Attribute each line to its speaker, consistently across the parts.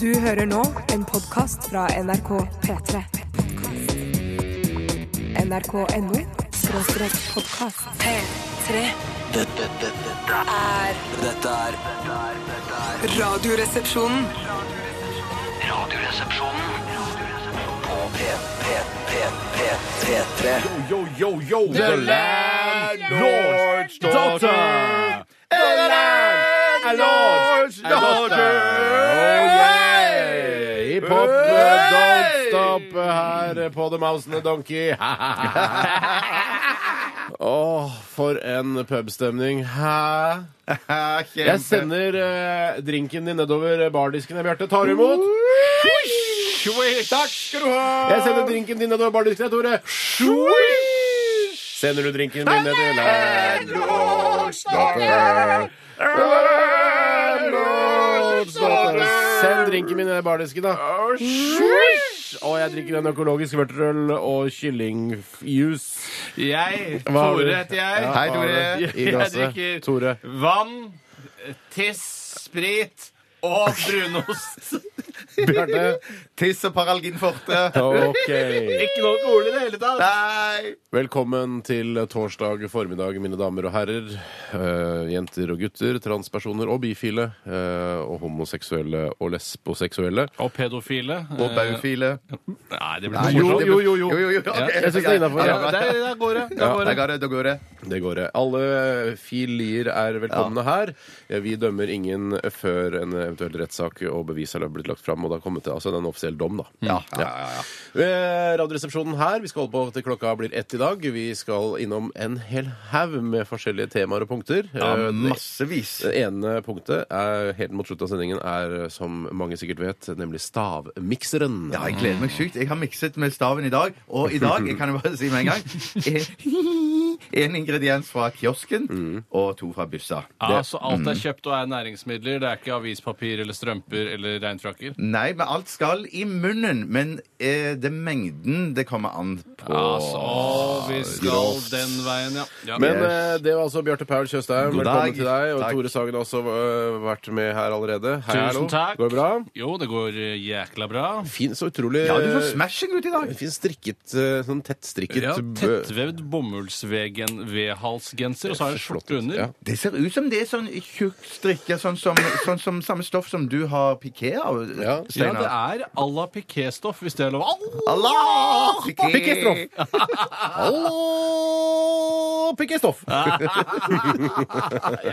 Speaker 1: Du hører nå en podkast fra NRK P3. NRK.no skråstrek podkast. P3
Speaker 2: Dette, dette, dette,
Speaker 1: er
Speaker 2: dette er dette er- dette er
Speaker 1: Radioresepsjonen.
Speaker 2: Radioresepsjonen på P, P, P, P, P3.
Speaker 3: Yo, yo, yo, the, landlord's daughter. The landlord's daughter.
Speaker 4: Oh yeah! Hiphop
Speaker 3: Hey!
Speaker 4: don't stop her på The Mouse and the Donkey. Åh, for en pubstemning. Hæ? Jeg sender eh, drinken din nedover bardisken. Bjarte, tar du imot?
Speaker 3: Takk skal du ha!
Speaker 4: Jeg sender drinken din nedover bardisken, jeg, Tore. Sender du drinken min nedover
Speaker 3: Landlord's daughter. Landlord's daughter.
Speaker 4: Send drinken min ned i bardisken, da. Og jeg drikker en økologisk vørterøl og kyllingjus.
Speaker 3: Jeg,
Speaker 4: Hva har du?
Speaker 3: Tore heter jeg.
Speaker 4: Ja, hva har du i
Speaker 3: Jeg
Speaker 4: glasset?
Speaker 3: drikker
Speaker 4: Tore.
Speaker 3: vann, tiss, sprit og brunost.
Speaker 4: Bjarte.
Speaker 5: Tiss og paralgin forte.
Speaker 4: Ok.
Speaker 3: Ikke noe alkohol i det hele tatt.
Speaker 5: Nei!
Speaker 4: Velkommen til torsdag formiddag, mine damer og herrer. Eh, jenter og gutter, transpersoner og bifile. eh, og homoseksuelle og lesboseksuelle.
Speaker 3: Og pedofile.
Speaker 5: Og baufile.
Speaker 4: Eh,
Speaker 3: Nei, det
Speaker 5: Nei,
Speaker 3: blir jo,
Speaker 4: jo, jo, jo.
Speaker 5: jo, jo, jo.
Speaker 3: Ja,
Speaker 5: ok,
Speaker 4: jeg synes det er innenfor,
Speaker 5: Ja,
Speaker 3: ja,
Speaker 5: ja,
Speaker 3: der, der går det. Der går
Speaker 4: Ja,
Speaker 5: Da
Speaker 3: det.
Speaker 5: går det, da går det.
Speaker 4: Det går, det. Alle filier er velkomne her. Vi dømmer ingen før en eventuell rettssak og bevis har blitt lagt fram. Og det har kommet til altså, det er en offisiell dom, da.
Speaker 5: Mm.
Speaker 4: Ved Radioresepsjonen her. Vi skal holde på til klokka blir ett i dag. Vi skal innom en hel haug med forskjellige temaer og punkter.
Speaker 5: Um,
Speaker 4: Eh, det-
Speaker 5: Massevis.
Speaker 4: det ene punktet er, helt mot slutten av sendingen er, som mange sikkert vet, nemlig stavmikseren.
Speaker 5: Ja, jeg gleder meg sjukt. Jeg har mikset med staven i dag. Og i dag, jeg kan jo bare si med en gang En ingrediens fra kiosken og to fra byssa.
Speaker 3: Ja, så alt
Speaker 5: Mm.
Speaker 3: er kjøpt og er næringsmidler. Det er ikke avispapir eller strømper eller regnfrakker.
Speaker 5: Nei, men alt skal i munnen. Men eh, det er mengden det kommer an på.
Speaker 3: Altså, vi skal den veien, ja. ja.
Speaker 4: Men
Speaker 5: Yes.
Speaker 4: eh, det var altså Bjarte Paul Tjøstheim.
Speaker 5: God
Speaker 4: Velkommen
Speaker 5: dag.
Speaker 4: til deg. Og
Speaker 5: Takk.
Speaker 4: Tore Sagen har også eh, vært med her allerede. Hei, hallo.
Speaker 3: Tusen takk.
Speaker 4: Går det bra?
Speaker 3: Jo, det går eh, jækla bra.
Speaker 4: Fin, så utrolig
Speaker 5: Ja, du får smashing ut i dag.
Speaker 4: eh, Fin strikket, eh, sånn tettstrikket
Speaker 3: Ja,
Speaker 4: bø-
Speaker 3: Tettvevd bomullsvedhalsgenser, og så har jeg en
Speaker 4: Flott ut.
Speaker 3: skjorte under.
Speaker 4: Ja.
Speaker 5: Det ser ut som det er sånn tjukk strikke, sånn som, sånn som samme stoff som du har piké av, eh,
Speaker 4: Ja.
Speaker 3: Ja,
Speaker 5: Steinar.
Speaker 3: det er à la piqué-stoff, hvis det er lov. Au!
Speaker 5: Allah!
Speaker 4: Piqué-stroff. Hallo, Pikkestoff!
Speaker 3: Jeg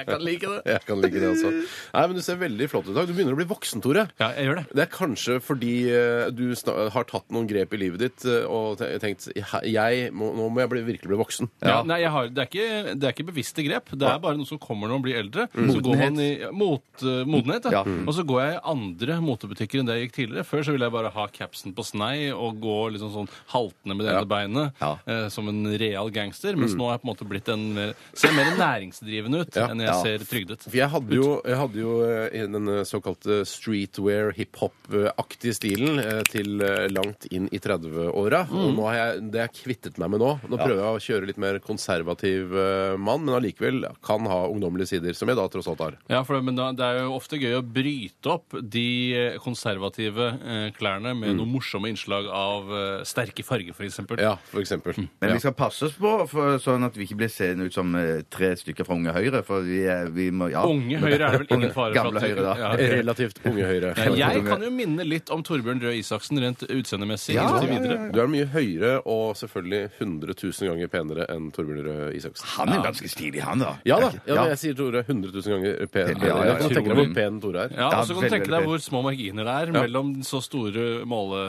Speaker 3: kan like det.
Speaker 4: Jeg kan like det, altså. Nei, men Du ser veldig flott ut i dag. Du begynner å bli voksen, Tore.
Speaker 3: Ja, jeg gjør det.
Speaker 4: Det er kanskje fordi eh, du sna- har tatt noen grep i livet ditt eh, og te- tenkt jeg må, nå må jeg bli, virkelig bli voksen.
Speaker 3: Ja, nei, jeg har, det, er ikke, det er ikke bevisste grep. Det er bare noe som kommer når man blir eldre. Så går man i mot, eh, modenhet. Ja. Og så går jeg i andre motebutikker enn det jeg gikk tidligere. Før så ville jeg bare ha capsen på snei og gå liksom sånn haltende med det ene beinet
Speaker 5: Ja. Mm.
Speaker 3: eh, som en real gangster. Mens nå har jeg på en måte blitt en mer, ser mer næringsdrivende ut
Speaker 4: Ja.
Speaker 3: enn jeg
Speaker 5: Ja.
Speaker 3: ser trygdet.
Speaker 4: For jeg hadde jo, jeg hadde jo eh, i den eh, såkalte streetwear, hiphop-aktige stilen eh, til eh, langt inn i 30-åra.
Speaker 5: Mm.
Speaker 4: Og nå har jeg, det har jeg kvittet meg med nå. Nå prøver jeg å kjøre litt mer konservativ eh, mann, men allikevel kan ha ungdommelige sider, som jeg da tross alt har.
Speaker 3: Ja, for det, men da, det er jo ofte gøy å bryte opp de eh, konservative eh, klærne med noen morsomme innslag av eh, sterke farger, f.eks.
Speaker 4: Ja, for eksempel.
Speaker 5: Men
Speaker 4: Ja.
Speaker 5: vi skal passe oss på, for, sånn at vi ikke blir seende ut som eh, tre stykker fra Unge Høyre. For vi, er- vi må ja.
Speaker 3: Unge Høyre er det vel ingen
Speaker 5: Unge-
Speaker 3: fare for
Speaker 5: Gamle
Speaker 3: at
Speaker 5: Høyre, da.
Speaker 3: Ja, ok.
Speaker 4: Relativt Eh, unge høyre.
Speaker 3: Jeg kan jo minne litt om Torbjørn Røe Isaksen rent utseendemessig
Speaker 5: Ja,
Speaker 3: inntil videre.
Speaker 4: Du er mye høyere og selvfølgelig 100 000 ganger penere enn Torbjørn Røe Isaksen.
Speaker 5: Han er ganske stilig, han, da.
Speaker 4: Ja da!
Speaker 5: Ja.
Speaker 4: Ja, men jeg sier Tore 100 000 ganger pen.
Speaker 5: Ja, ja, ja.
Speaker 4: Jeg kan tenke deg hvor pen Tore er.
Speaker 3: Ja,
Speaker 5: Ja,
Speaker 3: og så kan du
Speaker 5: veldig,
Speaker 3: tenke deg
Speaker 5: veldig
Speaker 3: hvor små marginer det er mellom så store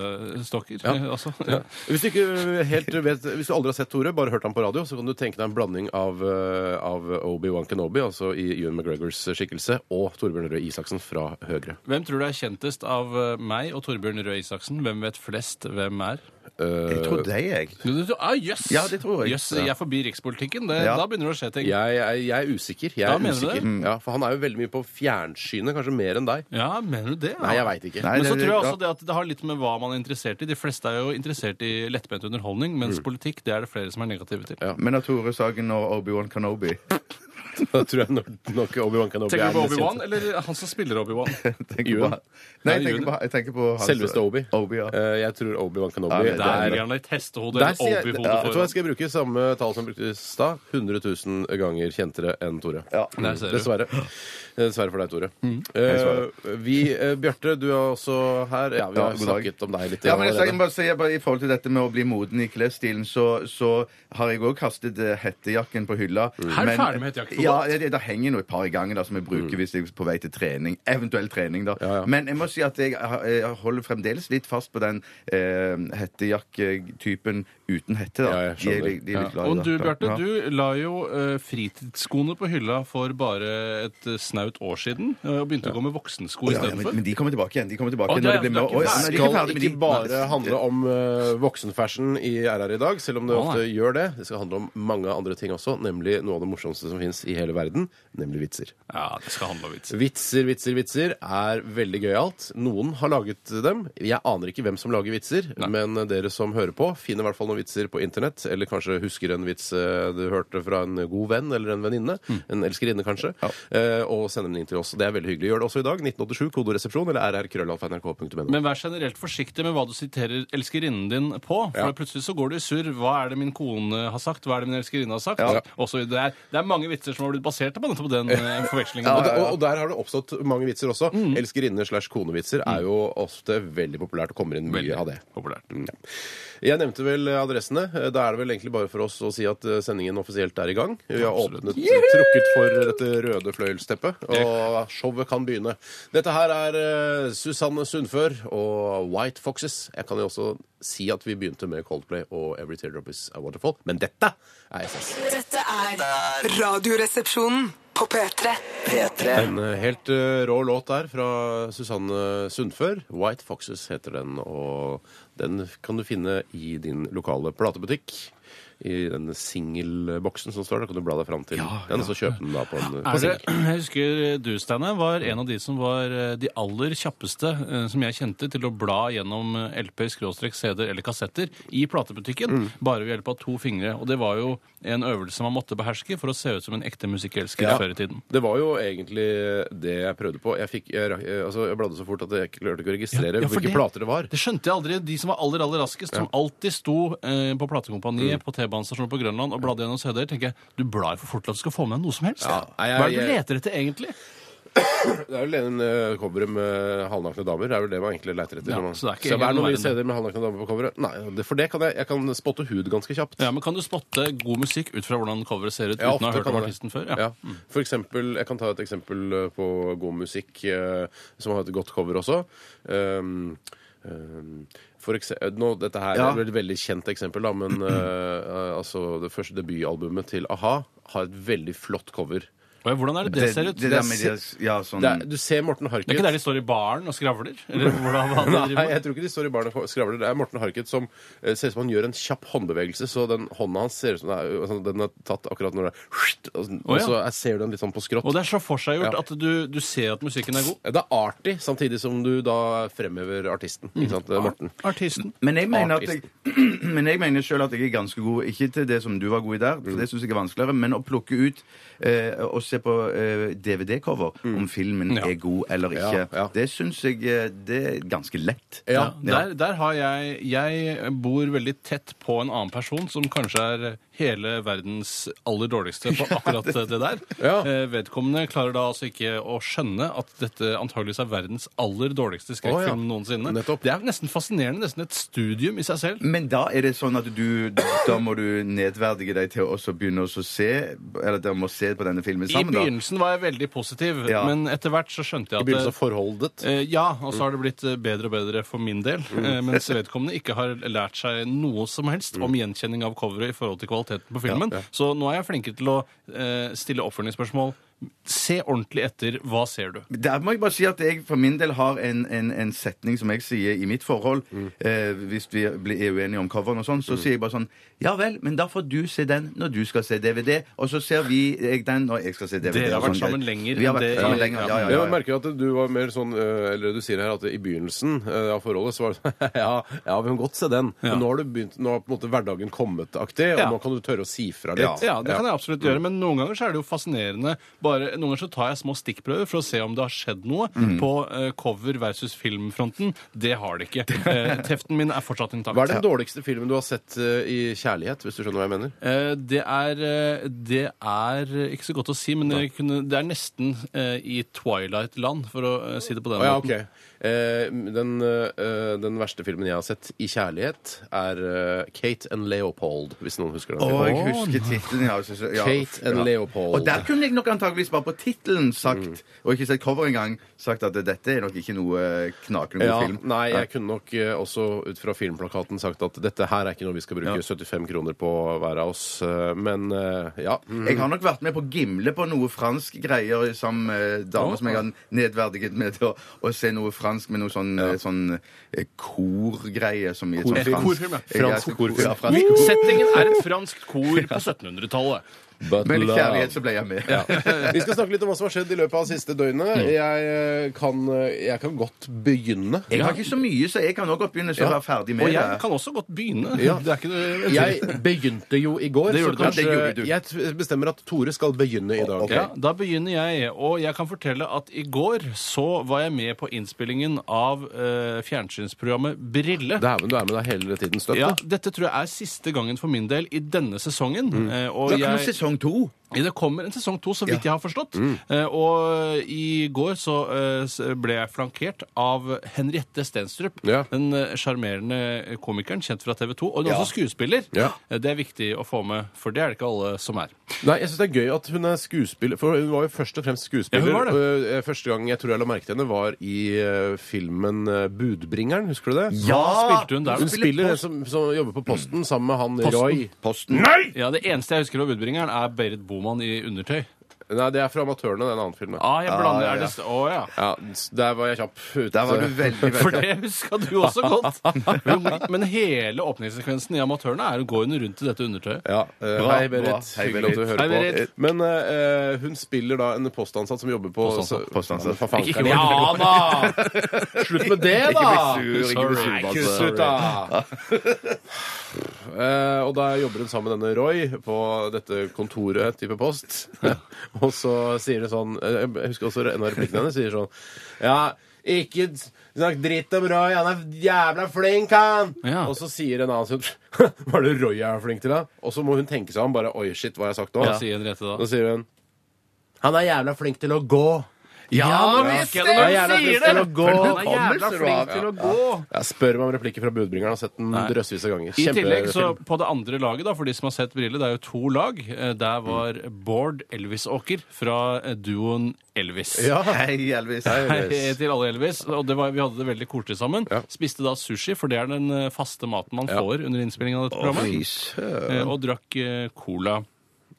Speaker 3: målestokker. Altså.
Speaker 4: Hvis du, ikke helt vet, hvis du aldri har sett Tore, bare hørt ham på radio, så kan du tenke deg en blanding av, eh, av Obi-Wan Kenobi, altså i Ewan McGregors skikkelse, og Torbjørn Røe Isaksen fra Høyre.
Speaker 3: Hvem tror du er kjentest av eh, meg og Torbjørn Røe Isaksen? Hvem vet flest hvem er?
Speaker 5: Jeg tror det, jeg.
Speaker 3: Du- du- Ah, jøss!
Speaker 5: Ja, det tror jeg.
Speaker 3: Jøss, jeg er forbi rikspolitikken. Det,
Speaker 5: Ja.
Speaker 3: Da begynner det å skje ting.
Speaker 4: Jeg, jeg, jeg er usikker. Jeg
Speaker 3: Ja,
Speaker 4: er
Speaker 3: mener du det?
Speaker 4: usikker. Ja, for han er jo veldig mye på fjernsynet, kanskje mer enn deg.
Speaker 3: Ja, mener du det? ja?
Speaker 4: Nei, jeg veit ikke.
Speaker 5: Nei,
Speaker 3: Men så
Speaker 5: det-
Speaker 3: tror jeg
Speaker 5: ja.
Speaker 3: også det at det har litt med hva man er interessert i. De fleste er jo interessert i lettbent
Speaker 4: Mm.
Speaker 3: underholdning, mens politikk det er det flere som er negative til.
Speaker 5: Men av Tore Sagen og Obi-Wan Kanobi.
Speaker 4: Da tror jeg nok, nok Obi-Wan Kenobi
Speaker 3: Tenker
Speaker 4: er
Speaker 3: du på
Speaker 4: mest kjent.
Speaker 3: Obi-Wan, eller han som spiller Obi-Wan?
Speaker 5: Tenker på,
Speaker 4: Ewan.
Speaker 5: nei,
Speaker 3: Nei,
Speaker 5: jeg tenker
Speaker 3: Ewan.
Speaker 5: på, jeg tenker på hans-
Speaker 4: Selveste Obi.
Speaker 5: Obi ja.
Speaker 4: Eh, jeg tror Obi-Wan Kenobi
Speaker 5: Ja,
Speaker 4: det
Speaker 3: Der
Speaker 4: er-
Speaker 3: ligger han litt hestehode
Speaker 4: Der
Speaker 3: eller
Speaker 4: sier jeg, ja, vet
Speaker 3: Obi-hode
Speaker 4: du hva, jeg
Speaker 3: foran.
Speaker 4: skal bruke samme tall som brukte i stad. 100 000 ganger kjentere enn Tore.
Speaker 3: Der ser du.
Speaker 4: Dessverre. Dessverre for deg, Tore. Eh, vi, eh, Bjarte, du er også her. Ja, vi
Speaker 5: Ja,
Speaker 4: har
Speaker 5: god dag.
Speaker 4: snakket om deg litt.
Speaker 5: Ja, men jeg, skal- jeg
Speaker 4: allerede.
Speaker 5: må bare si, bare I forhold til dette med å bli moden i klesstilen, så, så har jeg òg kastet eh, hettejakken på hylla.
Speaker 4: Mm.
Speaker 3: Her er du ferdig med hettejakken på
Speaker 5: Ja,
Speaker 3: godt.
Speaker 5: det, det, det henger noe et par i gangen da, som jeg bruker hvis jeg er på vei til trening. Eventuell trening, da.
Speaker 4: Mm. Ja, ja.
Speaker 5: Men jeg må si at jeg, har- jeg holder fremdeles litt fast på den eh, hettejakketypen uten hette. da.
Speaker 4: Ja, jeg
Speaker 5: de,
Speaker 4: skjønner.
Speaker 5: er litt- de er litt glad i
Speaker 3: Og
Speaker 5: det,
Speaker 3: du,
Speaker 5: da.
Speaker 3: Bjarte,
Speaker 5: Ja.
Speaker 3: du la jo eh, fritidsskoene på hylla for bare et eh, snaut år siden, eh, og begynte å gå med voksensko
Speaker 5: ja, ja, men,
Speaker 3: istedenfor.
Speaker 5: men de kommer tilbake igjen. De kommer tilbake
Speaker 3: Å,
Speaker 5: igjen
Speaker 3: det
Speaker 5: når
Speaker 3: er-
Speaker 5: det blir
Speaker 3: det er ikke
Speaker 5: mer- Å, ja,
Speaker 3: ferdig.
Speaker 5: nei, de er
Speaker 4: skal
Speaker 5: ferdig, men de-
Speaker 4: ikke bare handle om eh, voksenfashion i RR i dag, selv om det
Speaker 3: Å,
Speaker 4: ofte
Speaker 3: nei.
Speaker 4: gjør det. Det skal handle om mange andre ting også, nemlig noe av det morsomste som fins i hele verden, nemlig vitser.
Speaker 3: Ja, det skal handle om vits.
Speaker 4: Vitser, vitser, vitser er veldig gøyalt. Noen har laget dem. Jeg aner ikke hvem som lager vitser, men dere som hører på, finner i hvert fall noen vitser på internett, eller kanskje husker en vits eh, du hørte fra en god venn eller en venninne,
Speaker 3: Mm.
Speaker 4: en elskerinne kanskje, eh, og sender den inn til oss. Det er veldig hyggelig. Gjør det også i dag. 1987, kodoresepsjon eller rrkrøllalfa.nrk.no.
Speaker 3: Men vær generelt forsiktig med hva du siterer elskerinnen din på. For
Speaker 4: Ja.
Speaker 3: plutselig så går du i surr. Hva er det min kone har sagt? Hva er det min elskerinne har sagt?
Speaker 4: Ja.
Speaker 3: Og så- det, er, det er mange vitser som har blitt basert på nettopp den eh, forvekslingen.
Speaker 4: Og, og, og der har det oppstått mange vitser også.
Speaker 3: Mm.
Speaker 4: Elskerinne slash konevitser er jo ofte veldig populært og kommer inn mye
Speaker 3: Veldig
Speaker 4: av det.
Speaker 3: populært.
Speaker 4: Jeg nevnte vel adressene. Eh, Da er det vel egentlig bare for oss å si at eh, sendingen offisielt er i gang. Vi har
Speaker 3: Absolutt.
Speaker 4: åpnet, trukket for dette røde fløyelsteppet, og showet kan begynne. Dette her er eh, Susanne Sundfør og White Foxes. Jeg kan jo også si at vi begynte med Coldplay og Every Teardrop Is A Waterfall, men dette er SS.
Speaker 6: Dette er
Speaker 2: Der.
Speaker 6: Radioresepsjonen på P3.
Speaker 2: P3.
Speaker 4: En eh, helt eh, rå låt der fra Susanne Sundfør. White Foxes heter den, og den kan du finne i din lokale platebutikk. I den singelboksen som står der, kan du bla deg fram til den, og så kjøpe den da på en på
Speaker 3: Er det,
Speaker 4: singel.
Speaker 3: Altså, jeg husker eh, du, Steinar, var en av de som var eh, de aller kjappeste eh, som jeg kjente til å bla gjennom eh, LP, skråstrek, CD-er eller kassetter i platebutikken,
Speaker 4: Mm.
Speaker 3: bare ved hjelp av to fingre. Og det var jo en øvelse man måtte beherske for å se ut som en ekte musikkelsker før i tiden.
Speaker 4: Det var jo egentlig det jeg prøvde på. Jeg, fikk, jeg, rakk- eh, altså, jeg bladde så fort at jeg ikke klarte ikke å registrere
Speaker 3: Ja, for
Speaker 4: hvilke plater det var.
Speaker 3: Det skjønte jeg aldri. De som var aller aller raskest, som alltid sto eh, på
Speaker 4: Mm.
Speaker 3: platekompaniet på T-banestasjonen på Grønland og bladde gjennom CD-er, tenker jeg du blar for fort til at du skal få med deg noe som helst.
Speaker 4: Ja. Nei, jeg-
Speaker 3: Hva er det du
Speaker 4: jeg-
Speaker 3: leter etter egentlig?
Speaker 4: Det er vel en eh, cover med halvnakne damer. Det er vel det man egentlig leter etter.
Speaker 3: Ja,
Speaker 4: når man,
Speaker 3: så det er ikke
Speaker 4: så
Speaker 3: egentlig
Speaker 4: er
Speaker 3: noe
Speaker 4: det noen
Speaker 3: verre
Speaker 4: nye
Speaker 3: enn det.
Speaker 4: CD-er med halvnakne damer på coveret? Nei, det- for det kan jeg, jeg kan spotte hud ganske kjapt.
Speaker 3: Ja, men Kan du spotte god musikk ut fra hvordan coveret ser ut
Speaker 4: Ja,
Speaker 3: uten å ha
Speaker 4: ofte
Speaker 3: hørt
Speaker 4: kan
Speaker 3: om
Speaker 4: det.
Speaker 3: artisten før? Mm.
Speaker 4: Ja. For eksempel, jeg kan ta et eksempel eh, på god musikk eh, som har et godt cover også. Um, um, for eksempel, nå, dette her
Speaker 5: Ja.
Speaker 4: er vel et veldig kjent eksempel, da, men eh, eh, altså, det første debutalbumet til a-ha har et veldig flott cover.
Speaker 3: Oi, Hvordan er det det ser ut? Det
Speaker 5: Det, der med de, ja, sånn,
Speaker 4: Det er, du ser Morten
Speaker 3: er ikke der
Speaker 4: Harket.
Speaker 3: de står i baren og skravler? Eller hvordan hva de
Speaker 4: Nei,
Speaker 3: driver
Speaker 4: jeg
Speaker 3: med?
Speaker 4: tror ikke de står i baren og skravler. Det er Morten Harket som eh, ser ut som han gjør en kjapp håndbevegelse, så den hånda hans ser ut som den er, altså, den er tatt akkurat når det er Og så og
Speaker 3: ja.
Speaker 4: så er- ser du den litt sånn på skrått.
Speaker 3: Og det er så forseggjort
Speaker 4: Ja.
Speaker 3: at du, du ser at musikken er god.
Speaker 4: Det er artig, samtidig som du da fremhever artisten.
Speaker 3: Mm.
Speaker 4: Ikke sant, eh, Morten?
Speaker 3: Artisten.
Speaker 5: Men jeg mener, at jeg,
Speaker 4: Artist.
Speaker 5: men jeg mener selv at jeg er ganske god, ikke til det som du var god i der,
Speaker 4: Mm.
Speaker 5: for det synes jeg er vanskeligere, men å plukke ut eh, og se på eh, DVD-cover om filmen
Speaker 3: Ja.
Speaker 5: er god eller
Speaker 4: Mm. Ja,
Speaker 5: ikke,
Speaker 4: ja.
Speaker 5: det synes jeg eh, det er ganske lett.
Speaker 4: Ja.
Speaker 3: Der, der har jeg Jeg bor veldig tett på en annen person som kanskje er hele verdens aller dårligste på akkurat det der.
Speaker 4: Ja.
Speaker 3: Eh, Vedkommende klarer da altså ikke å skjønne at dette antageligvis er verdens aller dårligste skrekkfilm
Speaker 4: Å, ja.
Speaker 3: noensinne.
Speaker 4: Nettopp.
Speaker 3: Det er nesten fascinerende. Nesten et studium i seg selv.
Speaker 5: Men da er det sånn at du Da må du nedverdige deg til å også begynne å så se Eller dere må se på denne filmen sammen,
Speaker 3: I
Speaker 5: da.
Speaker 3: begynnelsen var jeg veldig positiv,
Speaker 5: Ja.
Speaker 3: men etter hvert så skjønte jeg
Speaker 4: I
Speaker 3: at
Speaker 4: begynnelsen av forholdet.
Speaker 3: Eh, ja, og så har det blitt eh, bedre og bedre for min del. eh, Mens vedkommende ikke har lært seg noe som helst om gjenkjenning av coveret i forhold til kvaliteten på filmen. Så nå er jeg flinkere til å eh, stille oppfølgingsspørsmål. se ordentlig etter. Hva ser du?
Speaker 5: Der må jeg bare si at jeg for min del har en, en, en setning som jeg sier i mitt forhold.
Speaker 3: Mm.
Speaker 5: Eh, hvis vi blir er uenige om coveren og sånn, så sier jeg bare sånn Ja vel, men da får du se den når du skal se DVD, og så ser vi jeg den når jeg skal se DVD.
Speaker 3: Dere har
Speaker 5: og sånn.
Speaker 3: vært sammen lenger
Speaker 5: Vi har
Speaker 3: enn
Speaker 5: vært
Speaker 3: det-
Speaker 5: sammen lenger. Ja, ja, ja.
Speaker 4: Jeg merker at du var mer sånn eh, Eller du sier her at i begynnelsen eh, av forholdet så var det sånn Ja, ja vi kan godt se den.
Speaker 3: Ja.
Speaker 4: Men nå har du begynt, nå har på en måte hverdagen kommet aktig, og
Speaker 3: Ja.
Speaker 4: nå kan du tørre å si fra litt.
Speaker 3: Ja, det kan jeg absolutt gjøre, men noen ganger så er det jo fascinerende. Bare, noen ganger så tar jeg små stikkprøver for å se om det har skjedd noe på eh, cover versus filmfronten. Det har det ikke. Eh, teften min er fortsatt intakt.
Speaker 4: Hva er den dårligste filmen du har sett eh, i kjærlighet, hvis du skjønner hva jeg mener?
Speaker 3: Eh, Det er, eh, det er ikke så godt å si, men jeg kunne, det er nesten eh, i Twilight-land, for å eh, si det på den
Speaker 4: Å ja, ok.
Speaker 3: måten.
Speaker 4: Eh, den, eh, den verste filmen jeg har sett i kjærlighet, er eh, Kate and Leopold, hvis noen husker den.
Speaker 5: Å,
Speaker 4: filmen.
Speaker 5: jeg husker tittelen, ja. så- så- ja.
Speaker 4: Kate and
Speaker 5: Ja.
Speaker 4: Leopold.
Speaker 5: Og der kunne jeg nok antageligvis bare på tittelen sagt,
Speaker 3: Mm.
Speaker 5: og ikke sett cover engang, sagt at dette er nok ikke noe eh, knakende god
Speaker 4: Ja,
Speaker 5: film.
Speaker 4: nei, jeg kunne nok eh, også ut fra filmplakaten sagt at dette her er ikke noe vi skal bruke 75 kroner på hver av oss, eh, men eh, ja. Mm.
Speaker 5: Jeg har nok vært med på Gimle på noe fransk greier sammen med damer som jeg har nedverdiget med til å, å se noe fransk med noe sånn, eh, sånn eh, korgreie som i et sånt
Speaker 3: Korfilm. Korfilm, ja.
Speaker 5: Jeg-
Speaker 4: Fransk korfilm.
Speaker 5: Ja, fransk korfilm.
Speaker 3: Settingen er et franskt kor på 1700-tallet.
Speaker 5: Men i kjærlighet så ble jeg med.
Speaker 4: Vi skal snakke litt om hva som har skjedd i løpet av det siste døgnet. Jeg, eh, kan, eh, jeg kan godt begynne.
Speaker 5: Jeg har ikke så mye, så jeg kan også godt begynne så være ferdig med
Speaker 3: Og
Speaker 5: det.
Speaker 3: jeg kan også godt begynne.
Speaker 4: Ja.
Speaker 3: Det er ikke noe
Speaker 4: Jeg begynte jo i går,
Speaker 3: Det
Speaker 4: så
Speaker 3: gjorde du.
Speaker 4: kanskje
Speaker 5: Ja, det gjorde du.
Speaker 4: jeg t- bestemmer at Tore skal begynne i dag.
Speaker 5: ok.
Speaker 3: Ja, da begynner jeg, og jeg kan fortelle at i går så var jeg med på innspillingen av eh, fjernsynsprogrammet Brille.
Speaker 4: Dæven, du er med deg hele tiden støtt.
Speaker 3: Ja,
Speaker 4: du.
Speaker 3: dette tror jeg er siste gangen for min del i denne sesongen.
Speaker 4: Mm.
Speaker 3: eh, og
Speaker 5: Da kommer
Speaker 3: jeg-
Speaker 5: sesong to.
Speaker 3: det kommer en sesong to, så vidt jeg har forstått.
Speaker 5: Mm.
Speaker 3: Eh, og i går så eh, s- ble jeg flankert av Henriette Stenstrup.
Speaker 4: Ja.
Speaker 3: Den eh, sjarmerende komikeren kjent fra TV 2. Og hun er også skuespiller.
Speaker 4: Ja.
Speaker 3: Eh, det er viktig å få med, for det er det ikke alle som er.
Speaker 4: Nei, jeg syns det er gøy at hun er skuespiller, for hun var jo først og fremst skuespiller.
Speaker 3: Ja, hun var det.
Speaker 4: og, eh, Første gang jeg tror jeg la merke til henne, var i eh, filmen eh, Budbringeren. Husker du det?
Speaker 5: Ah!
Speaker 3: Hva spilte hun der?
Speaker 4: Hun spiller en som, som jobber på Posten sammen med han Roy.
Speaker 5: Posten.
Speaker 3: Ja, Det eneste jeg husker av Budbringeren, er Berit Boman i undertøy.
Speaker 4: Nei, det er fra Amatørene, det er en annen film. da.
Speaker 3: Ah, jeg blander,
Speaker 5: ja, ja.
Speaker 3: er det, s- å, ja.
Speaker 4: Ja, der var jeg kjapp. Ute.
Speaker 5: Der var du veldig,
Speaker 3: For
Speaker 5: veldig
Speaker 3: det huska du også godt. Men- Men hele åpningssekvensen i Amatørene er å gå henne rundt i dette undertøyet.
Speaker 4: Ja, eh,
Speaker 5: Bra,
Speaker 4: hei, Berit.
Speaker 5: bra. Hei,
Speaker 4: Hyggelig at du
Speaker 5: Berit.
Speaker 4: hører
Speaker 3: Hei, Berit.
Speaker 4: på. Men eh, eh, hun spiller da en postansatt som jobber på
Speaker 3: Postansatt.
Speaker 4: så-
Speaker 5: Postansatt.
Speaker 4: Fa- faen,
Speaker 3: Ikke
Speaker 4: kan jeg-
Speaker 3: Ja da!
Speaker 4: Slutt med det, da!
Speaker 5: bli sur, ikke bli sur,
Speaker 4: Nei,
Speaker 5: Basse.
Speaker 4: kutt ut, da! Eh, og da jobber hun sammen med denne Roy på dette kontoret, type post. og så sier det sånn eh, Jeg husker også en av replikkene hennes sier sånn Ja, ikke s- snakk dritt om Roy, han er jævla flink, han!
Speaker 3: Ja.
Speaker 4: Og så sier en annen sånn Hva er det Roy er flink til, da? Og så må hun tenke seg om. Bare oi, shit, hva har jeg sagt nå?
Speaker 3: Hva sier Henriette da?
Speaker 4: Da sier hun Han er jævla flink til å gå.
Speaker 3: Ja, nå husker jeg det når du
Speaker 4: Han er jævla
Speaker 3: sier
Speaker 4: flink til
Speaker 3: det!
Speaker 4: å gå.
Speaker 3: Han er jævla flink til å gå.
Speaker 4: Jeg spør meg om replikker fra Budbringeren. Har sett den drøssevis av ganger.
Speaker 3: I tillegg så
Speaker 4: Kjempefilm.
Speaker 3: på det andre laget, da, for de som har sett Brille, det er jo to lag. Eh, Der var Bård Elvisåker fra eh, duoen Elvis.
Speaker 4: Ja.
Speaker 5: Hei, Elvis.
Speaker 3: Hei til alle Elvis. Og det var, vi hadde det veldig koselig sammen.
Speaker 4: Ja.
Speaker 3: Spiste da sushi, for det er den eh, faste maten man
Speaker 4: Ja.
Speaker 3: får under innspillingen av dette
Speaker 5: Fy
Speaker 3: programmet. Eh,
Speaker 5: søren.
Speaker 3: Og drakk eh, cola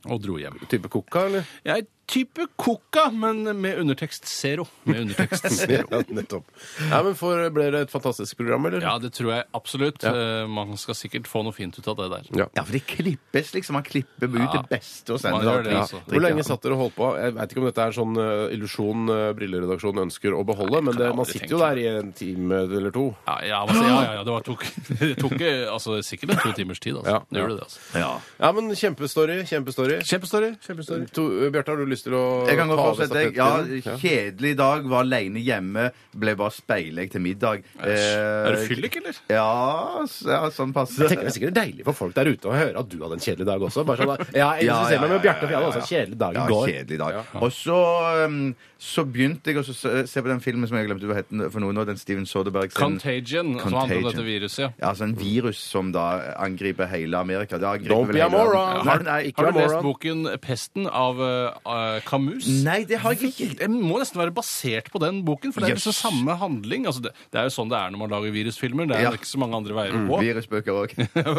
Speaker 3: og dro hjem.
Speaker 4: Type Coca, eller?
Speaker 3: Jeg er type coca, men med undertekst zero. Med undertekst zero.
Speaker 4: Ja, nettopp. Nei, men for, Ble det et fantastisk program, eller?
Speaker 3: Ja, det tror jeg absolutt. Eh, Man skal sikkert få noe fint ut av det der.
Speaker 4: Ja.
Speaker 5: Ja, for det klippes liksom. Man klipper ut det beste og
Speaker 3: Man
Speaker 5: sender
Speaker 3: gjør
Speaker 5: det.
Speaker 3: det,
Speaker 5: til-
Speaker 3: altså.
Speaker 4: Hvor lenge satt dere og holdt på? Jeg vet ikke om dette er sånn eh, illusjon eh, brilleredaksjonen ønsker å beholde, men
Speaker 3: kan
Speaker 4: det,
Speaker 3: jeg
Speaker 4: man
Speaker 3: aldri
Speaker 4: sitter jo
Speaker 3: tenke
Speaker 4: der i en time eller to.
Speaker 3: Ja, ja, altså, ja, ja, ja det var, tok, det tok eh, altså, sikkert en to timers tid. Altså.
Speaker 4: Ja.
Speaker 3: Det gjorde det, altså.
Speaker 5: Ja.
Speaker 4: Ja, men kjempestory. Kjempestory.
Speaker 3: Kjempestory.
Speaker 4: To- eh, Bjarte, har du lyst til å
Speaker 5: Jeg kan godt
Speaker 4: ta over
Speaker 5: fortsette. jeg.
Speaker 4: stafettpinnen?
Speaker 5: Ja, kjedelig dag. Var aleine hjemme. Ble bare speilegg til middag. Eh,
Speaker 3: Er du fyllik, eller?
Speaker 5: Ja, s- ja, sånn passe.
Speaker 4: Jeg tenker Det er sikkert deilig for folk der ute å høre at du hadde en kjedelig dag også. Bare sånn, ja, jeg
Speaker 5: Ja,
Speaker 4: identifiserer
Speaker 5: ja,
Speaker 4: meg med
Speaker 5: ja,
Speaker 4: Bjarte, for jeg hadde også en kjedelig dag i
Speaker 5: Ja,
Speaker 4: går.
Speaker 5: kjedelig dag. Og så, um, så begynte jeg å se se på den filmen som jeg glemte hva het den for noe nå, den Steven Soderberg sin
Speaker 3: Contagion, altså, som handler om dette viruset. ja.
Speaker 5: Ja, altså en
Speaker 3: Mm.
Speaker 5: virus som da angriper hele Amerika. Det angriper
Speaker 4: Don't
Speaker 5: vel
Speaker 4: be a
Speaker 5: hele verden.
Speaker 4: moron.
Speaker 5: Nei, nei,
Speaker 4: Ikke
Speaker 3: Har
Speaker 4: vær
Speaker 3: du lest
Speaker 4: moron.
Speaker 3: boken 'Pesten' av eh, eh, Camus?
Speaker 5: Nei, det har jeg ikke.
Speaker 3: Det må nesten være basert på den boken, for det er
Speaker 5: Yes.
Speaker 3: liksom samme handling. Altså, det, det er jo sånn det er når man lager virusfilmer. Det er
Speaker 5: Ja. Mm.
Speaker 3: jo ikke så mange andre veier å gå.
Speaker 5: Virusbøker òg.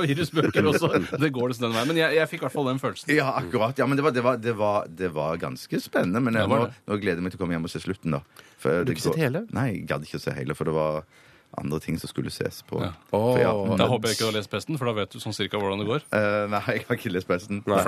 Speaker 3: Virusbøker også. Det går liksom den veien. Men jeg, jeg fikk i hvert fall den følelsen.
Speaker 5: Ja, akkurat. Ja, men det var, det var, det var, det var ganske spennende. Men jeg,
Speaker 3: var
Speaker 5: nå,
Speaker 3: det.
Speaker 5: nå gleder jeg meg til å komme hjem og se slutten, da. For det
Speaker 4: ikke sett
Speaker 5: går-
Speaker 4: hele?
Speaker 5: Nei, jeg gadd ikke å se hele, for det var andre ting som skulle ses på.
Speaker 3: Ja.
Speaker 5: For ja,
Speaker 3: Da håper jeg ikke du har lest Pesten, for da vet du sånn cirka hvordan det går.
Speaker 5: eh, nei, jeg har ikke lest pressen.
Speaker 4: Nei.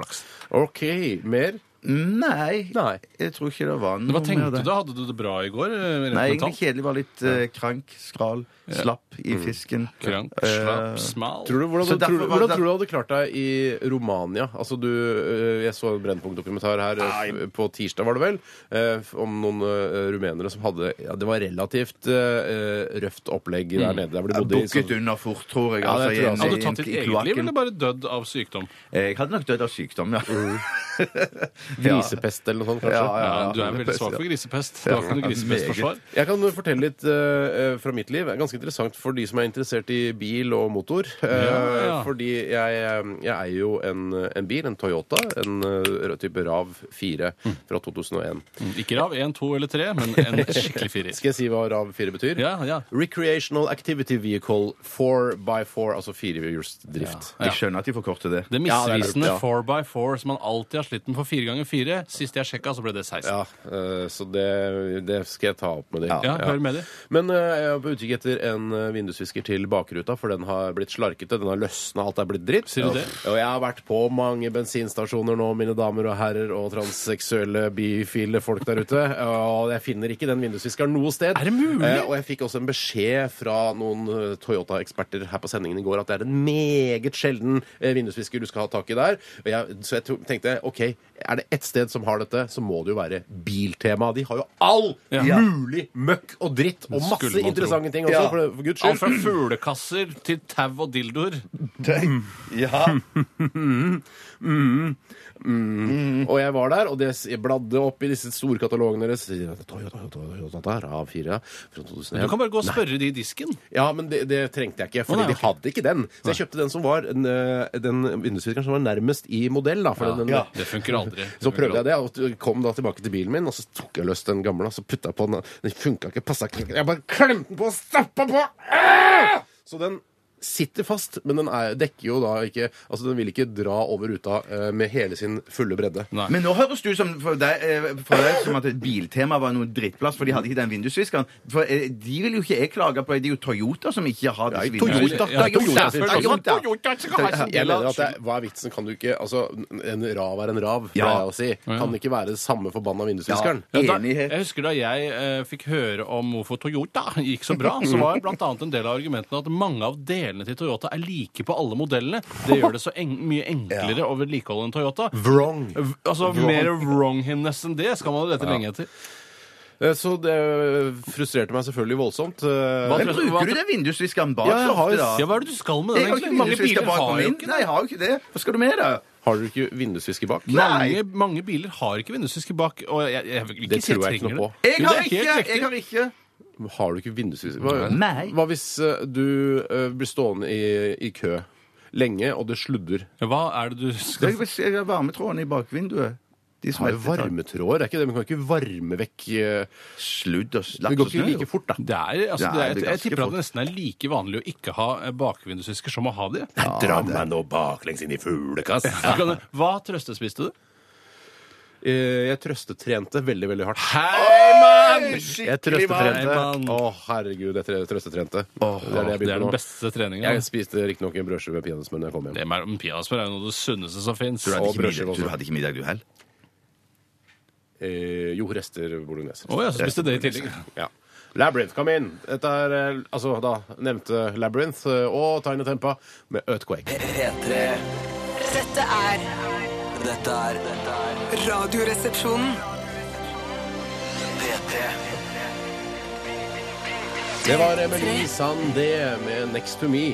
Speaker 4: OK. Mer?
Speaker 5: Nei,
Speaker 4: Nei.
Speaker 5: jeg tror ikke det var noe
Speaker 3: Men hva
Speaker 5: mer
Speaker 3: tenkte
Speaker 5: der.
Speaker 3: du da? Hadde du det bra i går? eh, Rent
Speaker 5: Nei, egentlig
Speaker 3: mentalt?
Speaker 5: kjedelig. Var litt eh, krank, skral, slapp i fisken.
Speaker 3: Mm. Krank,
Speaker 5: Eh,
Speaker 3: slapp, smal.
Speaker 4: Tror du, hvordan,
Speaker 5: Så
Speaker 4: tror,
Speaker 5: derfor
Speaker 4: du-
Speaker 5: var det-
Speaker 4: hvordan tror du du hadde klart deg i Romania? Altså du, eh, Jeg så en Brennpunkt-dokumentar her eh, f- på tirsdag, var det vel, eh, f- om noen eh, rumenere som hadde ja, Det var relativt eh, røft opplegg
Speaker 5: Mm.
Speaker 4: der nede. Der hvor de
Speaker 5: jeg
Speaker 4: bodde i
Speaker 5: Bukket
Speaker 4: sånn-
Speaker 5: under fort, tror jeg.
Speaker 4: Ja, det
Speaker 5: altså,
Speaker 4: tror jeg
Speaker 5: i en-
Speaker 4: også.
Speaker 3: Hadde
Speaker 5: i
Speaker 3: du
Speaker 5: en-
Speaker 3: tatt ditt
Speaker 5: i
Speaker 3: eget liv,
Speaker 5: kloakken. Eh,
Speaker 3: eller bare dødd av sykdom?
Speaker 5: Jeg hadde nok dødd av sykdom, ja.
Speaker 3: Mm.
Speaker 4: Grisepest eller noe sånt, kanskje.
Speaker 5: Ja, ja.
Speaker 3: Ja, du er veldig svak for grisepest. Du har ikke noe grisepestforsvar.
Speaker 4: Jeg kan fortelle litt eh, eh, fra mitt liv. Det er Ganske interessant for de som er interessert i bil og motor. Eh,
Speaker 3: Ja, ja.
Speaker 4: Fordi jeg, eh, jeg eier jo en, en bil, en Toyota, en eh, type RAV 4
Speaker 3: Mm.
Speaker 4: fra 2001.
Speaker 3: Ikke rav én, to eller tre, men en skikkelig firer.
Speaker 4: Skal jeg si hva RAV 4 betyr?
Speaker 3: Ja, ja.
Speaker 4: Recreational Activity Vehicle 4x4, altså firehjulsdrift.
Speaker 5: Jeg skjønner at de forkorter det.
Speaker 3: Det
Speaker 4: Ja, det er
Speaker 3: misvisende
Speaker 4: lurt, ja.
Speaker 3: 4x4 som man alltid har slitt med for fire ganger fire. Sist jeg sjekka, så ble det 16.
Speaker 4: Ja, eh, så det, det skal jeg ta opp med de.
Speaker 3: Ja, hør med de.
Speaker 4: Men eh, jeg er på utkikk etter en eh, vindusvisker til bakruta, for den har blitt slarkete, den har løsna, alt er blitt dritt.
Speaker 3: Sier du det?
Speaker 4: Ja. Og jeg har vært på mange bensinstasjoner nå, mine damer og herrer, og transseksuelle bifile folk der ute, og jeg finner ikke den vindusviskeren noe sted.
Speaker 3: Er det mulig?
Speaker 4: Eh, Og jeg fikk også en beskjed fra noen eh, Toyota-eksperter her på sendingen i går at det er en meget sjelden eh, vindusvisker du skal ha tak i der. Og jeg, så jeg to- tenkte OK, er det ett sted som har dette, så må det jo være Biltema. De har jo all
Speaker 3: Ja.
Speaker 4: mulig møkk og dritt og masse
Speaker 3: Skulle man tro.
Speaker 4: interessante ting også,
Speaker 5: Ja.
Speaker 4: for, for guds
Speaker 3: Alt
Speaker 4: skyld.
Speaker 3: fra fuglekasser til tau og dildoer.
Speaker 5: Ja.
Speaker 4: Og jeg var der, og det s- jeg bladde opp i disse storkatalogene deres. Toyota, Toyota, Toyota, RAV4 fra 2001.
Speaker 3: Du kan bare gå og spørre de i disken.
Speaker 4: Ja, men det, det trengte jeg ikke, for
Speaker 3: Å, nei,
Speaker 4: de hadde ikke den. Så jeg kjøpte den som var en, eh, den vindusviskeren som var nærmest i modell. Da, for den, den,
Speaker 5: Ja.
Speaker 3: Det funker aldri.
Speaker 4: Så prøvde jeg det, og kom da tilbake til bilen min, og så tok jeg løs den gamle, og så putta jeg på den. Den funka ikke, passa ikke. Jeg bare klemte den på og stappa på! Ah! Så den sitter fast, men den er, dekker jo da ikke Altså, den vil ikke dra over ruta eh, med hele sin fulle bredde.
Speaker 3: Nei.
Speaker 5: Men nå høres du som for deg, eh, for deg som at et biltema var noe drittplass, for de hadde ikke den vindusviskeren. For eh, de vil jo ikke jeg klage på. Det er jo Toyota som ikke har disse
Speaker 4: Toyota,
Speaker 5: vindusviskerne.
Speaker 4: ja, Toyota,
Speaker 5: Toyota. sånn.
Speaker 4: Jeg mener at det, er- Hva er vitsen? Kan du ikke Altså, en rav er en rav, pleier
Speaker 5: Ja.
Speaker 4: jeg å si. Kan det ikke være det samme forbanna vindusviskeren?
Speaker 5: Ja.
Speaker 3: da,
Speaker 5: Enighet.
Speaker 3: jeg husker da jeg eh, fikk høre om hvorfor Toyota gikk så bra, så var bl.a. en del av argumentene at mange av delene til Toyota er like på alle modellene. Det gjør det så eng mye enklere å vedlikeholde en Toyota.
Speaker 4: Wrong.
Speaker 3: V- Altså, Mer wrongness enn det skal man lete lenge etter.
Speaker 4: Eh, Så det frustrerte meg selvfølgelig voldsomt. Eh,
Speaker 3: Hva
Speaker 5: Men bruker du den vindusviskeren bak
Speaker 4: Ja, jeg
Speaker 5: så
Speaker 4: har jo-
Speaker 5: ofte, da?
Speaker 3: Ja, Hva er det du skal med
Speaker 5: Jeg
Speaker 3: den?
Speaker 5: har ikke
Speaker 3: egentlig? Mange
Speaker 5: vindusvisker
Speaker 3: biler
Speaker 5: bak på
Speaker 3: har jo
Speaker 5: min.
Speaker 3: ikke
Speaker 5: Nei, jeg har jo ikke det. Hva skal du med, da?
Speaker 4: Har dere ikke vindusvisker bak?
Speaker 3: mange, mange biler har ikke vindusvisker bak. Og jeg, jeg, jeg vil ikke
Speaker 4: Det
Speaker 3: si jeg
Speaker 4: tror jeg ikke
Speaker 3: trenger
Speaker 4: noe på.
Speaker 3: det.
Speaker 5: Jeg
Speaker 3: Jo,
Speaker 5: har
Speaker 3: det er helt
Speaker 5: ikke!
Speaker 3: riktig.
Speaker 5: Jeg har ikke.
Speaker 4: Har du ikke vindusvisker? Hva,
Speaker 5: Nei.
Speaker 4: hva hvis eh, du eh, blir stående i, i kø lenge, og det sludder?
Speaker 3: Hva er det du skal
Speaker 5: Jeg jeg har varmetrådene i bakvinduet. De
Speaker 4: Det er jo
Speaker 5: smelter tak.
Speaker 4: varmetråder, er ikke det? Man kan ikke varme vekk eh,
Speaker 5: Sludd og slapp.
Speaker 4: Det går ikke like fort, da.
Speaker 3: Det er, altså,
Speaker 5: Nei,
Speaker 3: det er,
Speaker 5: det er
Speaker 3: jeg,
Speaker 5: ganske
Speaker 3: tipper
Speaker 5: fort.
Speaker 3: at det nesten er like vanlig å ikke ha eh, bakvindusvisker som å ha det.
Speaker 4: Dra meg nå baklengs inn i fuglekassa.
Speaker 3: Så kan du- Hva trøstespiste du?
Speaker 4: Eh, Jeg trøstetrente veldig, veldig hardt.
Speaker 3: Hei, mann!
Speaker 4: Jeg
Speaker 3: Skikkelig
Speaker 4: trøstetrente.
Speaker 3: mann.
Speaker 4: Å, herregud, jeg tre- trøstetrente. det er det jeg
Speaker 3: Det er
Speaker 4: begynte
Speaker 3: den
Speaker 4: med nå.
Speaker 3: beste treningen.
Speaker 4: Jeg spiste riktignok en brødskive med peanøttsmør da jeg kom hjem.
Speaker 3: Det med peanøttsmør er jo noe av det sunneste som fins.
Speaker 5: Du hadde
Speaker 4: Og
Speaker 5: ikke
Speaker 4: brødskive
Speaker 5: middag-
Speaker 4: også.
Speaker 5: Du hadde ikke middag, du heller?
Speaker 4: Eh, jo, rester bolognese.
Speaker 3: Å ja, så spiste det i tillegg.
Speaker 4: Ja. Labyrinth, kom inn! Dette er eh, altså da nevnte Labyrinth eh, og Tiny Tempa med Earthquake.
Speaker 2: P3
Speaker 6: Dette er
Speaker 2: Dette er dette er
Speaker 6: Radioresepsjonen.
Speaker 2: P3
Speaker 4: Det var Melodi Sandé eh, med Next To Me.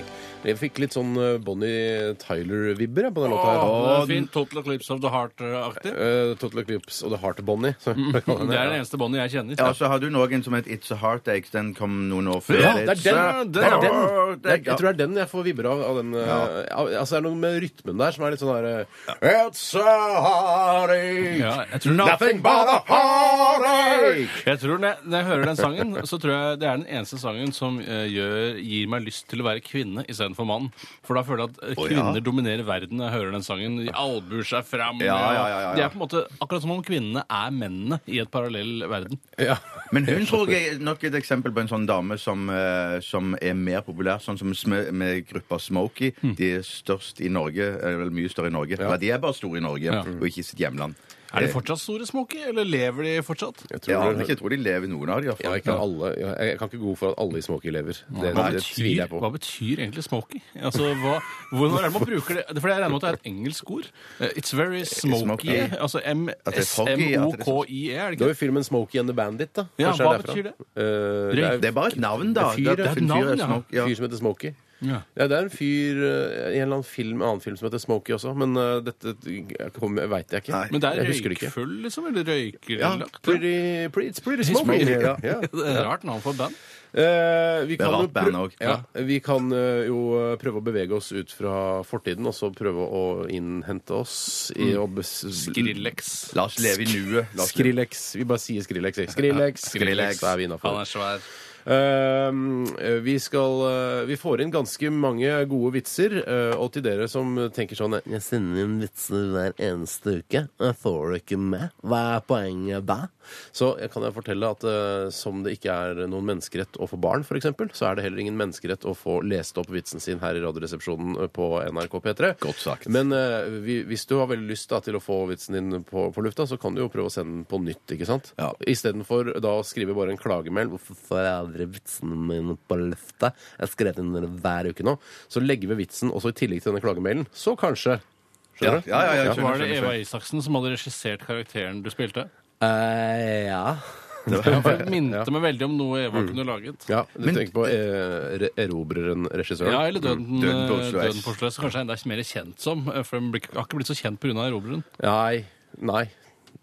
Speaker 4: Jeg fikk litt sånn eh, Bonnie Tyler-vibber jeg, på den låta her.
Speaker 3: Åh, det er fint. Total Eclipse of the Heart-aktig.
Speaker 4: Eh, Total Eclipse og The Heart Bonnie. så-
Speaker 3: Det er det eneste båndet jeg kjenner.
Speaker 5: Ja, så hadde hun òg en som het It's a Heartache. Den kom noen år før.
Speaker 4: Ja, det er den!
Speaker 5: It's a
Speaker 4: Det er den.
Speaker 5: heartache.
Speaker 4: Det er, jeg tror det er den jeg får vibber av. av den, eh, al- altså, det er noe med rytmen der som er litt sånn der eh, It's a heartache,
Speaker 3: Ja, jeg tror-
Speaker 4: nothing but a heartache.
Speaker 3: Jeg tror når jeg, når jeg hører den sangen, så tror jeg det er den eneste sangen som eh, gjør, gir meg lyst til å være kvinne istedenfor mann. For da føler jeg at eh, kvinner dominerer verden når jeg hører den sangen. De albuer seg fram.
Speaker 5: Ja, ja, ja, ja, ja.
Speaker 3: Det er på en måte akkurat som om kvinnene er mennene i et parallell verden.
Speaker 4: Ja.
Speaker 5: Men hun tror jeg er nok et eksempel på en sånn dame som, eh, som er mer populær, sånn som sm- med gruppa Smokey.
Speaker 4: Hmm.
Speaker 5: De er størst i Norge, eller vel mye større i Norge. Ja. De er bare store i Norge, og ikke i sitt hjemland.
Speaker 3: Er de fortsatt store smoky, eller lever de fortsatt?
Speaker 4: Jeg tror
Speaker 5: Ja,
Speaker 4: det-
Speaker 5: men jeg tror de lever noen av de, i hvert
Speaker 4: Ja,
Speaker 5: fall.
Speaker 4: ikke alle. Jeg jeg kan ikke gå for at alle i Smokie lever. Det,
Speaker 3: Hva
Speaker 4: det
Speaker 3: betyr,
Speaker 4: tviler jeg på.
Speaker 3: hva betyr egentlig smoky? Altså, hva, hvordan er det man bruker det? For jeg regner med at det er et engelsk ord. Eh, It's very smoky.
Speaker 5: smoky.
Speaker 3: Altså
Speaker 5: At det er foggy, at det er sånn-
Speaker 3: M-S-M-O-K-I-E, E, er det
Speaker 4: Det
Speaker 3: ikke?
Speaker 4: var jo filmen 'Smokey and the Bandit'. da.
Speaker 3: Ja,
Speaker 4: Kanskje
Speaker 3: hva
Speaker 4: er
Speaker 3: betyr det?
Speaker 4: Eh, det er
Speaker 5: Det er bare et navn, da.
Speaker 4: Det er fyr, det er
Speaker 3: et
Speaker 5: en fyr,
Speaker 3: navn, ja.
Speaker 5: Smokey,
Speaker 4: en fyr som heter Smokey.
Speaker 3: Ja.
Speaker 4: Ja, det er en fyr eh, i en eller annen film, en annen film som heter Smokey også, men eh, dette veit jeg ikke.
Speaker 5: Nei.
Speaker 3: Men det er
Speaker 4: jeg husker det ikke.
Speaker 3: røykfull, liksom? Eller røyker
Speaker 4: Ja, pretty, pretty, it's pretty smoky.
Speaker 5: smoky, ja.
Speaker 4: Ja.
Speaker 3: Det er rart navn på et band.
Speaker 4: Eh, vi
Speaker 5: er
Speaker 4: kan, jo
Speaker 5: rart band
Speaker 4: prø-
Speaker 5: også.
Speaker 4: ja, vi kan eh, jo eh, prøve å bevege oss ut fra fortiden, og så prøve å innhente oss i
Speaker 3: Mm.
Speaker 4: å bes-
Speaker 3: Skrillex.
Speaker 5: La oss leve i nuet. La oss leve-
Speaker 4: Skrillex. Vi bare sier Skrillex. jeg. Skrillex,
Speaker 3: Ja,
Speaker 4: Skrillex, da er vi
Speaker 3: Han
Speaker 4: innafor.
Speaker 3: er svær.
Speaker 4: Eh, vi skal eh, Vi får inn ganske mange gode vitser. eh, og til dere som tenker sånn Jeg sender inn vitser hver eneste uke. Jeg får det ikke med. Hva er poenget da? Så jeg kan jeg fortelle at eh, som det ikke er noen menneskerett å få barn, f.eks., så er det heller ingen menneskerett å få lest opp vitsen sin her i Radioresepsjonen eh, på NRK P3.
Speaker 5: Godt sagt.
Speaker 4: Men eh, vi, hvis du har veldig lyst da, til å få vitsen din på, på lufta, så kan du jo prøve å sende den på nytt, ikke sant?
Speaker 5: Ja.
Speaker 4: Istedenfor da å skrive bare en klagemeld Hvorfor får jeg aldri vitsene mine på løftet? Jeg har skrevet inn den hver uke nå. Så legger vi vitsen også i tillegg til denne klagemailen. Så kanskje Skjønner du?
Speaker 5: Ja, ja, ja, jeg skjønner,
Speaker 3: Var det
Speaker 5: skjønner,
Speaker 3: Eva Isaksen som hadde regissert karakteren du spilte?
Speaker 4: Eh, ja.
Speaker 3: For Det minte meg veldig om noe
Speaker 4: Mm.
Speaker 3: Eva kunne laget.
Speaker 4: ja. Du tenker på eh, re- erobreren, regissøren?
Speaker 3: Ja, eller Døden, eh,
Speaker 5: Døden på Oslo S.
Speaker 3: døden på Oslo S. Kanskje enda mer kjent som. eh, For den blir ikke- har ikke blitt så kjent pga. erobreren.
Speaker 4: Nei. Nei.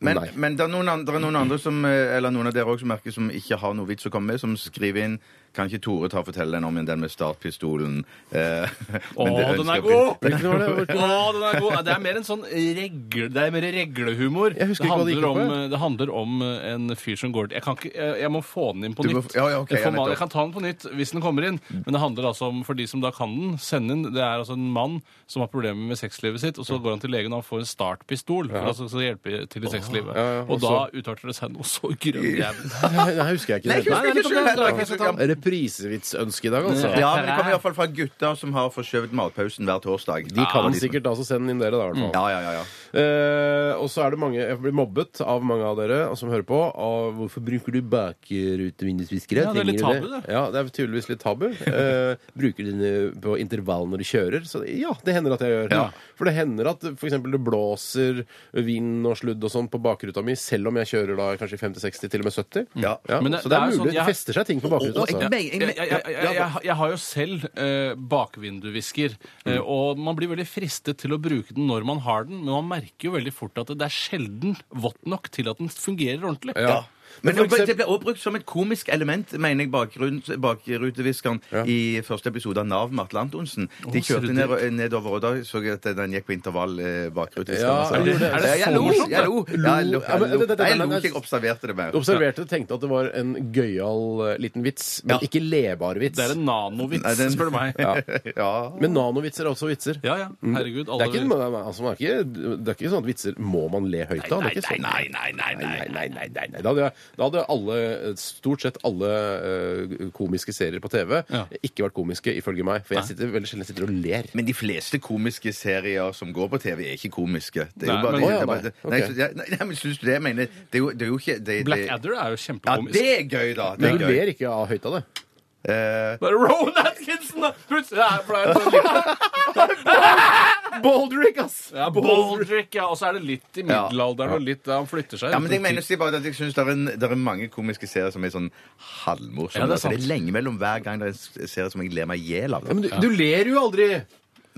Speaker 5: Men,
Speaker 4: Nei.
Speaker 5: men det er noen andre, noen andre som, eh, eller noen av dere også, som merker som ikke har noe vits å komme med, som skriver inn Kan ikke Tore ta og fortelle den om igjen, den med startpistolen? Eh,
Speaker 3: Å,
Speaker 5: men det
Speaker 3: den
Speaker 5: ønsker
Speaker 3: er
Speaker 5: jeg-
Speaker 3: god!
Speaker 4: Hvilken var det?
Speaker 3: Å, den er god! Det er mer en sånn regle, det er mer reglehumor.
Speaker 4: Jeg husker
Speaker 3: det,
Speaker 4: ikke hva
Speaker 3: handler
Speaker 4: det gikk
Speaker 3: om,
Speaker 4: ut på,
Speaker 3: det handler om eh, en fyr som går til jeg, kan ikke, jeg jeg må få den inn på
Speaker 5: Du må-
Speaker 3: nytt.
Speaker 5: ja, ja, ok,
Speaker 3: jeg, får
Speaker 5: ja,
Speaker 3: mal-
Speaker 5: nettopp.
Speaker 3: jeg kan ta den på nytt hvis den kommer inn. Men det handler altså om, for de som da kan den, send den. Det er altså en mann som har problemer med sexlivet sitt, og så går han til legen og han får en startpistol for altså, så hjelpe til i sexlivet.
Speaker 4: ja,
Speaker 3: og da utarter det seg noe så grønnjævlig.
Speaker 4: Nei, husker jeg ikke. det.
Speaker 5: Nei, jeg husker ikke selv heller.
Speaker 4: Nei, nei, nei. Reprisevitsønske i dag, altså.
Speaker 5: Ja, men det kommer iallfall fra gutter som har forskjøvet matpausen hver torsdag.
Speaker 4: De kan sikkert altså sende inn dere, da, i hvert fall.
Speaker 5: Ja, ja, ja, ja.
Speaker 4: Eh, og så er det mange Jeg blir mobbet av mange av dere som hører på. Av, 'Hvorfor bruker du bakrutevinduesviskere?'
Speaker 3: Ja, det er litt
Speaker 4: Trenger du
Speaker 3: tabu, det.
Speaker 4: Ja, det er tydeligvis litt tabu. Eh, bruker du den på intervall når du kjører? Så ja, det hender at jeg gjør.
Speaker 5: Ja.
Speaker 4: For det hender at f.eks. det blåser vind og sludd og sånn på bakruta mi, selv om jeg kjører da kanskje 50-60, til og med 70.
Speaker 5: Ja.
Speaker 3: Men det-
Speaker 4: så
Speaker 3: det er
Speaker 4: det
Speaker 3: jo
Speaker 4: er mulig.
Speaker 3: sånn, jeg-
Speaker 4: Det fester seg ting på bakruta.
Speaker 5: Og- og-
Speaker 4: altså.
Speaker 5: jeg- men-
Speaker 3: jeg, jeg, jeg, jeg,
Speaker 5: ja,
Speaker 3: jeg, jeg har jo selv eh, bakvinduvisker, eh, og man blir veldig fristet til å bruke den når man har den, men man merker jo veldig fort at det er sjelden vått nok til at den fungerer ordentlig.
Speaker 5: ja. Men
Speaker 4: Men for eksempel-
Speaker 5: det ble også brukt som et komisk element, mener jeg, bakgrunns- bakruteviskeren i første episode av Nav med Atle Antonsen. De
Speaker 3: Å, ser du
Speaker 5: kjørte ned, nedover, og da så jeg at den gikk på intervall, eh, bakruteviskeren.
Speaker 4: Ja,
Speaker 5: altså.
Speaker 4: er det-
Speaker 5: Ja,
Speaker 4: er
Speaker 3: det
Speaker 5: jeg
Speaker 3: så
Speaker 5: lo,
Speaker 3: morsomt,
Speaker 5: Jeg lo. Ja, jeg lo.
Speaker 4: Lo- Ja, men
Speaker 5: Jeg lo.
Speaker 4: det- det- det-
Speaker 5: Jeg lo
Speaker 4: det-
Speaker 5: ikke, jeg observerte det
Speaker 4: Du
Speaker 5: mer.
Speaker 4: observerte og tenkte at det var en gøyal eh, liten vits, men
Speaker 5: Ja.
Speaker 4: ikke lebar vits.
Speaker 3: Det er en nanovits,
Speaker 5: Nei, den-
Speaker 3: spør du meg. Ja.
Speaker 4: Ja.
Speaker 5: Ja.
Speaker 4: Men nanovitser er også vitser.
Speaker 3: ja, Herregud.
Speaker 4: Det er,
Speaker 3: Alle
Speaker 4: ikke, nei, nei, altså, man er ikke, det er ikke sånn at vitser må man le høyt av.
Speaker 3: nei,
Speaker 4: det er
Speaker 3: nei,
Speaker 4: ikke sånn.
Speaker 3: nei, nei, nei, nei,
Speaker 4: nei, nei, nei, nei. Da, hadde, jeg- da hadde alle, stort sett alle eh, komiske serier på TV
Speaker 3: Ja.
Speaker 4: ikke vært komiske, ifølge meg. For jeg sitter veldig sjelden sitter og ler.
Speaker 5: Men de fleste komiske serier som går på TV, er ikke komiske. Det
Speaker 3: Nei,
Speaker 5: er jo bare,
Speaker 3: men-
Speaker 5: det
Speaker 4: Å, ja,
Speaker 5: er bare-
Speaker 4: nei. Ok.
Speaker 5: Nei, så- ja, nei, nei, men syns du det? Jeg mener, det er jo, det er jo ikke det, det,
Speaker 3: Black Adder er jo
Speaker 5: Ja,
Speaker 3: kjempekomisk.
Speaker 5: det er gøy, da. Det
Speaker 4: Men
Speaker 5: er
Speaker 4: du
Speaker 5: gøy.
Speaker 4: ler ikke av høyt av det.
Speaker 5: Eh,
Speaker 3: sånn Bare Rowan Atkinson, da! Plutselig er jeg flau.
Speaker 5: Baldrick, ass!
Speaker 3: Ja, Baldrick, ja. Og så er det litt i
Speaker 5: Ja.
Speaker 3: middelalderen og litt da han flytter seg.
Speaker 5: Ja, men jeg mener å si bare at jeg synes det, er en, det er mange komiske serier som er sånn halvmorsomme.
Speaker 3: Ja, det er
Speaker 5: altså,
Speaker 3: sant.
Speaker 5: det er lenge mellom hver gang det er en s- serie som jeg ler meg i hjel av.
Speaker 4: Ja, men du, du ler jo aldri.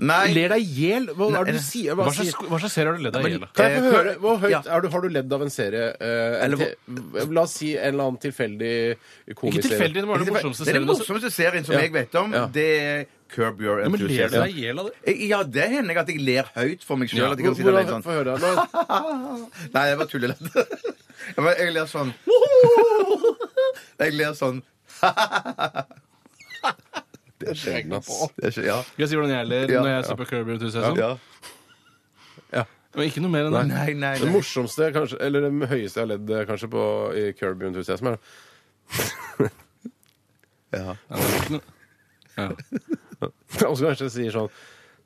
Speaker 4: Du
Speaker 5: Nei,
Speaker 4: ler deg i hjel. Hva er det du sier? Hva
Speaker 3: hva slags,
Speaker 4: sier?
Speaker 3: hva slags serie har du ledd av i hele?
Speaker 4: Kan jeg få
Speaker 5: Eh,
Speaker 4: høre, hvor høyt
Speaker 5: ja.
Speaker 4: er du, Har du ledd av en serie? eh, en
Speaker 5: Eller hvor-
Speaker 4: te, la oss si en eller annen tilfeldig
Speaker 3: Ikke
Speaker 4: komiserie.
Speaker 3: tilfeldig, det var den morsomste
Speaker 5: det er
Speaker 3: serien.
Speaker 5: den
Speaker 3: altså.
Speaker 5: morsomste serien som
Speaker 4: Ja.
Speaker 5: jeg vet om.
Speaker 4: Ja.
Speaker 5: Det er Curb Your
Speaker 3: Ja, men ler du
Speaker 5: Enthusiasm.
Speaker 3: deg i hjel av det?
Speaker 5: Ja, det hender jeg at jeg ler høyt for meg
Speaker 3: Ja,
Speaker 5: sjøl.
Speaker 4: Hvor-
Speaker 5: si det
Speaker 4: hvordan-
Speaker 5: sånn
Speaker 4: Få høre. Nå,
Speaker 5: Nei, jeg bare tuller litt. Jeg bare- Jeg ler sånn Jeg ler sånn Det er sjelden, ass. Det er ikke, ja.
Speaker 3: Skal jeg si hvordan jeg ler
Speaker 5: Ja.
Speaker 3: når jeg ser på Curb Your Enthusiasm?
Speaker 5: Ja.
Speaker 3: Men ikke noe mer enn det.
Speaker 5: Nei, nei,
Speaker 4: Det
Speaker 5: nei.
Speaker 4: morsomste, kanskje, eller det høyeste jeg har ledd eh, kanskje på i Curb Your Enthusiasm, er
Speaker 5: Ja.
Speaker 3: Ja, det er ikke noe- Ja.
Speaker 4: Og så kanskje jeg sier sånn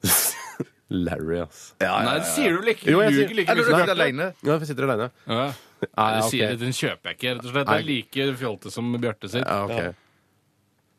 Speaker 4: Larry, ass.
Speaker 3: Nei, det sier du vel ikke?
Speaker 4: Jo,
Speaker 3: Du
Speaker 4: jeg sier-
Speaker 3: ljuger like
Speaker 5: Eller du
Speaker 3: mye som
Speaker 5: sitter
Speaker 3: jeg.
Speaker 5: aleine.
Speaker 4: Ja, for jeg sitter aleine.
Speaker 3: Ja.
Speaker 4: Ja,
Speaker 3: Jeg
Speaker 4: ja,
Speaker 3: sier
Speaker 4: ok.
Speaker 3: det, Den kjøper jeg ikke, rett og slett. Det er like fjolte som Bjarte sitt.
Speaker 4: Ja, ok.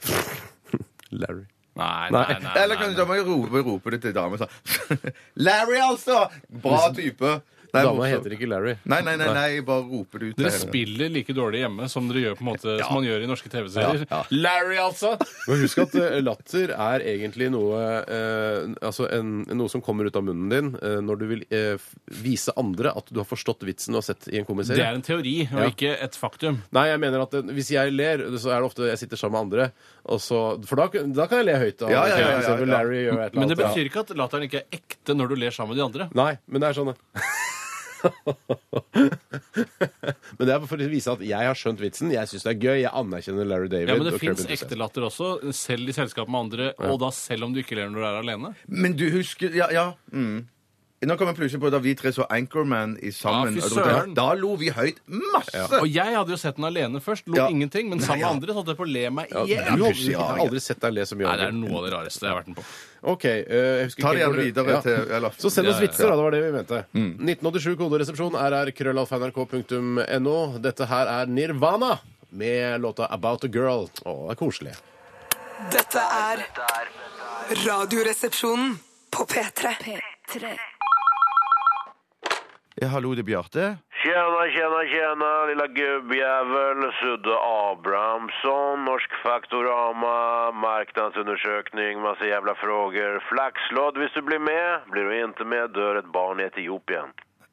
Speaker 4: Larry.
Speaker 3: Nei, nei, nei.
Speaker 5: Eller kan du da
Speaker 3: nei,
Speaker 5: må jeg rope, rope det til damen sånn Larry, altså! Bra type. Nei,
Speaker 4: Dama
Speaker 5: morsom.
Speaker 4: heter ikke Larry.
Speaker 5: Nei, nei, nei, nei, bare roper det ut.
Speaker 3: Dere
Speaker 5: til henne.
Speaker 3: spiller like dårlig hjemme som dere gjør på en måte som man gjør i norske TV-serier.
Speaker 5: Ja, ja.
Speaker 3: Larry, altså!
Speaker 4: Men husk at eh, latter er egentlig noe eh, Altså en, noe som kommer ut av munnen din eh, når du vil eh, f- vise andre at du har forstått vitsen du har sett i en komiserie.
Speaker 3: Det er en teori, og
Speaker 4: Ja.
Speaker 3: ikke et faktum.
Speaker 4: Nei, jeg mener at eh, hvis jeg ler, så er det ofte jeg sitter sammen med andre. Og så, for da, da kan jeg le høyt. Da.
Speaker 5: Ja, ja, ja,
Speaker 4: For eksempel
Speaker 5: ja, ja.
Speaker 4: Larry gjør et eller
Speaker 3: Men
Speaker 4: annet.
Speaker 3: det betyr ikke at latteren ikke er ekte når du ler sammen med de andre.
Speaker 4: ja. Nei, men det er sånn Men det er for å vise at jeg har skjønt vitsen. Jeg syns det er gøy. Jeg anerkjenner Larry David.
Speaker 3: Ja, Men det
Speaker 4: og
Speaker 3: fins
Speaker 4: Kirby
Speaker 3: ekte
Speaker 4: Enthusiasm.
Speaker 3: latter også, selv i selskap med andre, og da selv om du ikke ler når du er alene.
Speaker 5: Men du husker Ja. ja mm. Nå kommer jeg plutselig på da vi tre så Anchorman i sammen.
Speaker 3: Ja, fy
Speaker 5: og da-
Speaker 3: søren.
Speaker 5: Da lo vi høyt masse!
Speaker 3: Og jeg hadde jo sett den alene først, lo
Speaker 5: Ja.
Speaker 3: ingenting, men sammen med
Speaker 5: ja.
Speaker 3: andre så holdt jeg på å le meg i
Speaker 4: Ja,
Speaker 3: hjel.
Speaker 4: du har
Speaker 5: pussig,
Speaker 4: jeg
Speaker 5: ja,
Speaker 4: har
Speaker 5: ja.
Speaker 4: aldri sett deg le så mye.
Speaker 3: Nei, det
Speaker 4: André.
Speaker 3: er noe av det rareste jeg har vært med på.
Speaker 4: Ok, eh, jeg husker
Speaker 5: Ta
Speaker 4: ikke
Speaker 5: det gjerne
Speaker 4: hvor
Speaker 5: videre til- eller- Mm.
Speaker 4: Så
Speaker 3: Ja, ja,
Speaker 4: send oss
Speaker 3: ja.
Speaker 4: vitser, da. Det var det vi mente. 1987 koderesepsjon rr.krøllalf.nrk.no. Dette her er Nirvana med låta 'About a Girl'. Å, det er koselig.
Speaker 6: Dette er Radioresepsjonen på P3.
Speaker 5: Ja, hallo, det er Bjarte.
Speaker 7: Tjena, tjena, tjena, lilla gubbjävel, Sudde Abrahamsson, Norsk Faktorama, marknadsundersökning, massa jävla frågor. Flaxlodd, visst du blir med? Blir du inte med dör ett barn i Etiopien.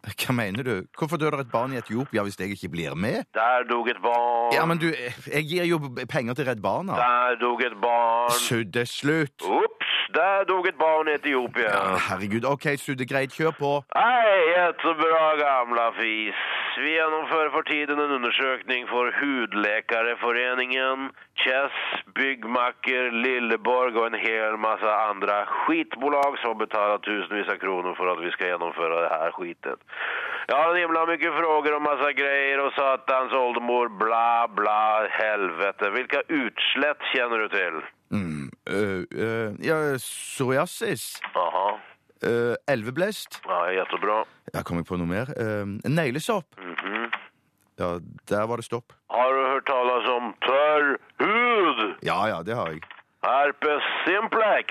Speaker 5: Hva mener du? Hvorfor dør det et barn i Etiopia hvis jeg ikke blir med?
Speaker 7: Där dog ett barn,
Speaker 5: Ja, men du, jeg gir jo penger til Redd Barna.
Speaker 7: där dog ett barn.
Speaker 5: Sudde, slutt!
Speaker 7: Ups, där dog ett barn i Etiopien.
Speaker 5: Herregud, OK, Sudde, greit, kjør på.
Speaker 7: Nej, jättebra gamla fis. Vi genomför för tiden en undersökning för Hudläkareföreningen, Chess, Byggmacker, Lilleborg och en hel massa andra skitbolag som betalar tusenvis av kronor för att vi ska genomföra det här skiten. Jag har en himla mycket frågor och massa grejer och satans åldermor, bla bla, helvete. Vilka utslätt känner du till?
Speaker 5: Mm, øh, øh, ja, psoriasis.
Speaker 7: Jaha,
Speaker 5: øh, elveblest.
Speaker 7: ja, jättebra.
Speaker 5: Ja, kom jeg på noe mer? Øh, neglesopp.
Speaker 7: Mhm.
Speaker 5: Ja, der var det stopp.
Speaker 7: Har du hört talas om törr hud?
Speaker 5: Ja ja, det har jeg.
Speaker 7: Herpes simplex.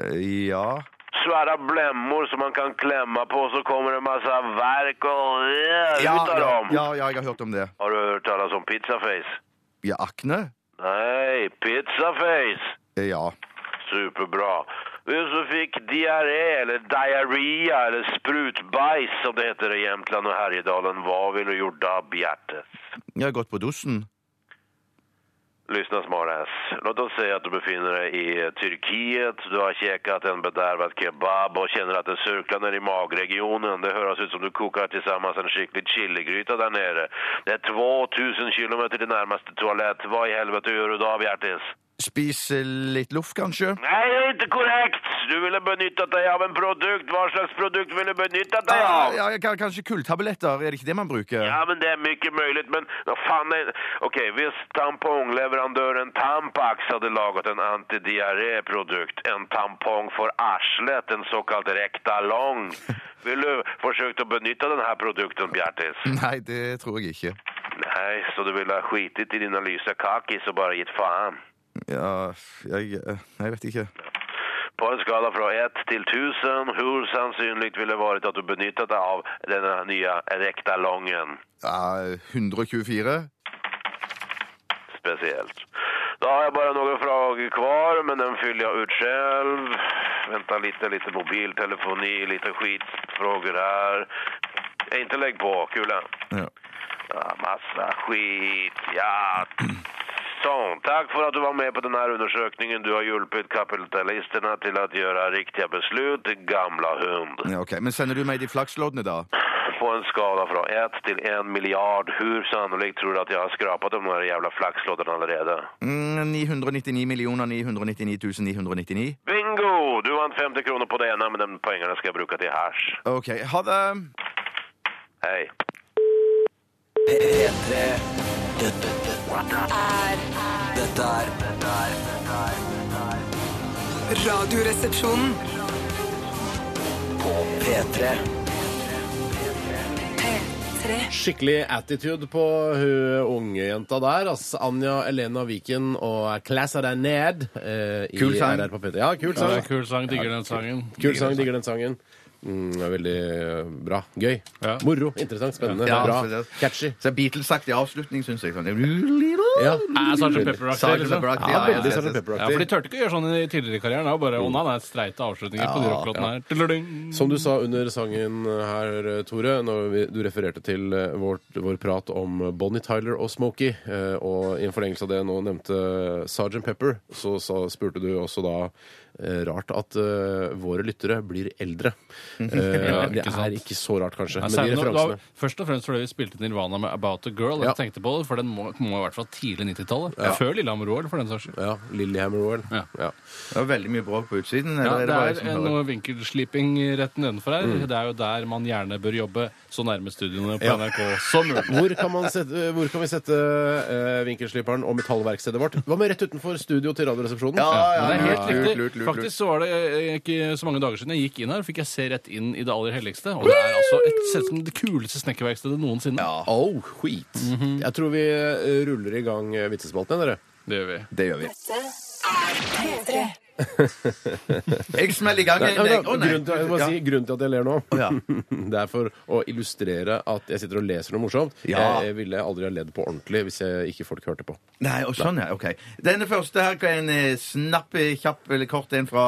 Speaker 5: Eh, ja.
Speaker 7: Svära blämmor som man kan klämma på så kommer det en massa verk och
Speaker 5: Ja,
Speaker 7: utav
Speaker 5: ja,
Speaker 7: dem.
Speaker 5: ja, ja, jeg har hørt om det.
Speaker 7: Har du hört talas om pizzaface?
Speaker 5: Ja, akne?
Speaker 7: Nej, pizzaface.
Speaker 5: Eh, Ja.
Speaker 7: Superbra. Du som fick diarré eller diarrhea eller sprutbajs som det heter i Jämtland och Härjedalen. Vad vill du gjorde Bjertes?
Speaker 5: Jeg har gått på dosen.
Speaker 7: Lyssna smartass. Låt oss säga att du befinner dig i Turkiet. Du har käkat en bedärvad kebab och känner att det surklar ner i magregionen. Det hörs ut som du kokar tillsammans en skicklig chiligryta där nere. Det är 2000 kilometer till närmaste toalett. Vad i helvete gör du då, Bjertis?
Speaker 5: Spis eh, litt luft, kanskje?
Speaker 7: Nej, det är inte korrekt! Du ville benytta dig av en produkt. Vad slags produkt ville du benytta dig
Speaker 5: Ja,
Speaker 7: av?
Speaker 5: ja, ja, ka- kanskje kulltabletter? Er det ikke det man bruker?
Speaker 7: Ja, men det är mycket möjligt, men vad fan är... Okej, visst tampongleverantören Tampax hade lagat en antidiarréprodukt. En tampong för arslet, en så kallad rektalong. Vill du försökt att benytta den här produkten, Bjartis?
Speaker 5: Nei, det tror jeg ikke.
Speaker 7: Nej, så du vill ha skitit i dina lysa kakis och bara gett fan.
Speaker 5: Ja, jeg, eh, jeg vet ikke.
Speaker 7: På en skala fra 1 til 1000, hvor sannsynlig ville det vært at du benyttet deg av denne nye rektalongen?
Speaker 8: Ja, 124.
Speaker 7: spesielt. Da har jeg bare noen frågor kvar, men den fyller jeg ut selv. Vänta lite, lite mobiltelefoni, lite skitfrågor här. Eh, Inte lägg på, kula.
Speaker 8: Ja.
Speaker 7: Ja, massa skit, ja. Sånn, takk for at du var med på denne undersøkningen. Du har hjulpet kapitalistene til å gjøre riktige beslut, gamla hund.
Speaker 8: ja, ok. Men sender du meg de flaksloddene, da?
Speaker 7: På en skala fra 1 til 1 milliard, hvor sannolikt tror du at jeg har skrapat de här jävla flaxlådorna allerede?
Speaker 8: Mm, 999 999 999.
Speaker 7: Bingo! Du vant 50 kroner på det ene, men de poengene skal jeg bruke til hasj.
Speaker 8: Ok, ha det.
Speaker 7: Hei.
Speaker 2: P3 Dette, dette, dette er Dette er
Speaker 6: Radioresepsjonen.
Speaker 2: På P3
Speaker 6: P3.
Speaker 4: Skikkelig attitude på hun ungjenta der. Altså Anja Elena Viken og 'Classa deg ned'. eh, i
Speaker 5: Kul sang.
Speaker 4: RR på P3. Ja, kul
Speaker 3: Ja,
Speaker 4: sang.
Speaker 3: det er kul sang, digger den sangen.
Speaker 4: Kul sang, digger den sangen. Mm, det er veldig eh, bra. Gøy.
Speaker 3: Ja.
Speaker 4: Moro. Interessant. Spennende.
Speaker 5: Ja,
Speaker 4: bra.
Speaker 5: for det-
Speaker 4: Catchy.
Speaker 5: Så Beatles-aktig avslutning, syns jeg. Sånn.
Speaker 4: Ja.
Speaker 3: Er Sgt. Pepper-aktig,
Speaker 5: Sgt.
Speaker 3: liksom.
Speaker 5: Pepper-aktig,
Speaker 4: Ja,
Speaker 5: ja, ja,
Speaker 4: veldig
Speaker 5: ja.
Speaker 4: Sgt.
Speaker 3: Ja, for de
Speaker 4: Pepper-aktig.
Speaker 3: turte ikke å gjøre sånn i tidligere i karrieren. Det var bare å nei, det er streite avslutninger på de rockelåtene her. Tuddeling.
Speaker 4: Som du sa under sangen her, Tore, når vi, du refererte til eh, vårt, vår prat om Bonnie Tyler og Smokey, eh, og i en forlengelse av det jeg nå nevnte Sgt. Pepper, så, sa- spurte du også da eh, rart at eh, våre lyttere blir eldre. Eh,
Speaker 3: Ja,
Speaker 4: det
Speaker 3: ikke sant.
Speaker 4: er ikke så rart, kanskje,
Speaker 3: Nei,
Speaker 4: med de
Speaker 3: særlig når- det var
Speaker 4: referansene.
Speaker 3: Først og fremst fordi vi spilte Nirvana med About a Girl. og Jeg
Speaker 4: Ja.
Speaker 3: tenkte på det, For den må, må i hvert fall tidlig 90-tallet. Før Lillehammer OL, for den saks skyld.
Speaker 4: Ja, Lillehammer Royal.
Speaker 3: Ja.
Speaker 4: Ja.
Speaker 5: Det var veldig mye bråk på utsiden.
Speaker 3: Ja,
Speaker 5: Eller
Speaker 3: det
Speaker 5: bare
Speaker 3: er
Speaker 5: jeg som
Speaker 3: en-
Speaker 5: hører?
Speaker 3: noe vinkelsliping rett nedenfor her. Det er jo der man gjerne bør jobbe så nærme studiene på
Speaker 4: Ja.
Speaker 3: NRK som mulig.
Speaker 4: Hvor kan, man sette, hvor kan vi sette eh, vinkelsliperen og metallverkstedet vårt? Hva med rett utenfor studio til Radioresepsjonen?
Speaker 5: Ja,
Speaker 3: Men det er
Speaker 5: ja,
Speaker 3: helt
Speaker 5: lurt,
Speaker 3: riktig.
Speaker 5: lurt, lurt, lurt.
Speaker 3: Faktisk så var det eh, ikke så mange dager siden jeg gikk inn her, fikk jeg se rett inn i det aller helligste. Og det er altså et, sett som det kuleste snekkerverkstedet noensinne.
Speaker 4: Oh, skit. Jeg tror vi eh, ruller i gang eh, vitsespalten, dere.
Speaker 3: Det gjør vi.
Speaker 5: Det gjør vi. Jeg smeller i gang
Speaker 4: Nei,
Speaker 5: en,
Speaker 4: nei, nei,
Speaker 5: jeg. Å, nei.
Speaker 4: grunnen, til, jeg må si, grunnen til at jeg ler nå,
Speaker 5: ja.
Speaker 4: det er for å illustrere at jeg sitter og leser noe morsomt. Eh,
Speaker 5: Ja.
Speaker 4: Jeg, jeg ville aldri ha ledd på ordentlig hvis jeg, ikke folk hørte på.
Speaker 5: Nei, og sånn, ja. OK. Denne første her er en eh, snapp, eh, kjapp eller kort en fra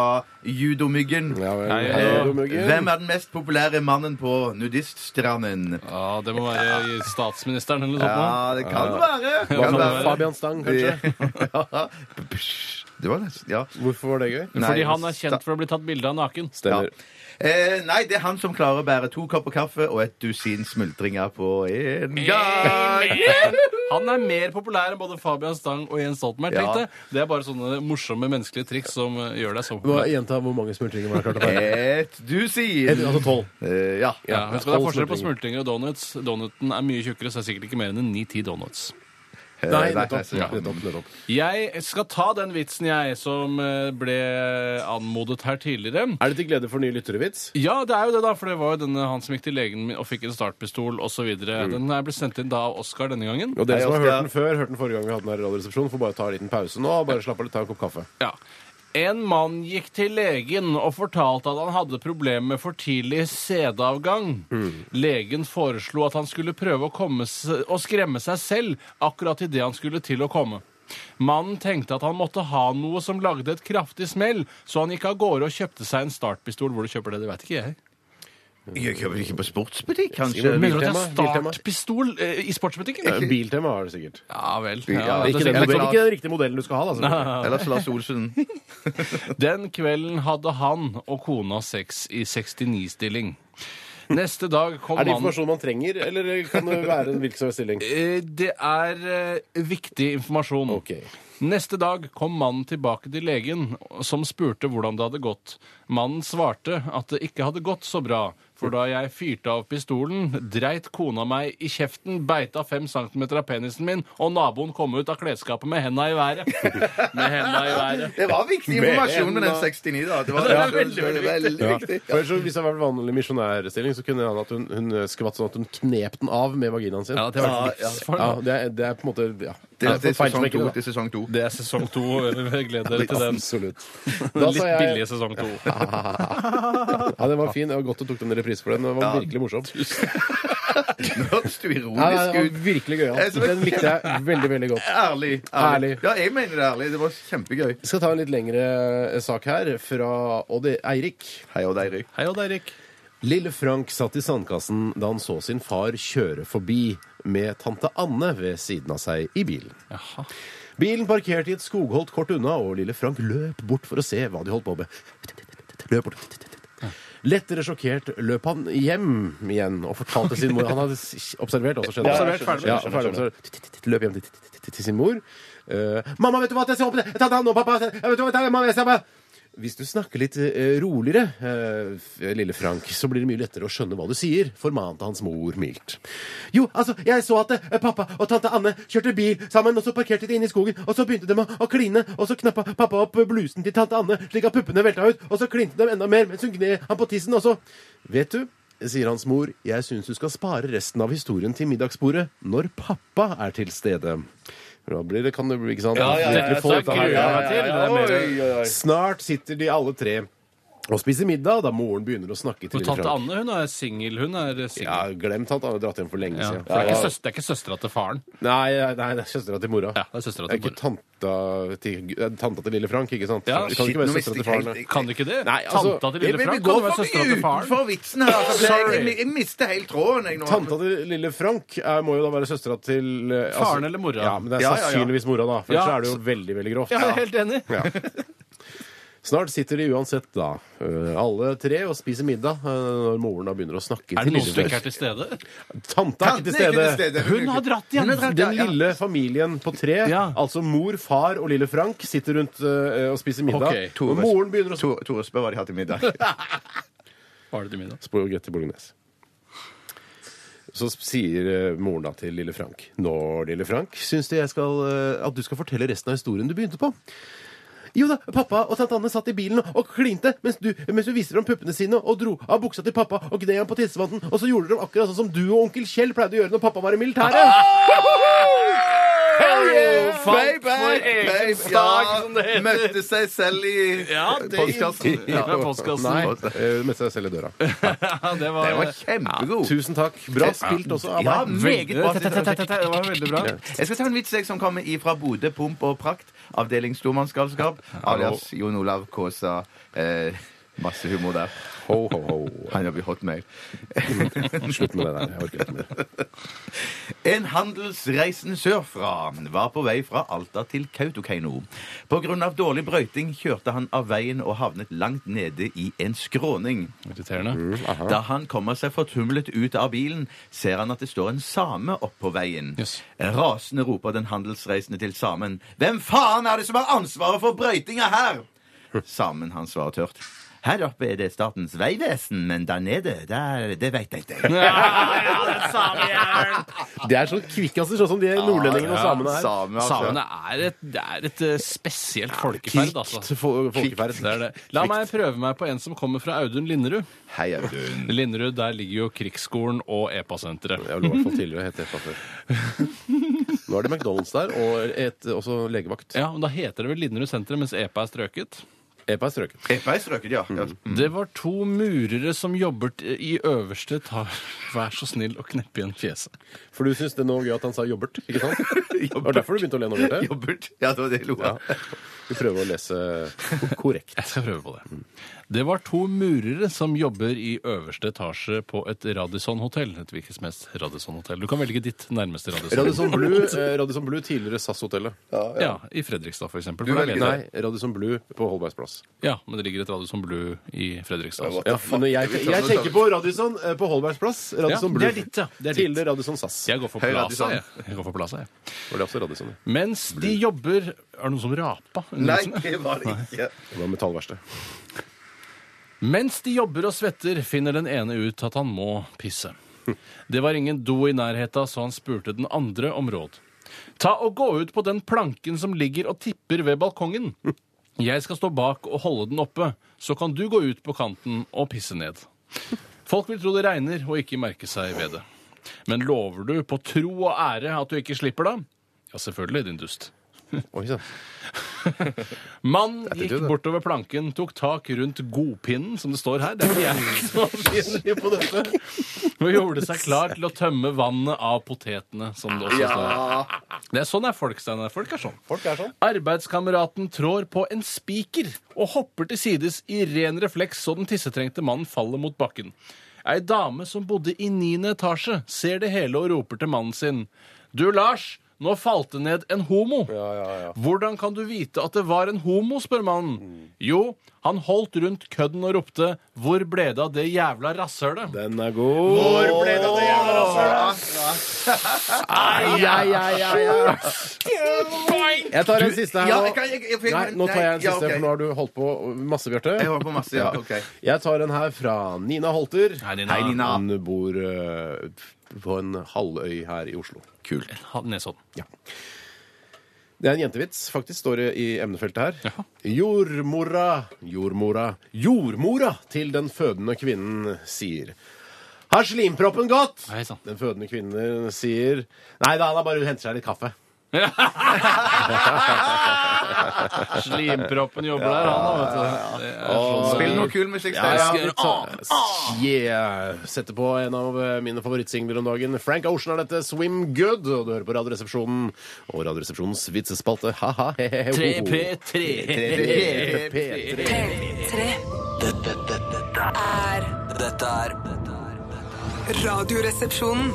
Speaker 5: Judomyggen.
Speaker 4: Ja, vel,
Speaker 3: Nei,
Speaker 4: ja,
Speaker 3: ja.
Speaker 4: du, Muggen.
Speaker 5: Hvem er den mest populære mannen på nudiststranden?
Speaker 3: Ja, det må være statsministeren eller noe sånt. nå.
Speaker 5: Ja, det kan være.
Speaker 4: Hva
Speaker 5: Kan
Speaker 4: med
Speaker 5: være.
Speaker 4: Fabian Stang, kanskje?
Speaker 5: Ja. Psh, Det var nesten Ja.
Speaker 4: Hvorfor var det gøy?
Speaker 5: Nei,
Speaker 3: Fordi han er kjent for å bli tatt bilde av naken.
Speaker 4: Stemmer.
Speaker 5: Eh, nei, det er han som klarer å bære to kopper kaffe og et dusin smultringer på en gang.
Speaker 3: Han er mer populær enn både Fabian Stang og Jens Stoltenberg.
Speaker 5: Ja.
Speaker 3: tenkte jeg. Det er bare sånne morsomme menneskelige triks som eh, gjør deg så
Speaker 4: Må
Speaker 3: populær.
Speaker 4: jeg Gjenta hvor mange smultringer man har klart å bære.
Speaker 5: Et dusin.
Speaker 4: Et, altså tolv.
Speaker 5: Eh, ja.
Speaker 3: Ja, husk at Det er
Speaker 4: tolv
Speaker 3: forskjell på smultringer
Speaker 4: smultringer.
Speaker 3: og donuts. Donuten er mye tjukkere, så det er sikkert ikke mer enn en 9-10 donuts.
Speaker 5: Eh,
Speaker 4: Nei,
Speaker 5: nei,
Speaker 4: nettopp.
Speaker 5: nei, nei.
Speaker 4: nettopp, nettopp.
Speaker 3: Jeg skal ta den vitsen jeg som eh, ble anmodet her tidligere.
Speaker 4: Er det til glede for nye lytterevits?
Speaker 3: Ja, det er jo det, da. For det var jo denne han som gikk til legen min og fikk en startpistol osv. videre Den her ble sendt inn da av Oskar denne gangen.
Speaker 4: Og dere
Speaker 5: Hei,
Speaker 4: som har hørt
Speaker 5: Oskar.
Speaker 4: den før, hørt den forrige gang vi hadde den her i Radioresepsjonen, får bare ta en liten pause nå. Bare slapp av litt, ta en kopp kaffe.
Speaker 3: Ja. En mann gikk til legen og fortalte at han hadde problemer med for tidlig sædavgang. Legen foreslo at han skulle prøve å, komme s- å skremme seg selv akkurat idet han skulle til å komme. Mannen tenkte at han måtte ha noe som lagde et kraftig smell, så han gikk av gårde og kjøpte seg en startpistol. Hvor du kjøper det, det vet ikke jeg.
Speaker 5: Jeg kjøper ikke på sportsbutikk,
Speaker 4: Skal vi-
Speaker 5: kanskje.
Speaker 3: Mener du at det er
Speaker 4: Biltema, Biltema.
Speaker 3: startpistol eh, i sportsbutikken?
Speaker 4: Biltema har det sikkert.
Speaker 3: Ja vel. det er
Speaker 5: Ja,
Speaker 4: Ikke den,
Speaker 3: sikkert-
Speaker 5: det er klart.
Speaker 4: ikke den riktige modellen du skal ha. Da, selvfølgelig.
Speaker 5: Ellers Lars Olsen.
Speaker 3: Den kvelden hadde han og kona sex i 69-stilling. Neste dag kom
Speaker 4: er det
Speaker 3: han
Speaker 4: informasjon man trenger, eller kan det være en hvilken som helst stilling?
Speaker 3: Eh, Det er eh, viktig informasjon.
Speaker 4: Ok.
Speaker 3: Neste dag kom mannen tilbake til legen, som spurte hvordan det hadde gått. Mannen svarte at det ikke hadde gått så bra, for da jeg fyrte av pistolen, dreit kona meg i kjeften, beita fem centimeter av penisen min, og naboen kom ut av klesskapet med henda i været. Med henda i været.
Speaker 5: Det var viktig informasjon med den 69, da. Det
Speaker 3: Ja,
Speaker 5: var
Speaker 3: det er veldig, veldig viktig.
Speaker 5: veldig
Speaker 4: Ja.
Speaker 5: viktig.
Speaker 4: For ellers så, hvis det hadde vært vanlig misjonærstilling, så kunne det hende at hun, hun skvatt sånn at hun knep den av med vaginaen sin.
Speaker 3: Ja, det var
Speaker 5: ja.
Speaker 3: livsfarlig.
Speaker 4: Ja, det, er, det er på en måte ja,
Speaker 5: Det,
Speaker 4: Ja,
Speaker 5: det, er sånn
Speaker 4: for
Speaker 5: sesong
Speaker 4: feilsmekkere,
Speaker 5: to,
Speaker 4: da.
Speaker 5: det er sesong to.
Speaker 3: Det er sesong to. Gled dere til den.
Speaker 4: Absolutt. Da
Speaker 3: Litt
Speaker 4: sa jeg-
Speaker 3: billige sesong to.
Speaker 4: Ja, den var fin. Det var godt du tok den reprise for den. Den var virkelig morsom.
Speaker 5: Høres du
Speaker 4: Ja, nei,
Speaker 5: ironisk
Speaker 4: den
Speaker 5: ut?
Speaker 4: var virkelig gøyal. Den likte jeg veldig, veldig godt.
Speaker 5: Ærlig.
Speaker 4: Ærlig.
Speaker 5: Ja, jeg mener det ærlig. Det var kjempegøy.
Speaker 4: Vi skal ta en litt lengre eh, sak her, fra Odd Eirik.
Speaker 5: Hei og deg, Eirik.
Speaker 3: Hei, Odd Eirik.
Speaker 4: Lille Frank satt i sandkassen da han så sin far kjøre forbi med tante Anne ved siden av seg i bilen. Bilen parkerte i et skogholt kort unna, og lille Frank løp bort for å se hva de holdt på med. Løp bort. Lettere sjokkert løp han hjem igjen og fortalte sin mor Han hadde s- observert også, skjønner
Speaker 3: Observert, ferdig.
Speaker 4: Ja, ferdig observert. Løp hjem til- til sin mor. Eh, 'Mamma, vet du hva? Jeg ser opp det! Ta den nå, pappa! Jeg vet du hva? Ta- mamma, jeg ser på det!» Hvis du snakker litt eh, roligere, eh, f- lille Frank, så blir det mye lettere å skjønne hva du sier, formante hans mor mildt. Jo, altså, jeg så at eh, pappa og tante Anne kjørte bil sammen, og så parkerte de inne i skogen, og så begynte de å, å kline, og så knappa pappa opp blusen til tante Anne slik at puppene velta ut, og så klinte de enda mer mens hun gned han på tissen, og så Vet du, sier hans mor, jeg syns du skal spare resten av historien til middagsbordet når pappa er til stede. Da blir det, kan det bli, ikke sant? Lettere å få
Speaker 3: Så jeg
Speaker 4: dette her.
Speaker 3: gruer
Speaker 4: Ja, ja,
Speaker 3: meg
Speaker 4: ja.
Speaker 3: til. Det er mer
Speaker 4: Snart sitter de alle tre og spiser middag da moren begynner å snakke til
Speaker 3: Og
Speaker 4: lille
Speaker 3: tante
Speaker 4: Frank.
Speaker 3: Anne hun er singel. Hun er singel.
Speaker 4: Ja, glemt tante Anne. Dratt hjem for lenge
Speaker 3: Ja.
Speaker 4: siden.
Speaker 3: For det er ikke, søs- det er ikke søstera til faren.
Speaker 4: Nei, nei, det er søstera til mora.
Speaker 3: Ja, det er søstera
Speaker 4: Det er
Speaker 3: til
Speaker 4: ikke
Speaker 3: mor.
Speaker 4: tanta til, det er tanta til lille Frank, ikke sant?
Speaker 3: Ja,
Speaker 4: det kan
Speaker 5: shit,
Speaker 4: ikke
Speaker 5: nå
Speaker 4: være
Speaker 5: visste
Speaker 4: søstera
Speaker 5: jeg
Speaker 4: til faren.
Speaker 5: helt-
Speaker 3: Kan det ikke det?
Speaker 4: Nei, altså,
Speaker 3: Tanta til lille
Speaker 5: Vi- vi
Speaker 3: Frank
Speaker 5: går
Speaker 3: kan jo være
Speaker 5: for mye
Speaker 3: søstera til faren.
Speaker 5: utenfor vitsen her. Altså, jeg, jeg, jeg mister helt tråden. Jeg, nå.
Speaker 4: Tanta til lille Frank er, må jo da være søstera til eh, altså-
Speaker 3: Faren eller mora?
Speaker 4: Ja, men det er
Speaker 5: Ja, ja, ja.
Speaker 4: sannsynligvis mora, da. For
Speaker 3: Ja.
Speaker 4: ellers er det jo veldig, veldig grovt.
Speaker 3: Ja, jeg er helt enig.
Speaker 4: Snart sitter de uansett, da, eh, alle tre og spiser middag eh, når moren da begynner å snakke
Speaker 3: Er
Speaker 4: til
Speaker 3: det noen som ikke
Speaker 4: lille
Speaker 3: er
Speaker 4: Frank.
Speaker 3: til stede?
Speaker 4: Tante er ikke til stede.
Speaker 3: Hun har dratt igjen!
Speaker 5: Hun har dratt,
Speaker 4: Den
Speaker 5: ja, ja.
Speaker 4: lille familien på tre,
Speaker 3: Ja.
Speaker 4: altså mor, far og lille Frank, sitter rundt eh, og spiser middag.
Speaker 3: Ok,
Speaker 5: Tore.
Speaker 4: Og moren begynner å
Speaker 5: Tore, Tore spør hva de har til middag.
Speaker 3: Var det til middag?
Speaker 4: spagetti bolognese. Så sier eh, moren da til lille Frank Nå, lille Frank, syns du jeg skal, eh, at du skal fortelle resten av historien du begynte på? Jo da, pappa og tante Anne satt i bilen og- og klinte mens du, mens du viste fram puppene sine og dro av buksa til pappa og gned ham på tissevanten, og så gjorde de akkurat sånn som du og onkel Kjell pleide å gjøre når pappa var i militæret.
Speaker 3: Ah!
Speaker 4: Hell yeah!
Speaker 5: Baby,
Speaker 3: egen
Speaker 5: baby,
Speaker 3: sak, som det heter.
Speaker 5: Møtte seg selv i
Speaker 3: Ja, det-
Speaker 5: postkassen.
Speaker 3: i- i postkassen. Oh.
Speaker 4: Nei, eh, mens jeg selger døra.
Speaker 3: Ja, det var,
Speaker 5: Det var kjempegod.
Speaker 4: Tusen takk. Bra spilt også av
Speaker 5: Ja,
Speaker 4: meg.
Speaker 5: meget bra.
Speaker 3: Det var veldig bra.
Speaker 5: Jeg skal ta en vits jeg som kommer ifra Bodø Pomp og Prakt, avdeling stormannsgalskap, alias Jon Olav Kaasa. Eh, masse humor der.
Speaker 4: Ho, ho, ho.
Speaker 5: Han jobber i Hotmail.
Speaker 4: Slutt med det der. Jeg orker ikke mer.
Speaker 5: En handelsreisen sørfra var på vei fra Alta til Kautokeino. På grunn av dårlig brøyting kjørte han av veien og havnet langt nede i en skråning.
Speaker 3: Irriterende.
Speaker 5: Da han kommer seg fortumlet ut av bilen, ser han at det står en same oppå veien.
Speaker 3: Yes.
Speaker 5: Rasende roper den handelsreisende til samen. Hvem faen er det som har ansvaret for brøytinga her? Samen, han svarer tørt. Her oppe er det Statens vegvesen, men der nede, der, det veit jeg ikke.
Speaker 4: Det er sånn kvikkaser, sånn som de
Speaker 3: Ah,
Speaker 4: nordlendingene og samene er.
Speaker 5: Same, altså.
Speaker 3: Samene er et, det er et eh, spesielt folkeferd, altså.
Speaker 4: Kvikt fo- folkeferd.
Speaker 3: Det er det. La meg prøve meg på en som kommer fra Audun Linderud.
Speaker 5: Hei, Audun.
Speaker 3: Linderud, der ligger jo Krigsskolen og E EPA-senteret.
Speaker 4: Jeg lå i hvert fall tidligere hete EFA før. Nå er det McDonald's der, og et, også legevakt.
Speaker 3: Ja, men Da heter det vel Linderud senteret, mens EPA er strøket.
Speaker 4: EPA er strøket.
Speaker 5: Eppa er strøket, ja. ja.
Speaker 3: Det var to murere som jobbet i øverste etasje. Vær så snill å kneppe igjen fjeset.
Speaker 4: For du syns det er noe gøy at han sa 'jobbert'? ikke sant? Det var derfor du begynte å le nå, Bjarte.
Speaker 5: Jobbert. Ja, det var det jeg lo av.
Speaker 4: Vi prøver å lese korrekt.
Speaker 3: Jeg skal prøve på det. Det var to murere som jobber i øverste etasje på et Radisson-hotell. Et hvilket som helst Radisson-hotell. Du kan velge ditt nærmeste Radisson.
Speaker 4: Radisson Blue, eh, Radisson Blue tidligere SAS-hotellet.
Speaker 3: Ja, I Fredrikstad, for eksempel. For der
Speaker 5: velger
Speaker 3: leder-
Speaker 4: Nei, Radisson Blue på Holbergs plass.
Speaker 3: Ja, men det ligger et Radisson Blue i Fredrikstad. også.
Speaker 4: Ja, men jeg, jeg tenker på Radisson eh, på Holbergs plass. Radisson
Speaker 3: Ja,
Speaker 4: Blue.
Speaker 3: det er ditt, ja. Det er ditt.
Speaker 4: Tidligere Radisson SAS.
Speaker 3: Jeg går for
Speaker 5: Høy
Speaker 3: Plaza,
Speaker 5: Radisson.
Speaker 3: jeg. jeg, går for plaza, jeg.
Speaker 4: Var det også Radisson? ja?
Speaker 3: Mens de jobber Er det noen som rapa? under
Speaker 5: Nei,
Speaker 3: vitsen?
Speaker 5: det var det ikke.
Speaker 4: Det var metallverksted.
Speaker 3: Mens de jobber og svetter, finner den ene ut at han må pisse. Det var ingen do i nærheten, så han spurte den andre om råd. Ta og gå ut på den planken som ligger og tipper ved balkongen. Jeg skal stå bak og holde den oppe, så kan du gå ut på kanten og pisse ned. Folk vil tro det regner og ikke merke seg ved det. Men lover du på tro og ære at du ikke slipper da? Ja, selvfølgelig, din dust.
Speaker 4: Oi sann.
Speaker 3: Mann
Speaker 4: er
Speaker 3: gikk
Speaker 4: det.
Speaker 3: bortover planken, tok tak rundt godpinnen, som det står her. Det er ikke jeg som har skylden på dette. Og gjorde seg klar til å tømme vannet av potetene, som det også står her. Det er sånn er folk, Steinar. Folk er sånn.
Speaker 4: Folk er sånn.
Speaker 3: Arbeidskameraten trår på en spiker og hopper til sides i ren refleks så den tissetrengte mannen faller mot bakken. Ei dame som bodde i niende etasje, ser det hele og roper til mannen sin. Du, Lars, nå falt det ned en homo. Hvordan kan du vite at det var en homo, spør mannen. Jo, han holdt rundt kødden og ropte Hvor ble det av det jævla rasshølet?
Speaker 4: Den er god. Hvor ble det altså. av det jævla Jeg tar en siste her
Speaker 5: Ja,
Speaker 4: nå.
Speaker 5: jeg kan- jeg- jeg- jeg-
Speaker 4: Nei, nå tar jeg en
Speaker 5: Nei, ja,
Speaker 4: siste,
Speaker 5: ok.
Speaker 4: for nå har du holdt på masse, Bjarte.
Speaker 5: Jeg holder på masse, ja. ok.
Speaker 4: Jeg tar en her fra Nina Holter.
Speaker 3: Hei, Nina. Hei,
Speaker 5: Nina.
Speaker 4: Hun bor eh, på en halvøy her i Oslo. Kult.
Speaker 3: Nesodden.
Speaker 4: Det er en jentevits, faktisk, står det i emnefeltet her. Jordmora, jordmora, jordmora til den fødende kvinnen sier Har slimproppen gått?
Speaker 3: Hei, sånn. sann.
Speaker 4: Den fødende kvinnen sier Nei da, han har bare hentet seg litt kaffe.
Speaker 3: Slimproppen jobber der, han da, vet du. Det er sånn.
Speaker 5: Spill noe kul musikk.
Speaker 4: Ja,
Speaker 5: Steinar.
Speaker 4: ja, litt sånn. Yeah. Setter på en av eh, mine favorittsingler om dagen. Frank Ocean er dette, 'Swim Good'. Og du hører på Radioresepsjonen og Radioresepsjonens vitsespalte. Ha-ha, he-he-he.
Speaker 3: 3P3.
Speaker 4: P3.
Speaker 6: P3
Speaker 2: Dette, dette, dette,
Speaker 6: er
Speaker 2: dette er dette er-
Speaker 6: Radioresepsjonen.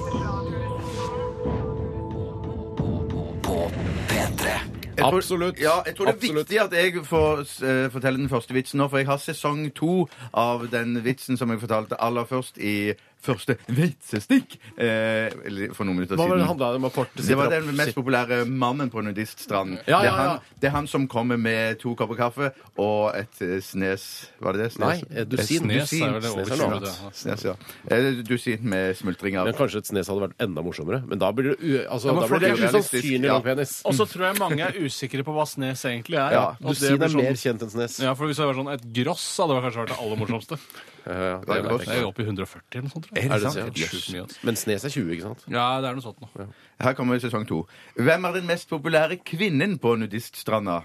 Speaker 2: på P3.
Speaker 5: Jeg tror-
Speaker 4: Absolutt.
Speaker 5: Ja, jeg tror det er
Speaker 4: Absolutt.
Speaker 5: viktig at jeg får eh, fortelle den første vitsen nå, for jeg har sesong to av den vitsen som jeg fortalte aller først i første vitsestikk eh, eller for noen minutter
Speaker 4: Hva var det det
Speaker 5: siden.
Speaker 4: handla om? Kort,
Speaker 5: Det var den mest populære mannen på nudiststranden.
Speaker 4: Ja, ja, ja.
Speaker 5: Det, er han, det er han som kommer med to kopper kaffe og et eh, snes Var det det? Snes?
Speaker 4: Nei, eh, dusin.
Speaker 5: Et
Speaker 3: Nes er vel det
Speaker 4: Nes er
Speaker 3: over
Speaker 4: noe
Speaker 3: 20,
Speaker 4: annet.
Speaker 3: det, altså.
Speaker 5: Snes, ja. Eh, Dusin med smultringer.
Speaker 4: Men kanskje et snes hadde vært enda morsommere. Men da blir det, u altså,
Speaker 3: Ja, men
Speaker 4: da blir
Speaker 3: folk er
Speaker 4: det
Speaker 5: urealistisk,
Speaker 4: usannsynlig
Speaker 5: ja.
Speaker 4: lang penis.
Speaker 3: Og så tror jeg mange er usikre på hva snes egentlig er.
Speaker 4: Ja,
Speaker 3: At
Speaker 4: du
Speaker 3: det
Speaker 4: sier det
Speaker 3: blir
Speaker 4: er
Speaker 3: sånn-
Speaker 4: mer kjent enn snes.
Speaker 3: Ja, for Hvis det var sånn et gross, hadde det kanskje vært det aller morsomste.
Speaker 4: Ja, ja, det
Speaker 5: Det er
Speaker 4: vet
Speaker 5: godt.
Speaker 4: jeg
Speaker 3: Det er jo oppe i 140 eller noe sånt. tror jeg.
Speaker 4: Er det
Speaker 5: sant?
Speaker 4: sant?
Speaker 3: Sjukt mye, altså.
Speaker 4: Men snes er 20, ikke sant?
Speaker 3: Ja, det er noe sånt nå.
Speaker 5: Her kommer sesong to. Hvem er den mest populære kvinnen på nudiststranda?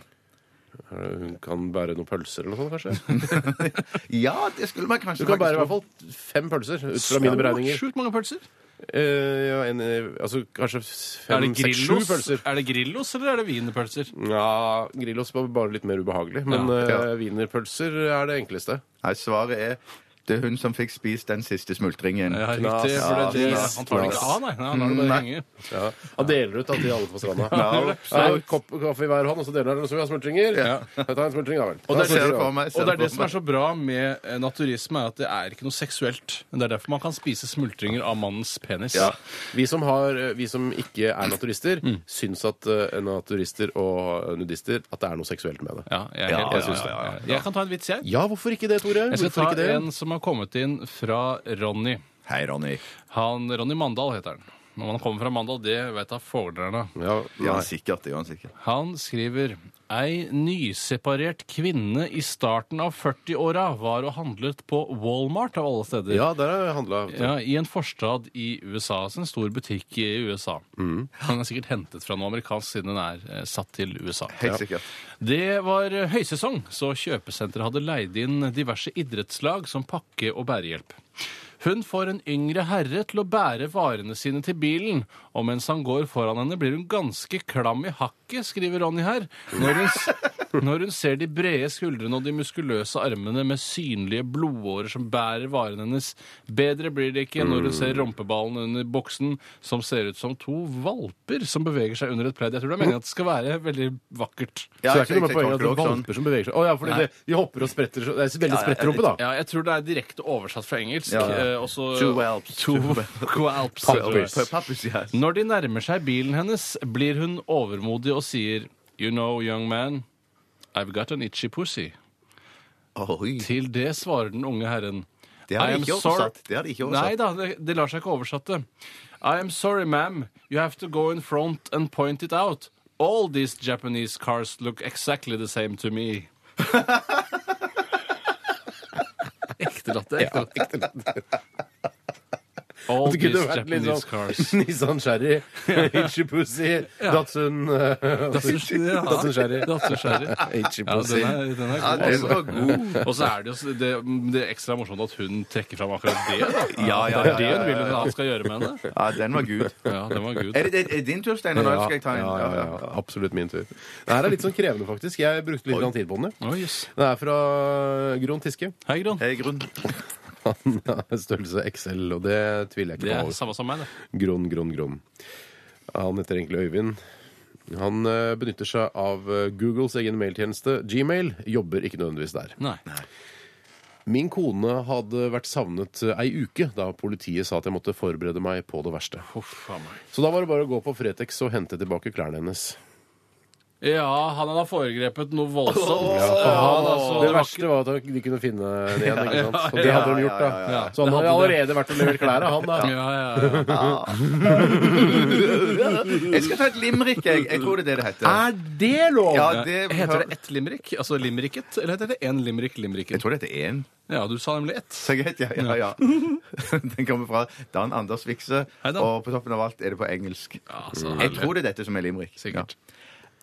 Speaker 4: Hun kan bære noen pølser eller noe sånt, kanskje?
Speaker 5: Ja, det skulle man
Speaker 4: Du
Speaker 5: kanskje
Speaker 4: kan bære i
Speaker 5: faktisk
Speaker 4: hvert fall fem pølser, ut fra mine beregninger.
Speaker 3: Sjukt mange pølser.
Speaker 4: Eh, ja, en, eh, altså kanskje
Speaker 3: Er det,
Speaker 4: fem, seks, sju
Speaker 3: grillos,
Speaker 4: pølser.
Speaker 3: er det Grillos eller er det wienerpølser?
Speaker 4: Ja, Grillos var bare litt mer ubehagelig. Men
Speaker 3: Ja.
Speaker 4: eh,
Speaker 5: Ja.
Speaker 4: wienerpølser er det enkleste.
Speaker 5: Nei, svaret er det er hun som fikk spist den siste smultringen.
Speaker 3: Ja,
Speaker 5: Ja,
Speaker 3: riktig. For det, det,
Speaker 4: knas,
Speaker 3: han tar det ikke av, nei. Nei, Han lar det bare henge.
Speaker 4: Ja. Han deler ut da, til alle på stranda.
Speaker 5: Ja,
Speaker 4: Ja, en kopp kaffe i hver hånd, og så deler han den som vi har smultringer. Ta en smultring, da vel. Ta en
Speaker 5: ser
Speaker 4: smultring,
Speaker 5: det
Speaker 4: da
Speaker 5: for
Speaker 4: vel.
Speaker 5: meg.
Speaker 3: Og det er det som er
Speaker 5: for
Speaker 3: så bra med eh, naturisme, er at det er ikke noe seksuelt. Det er derfor man kan spise smultringer av mannens penis.
Speaker 4: Ja. Vi, som har, eh, vi som ikke er naturister,
Speaker 3: Mm.
Speaker 4: syns at eh, naturister og nudister at det er noe seksuelt med det.
Speaker 3: Ja, jeg, er helt-
Speaker 4: jeg syns det.
Speaker 3: Jeg kan ta en vits, jeg.
Speaker 4: Ja, hvorfor ikke det, Tore?
Speaker 3: Jeg skal
Speaker 4: Hvorfor ikke
Speaker 3: ta
Speaker 4: det?
Speaker 3: en som har kommet inn fra Ronny.
Speaker 5: meg. Hei, Ronny.
Speaker 3: Han, Ronny Mandal heter han. Om han kommer fra Mandal, det vet da fordelerne.
Speaker 4: Ja,
Speaker 5: Ja,
Speaker 4: nei.
Speaker 5: sikkert. det gjør han sikkert.
Speaker 3: Han skriver Ei nyseparert kvinne i starten av 40-åra var og handlet på Walmart av alle steder.
Speaker 4: ja der har jeg handla.
Speaker 3: Ja, I en forstad i USA. Altså en stor butikk i USA. Han er sikkert hentet fra noe amerikansk siden den er eh, satt til USA.
Speaker 5: Helt sikkert.
Speaker 3: Det var høysesong, så kjøpesenteret hadde leid inn diverse idrettslag som pakke- og bærehjelp. Hun får en yngre herre til å bære varene sine til bilen, og mens han går foran henne, blir hun ganske klam i hakket, skriver Ronny her, når hun, s- når hun ser de brede skuldrene og de muskuløse armene med synlige blodårer som bærer varene hennes. Bedre blir det ikke når hun ser rumpeballen under boksen, som ser ut som to valper som beveger seg under et pledd. Jeg tror det er meningen at det skal være veldig vakkert.
Speaker 4: så
Speaker 5: Ja,
Speaker 4: det er ikke
Speaker 5: jeg
Speaker 4: noe med
Speaker 5: tenker
Speaker 4: poenget at det er
Speaker 5: også sånn.
Speaker 4: valper som beveger seg. Å ja, fordi det, de hopper og spretter. så- Det er veldig sprettrumpe, da.
Speaker 3: Ja, jeg tror det er direkte oversatt fra engelsk.
Speaker 5: Ja, ja.
Speaker 3: eh, og så-
Speaker 5: Two whelps.
Speaker 3: Two whelps.
Speaker 4: Puppies.
Speaker 5: P- Pappus, yes.
Speaker 3: Når de nærmer seg bilen hennes, blir hun overmodig og sier You know, young man, I've got an itchy pussy.
Speaker 5: Oi.
Speaker 3: Til det svarer den unge herren
Speaker 5: Det har
Speaker 3: I
Speaker 5: de
Speaker 3: am
Speaker 5: ikke
Speaker 3: sorry-
Speaker 5: oversatt. Det har de ikke
Speaker 3: Nei
Speaker 5: oversatt.
Speaker 3: da, det, det lar seg ikke oversette. I am sorry, ma'am. You have to go in front and point it out. All these Japanese cars look exactly the same to me. Ekte latter. Ekte latter. All
Speaker 4: At det kunne
Speaker 3: these
Speaker 4: vært litt
Speaker 3: Japanese
Speaker 4: sånn
Speaker 3: cars.
Speaker 4: Nissan Cherry, Ichipussy, Datsun eh,
Speaker 3: ja.
Speaker 4: Datsun Cherry.
Speaker 3: Datsun Cherry. Ja,
Speaker 4: Ichipussy.
Speaker 3: den er, den er god.
Speaker 5: den var
Speaker 3: altså. Og så er det jo s- det, det er ekstra morsomt at hun trekker fram akkurat det. da.
Speaker 8: Ja, ja, ja,
Speaker 3: det er det
Speaker 8: ja,
Speaker 3: hun vil
Speaker 8: ja,
Speaker 3: at han skal gjøre med henne.
Speaker 8: Ja, den var gud.
Speaker 3: Ja, den var gud.
Speaker 5: Er det, er det din tur, Steinar? Nå skal jeg ta en.
Speaker 4: ja, ja, ja,
Speaker 5: ja.
Speaker 4: Absolutt min tur. Det her er litt sånn krevende, faktisk. Jeg brukte litt lang tid på den.
Speaker 3: Å,
Speaker 4: jo.
Speaker 3: jøss.
Speaker 4: Den er fra Gron Tiske.
Speaker 3: Hei, Gron.
Speaker 8: Hei, grunn.
Speaker 4: Han er størrelse XL, og det tviler jeg
Speaker 3: Det
Speaker 4: ikke
Speaker 3: er
Speaker 4: på.
Speaker 3: samme som meg, det.
Speaker 4: Gron, Gron, Gron. Han heter egentlig Øyvind. Han eh, benytter seg av eh, Googles egen mailtjeneste, Gmail. Jobber ikke nødvendigvis der.
Speaker 3: Nei.
Speaker 4: Min kone hadde vært savnet eh, ei uke da politiet sa at jeg måtte forberede meg på det verste.
Speaker 3: Huff a meg.
Speaker 4: Så da var det bare å gå på Fretex og hente tilbake klærne hennes.
Speaker 3: Ja, han hadde foregrepet noe voldsomt.
Speaker 4: Ja,
Speaker 3: Ja, han, altså, det var
Speaker 4: det
Speaker 3: ikke-
Speaker 4: verste var at de kunne finne den igjen. ikke sant? Og det
Speaker 3: ja,
Speaker 4: hadde de gjort, da.
Speaker 3: ja, ja.
Speaker 4: Så
Speaker 3: Det
Speaker 4: han hadde
Speaker 3: hadde de.
Speaker 4: allerede vært og levert klærne, han da.
Speaker 3: Ja, ja, ja.
Speaker 5: Jeg skal ta et limerick, jeg. Jeg tror det er det det heter.
Speaker 4: Er det lov?
Speaker 8: Ja, det
Speaker 3: Eh, Heter det ett limerick? Altså limericket? Eller heter det én limerick
Speaker 8: Jeg
Speaker 3: limericket?
Speaker 8: tror det heter én.
Speaker 3: Ja, du sa nemlig ett.
Speaker 8: Så jeg vet, ja, ja, ja. Den kommer fra Dan Anders Vikse,
Speaker 3: Hei, Dan.
Speaker 8: og på toppen av alt er det på engelsk.
Speaker 3: Altså,
Speaker 8: Jeg tror det er dette som er limerick.
Speaker 3: Sikkert.
Speaker 8: Ja.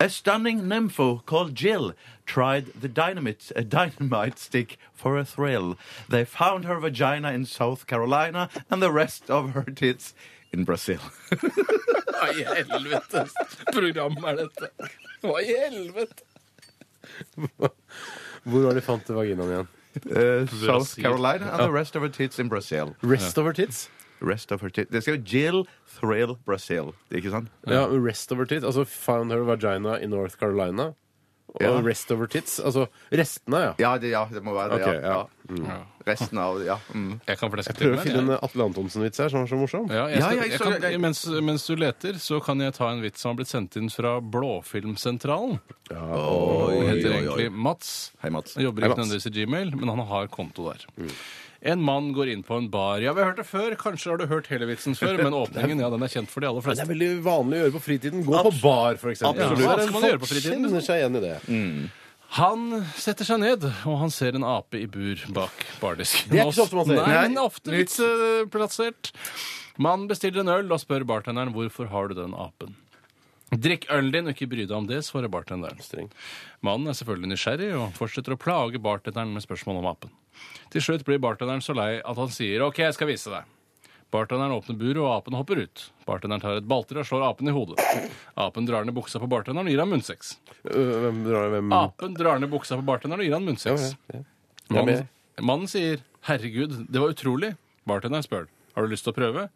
Speaker 8: A stunning nympho called Jill tried the dynamite, a dynamite stick for a thrill. They found her vagina in South Carolina and the rest of her tits in Brazil.
Speaker 3: Hva i helvetes program er dette? Hva i helvete?
Speaker 4: Hvor var det de fant vaginaen igjen?
Speaker 8: Uh, South Carolina and the rest of her tits in Brazil.
Speaker 4: Rest over tits?
Speaker 8: Rest of her tits. Det skal jo Jill thrill Brazil, ikke sant?
Speaker 4: Ja, rest over tits. Altså found her vagina i North Carolina. Og
Speaker 8: Ja.
Speaker 4: rest over tits. Altså restene, ja.
Speaker 8: Ja, det, ja, det må være det.
Speaker 4: Ok,
Speaker 8: ja.
Speaker 4: ja.
Speaker 8: Ja. Resten av det, ja. Mm.
Speaker 3: Jeg kan fleske til
Speaker 4: Prøv å
Speaker 3: men
Speaker 4: finne
Speaker 3: jeg-
Speaker 4: en Atle Antonsen-vits her som var så morsom.
Speaker 3: Ja, jeg skal,
Speaker 8: Ja, ja,
Speaker 3: jeg
Speaker 8: så-
Speaker 3: kan,
Speaker 8: jeg-
Speaker 3: mens, mens du leter, så kan jeg ta en vits som har blitt sendt inn fra Blåfilmsentralen. Han heter egentlig Mats.
Speaker 8: Hei, Mats. Mm.
Speaker 3: Han jobber
Speaker 4: Hei,
Speaker 3: ikke
Speaker 4: Mats.
Speaker 3: nødvendigvis i Gmail, men han har konto der. En mann går inn på en bar. Ja, vi har hørt det før. Kanskje har du hørt hele vitsen før, men åpningen ja, den er kjent for de aller
Speaker 4: Det
Speaker 3: fleste.
Speaker 4: er veldig vanlig å gjøre på fritiden. Gå på bar, for eksempel.
Speaker 3: Absolutt. Hva skal man gjøre på fritiden? liksom?
Speaker 4: kjenner seg igjen i det.
Speaker 3: Han setter seg ned, og han ser en ape i bur bak bardisken.
Speaker 4: Det er ikke så ofte man ser.
Speaker 3: Nei,
Speaker 4: Nei.
Speaker 3: men ofte litt eh, plassert. Man bestiller en øl og spør bartenderen hvorfor har du den apen. Drikk ølen din og ikke bry deg om det, svarer bartenderen.
Speaker 4: Streng.
Speaker 3: Mannen er selvfølgelig nysgjerrig og fortsetter å plage bartenderen med spørsmål om apen. Til slutt blir bartenderen så lei at han sier OK, jeg skal vise deg. Bartenderen åpner buret, og apen hopper ut. Bartenderen tar et balltre og slår apen i hodet. Apen drar ned buksa på bartenderen og gir ham munnsex.
Speaker 4: Øh, Hvem drar hvem?
Speaker 3: Apen drar ned buksa på bartenderen og gir han munnsex.
Speaker 4: Ja, ja.
Speaker 3: Mannen, mannen sier 'herregud, det var utrolig'. Bartenderen spør 'har du lyst til å prøve'?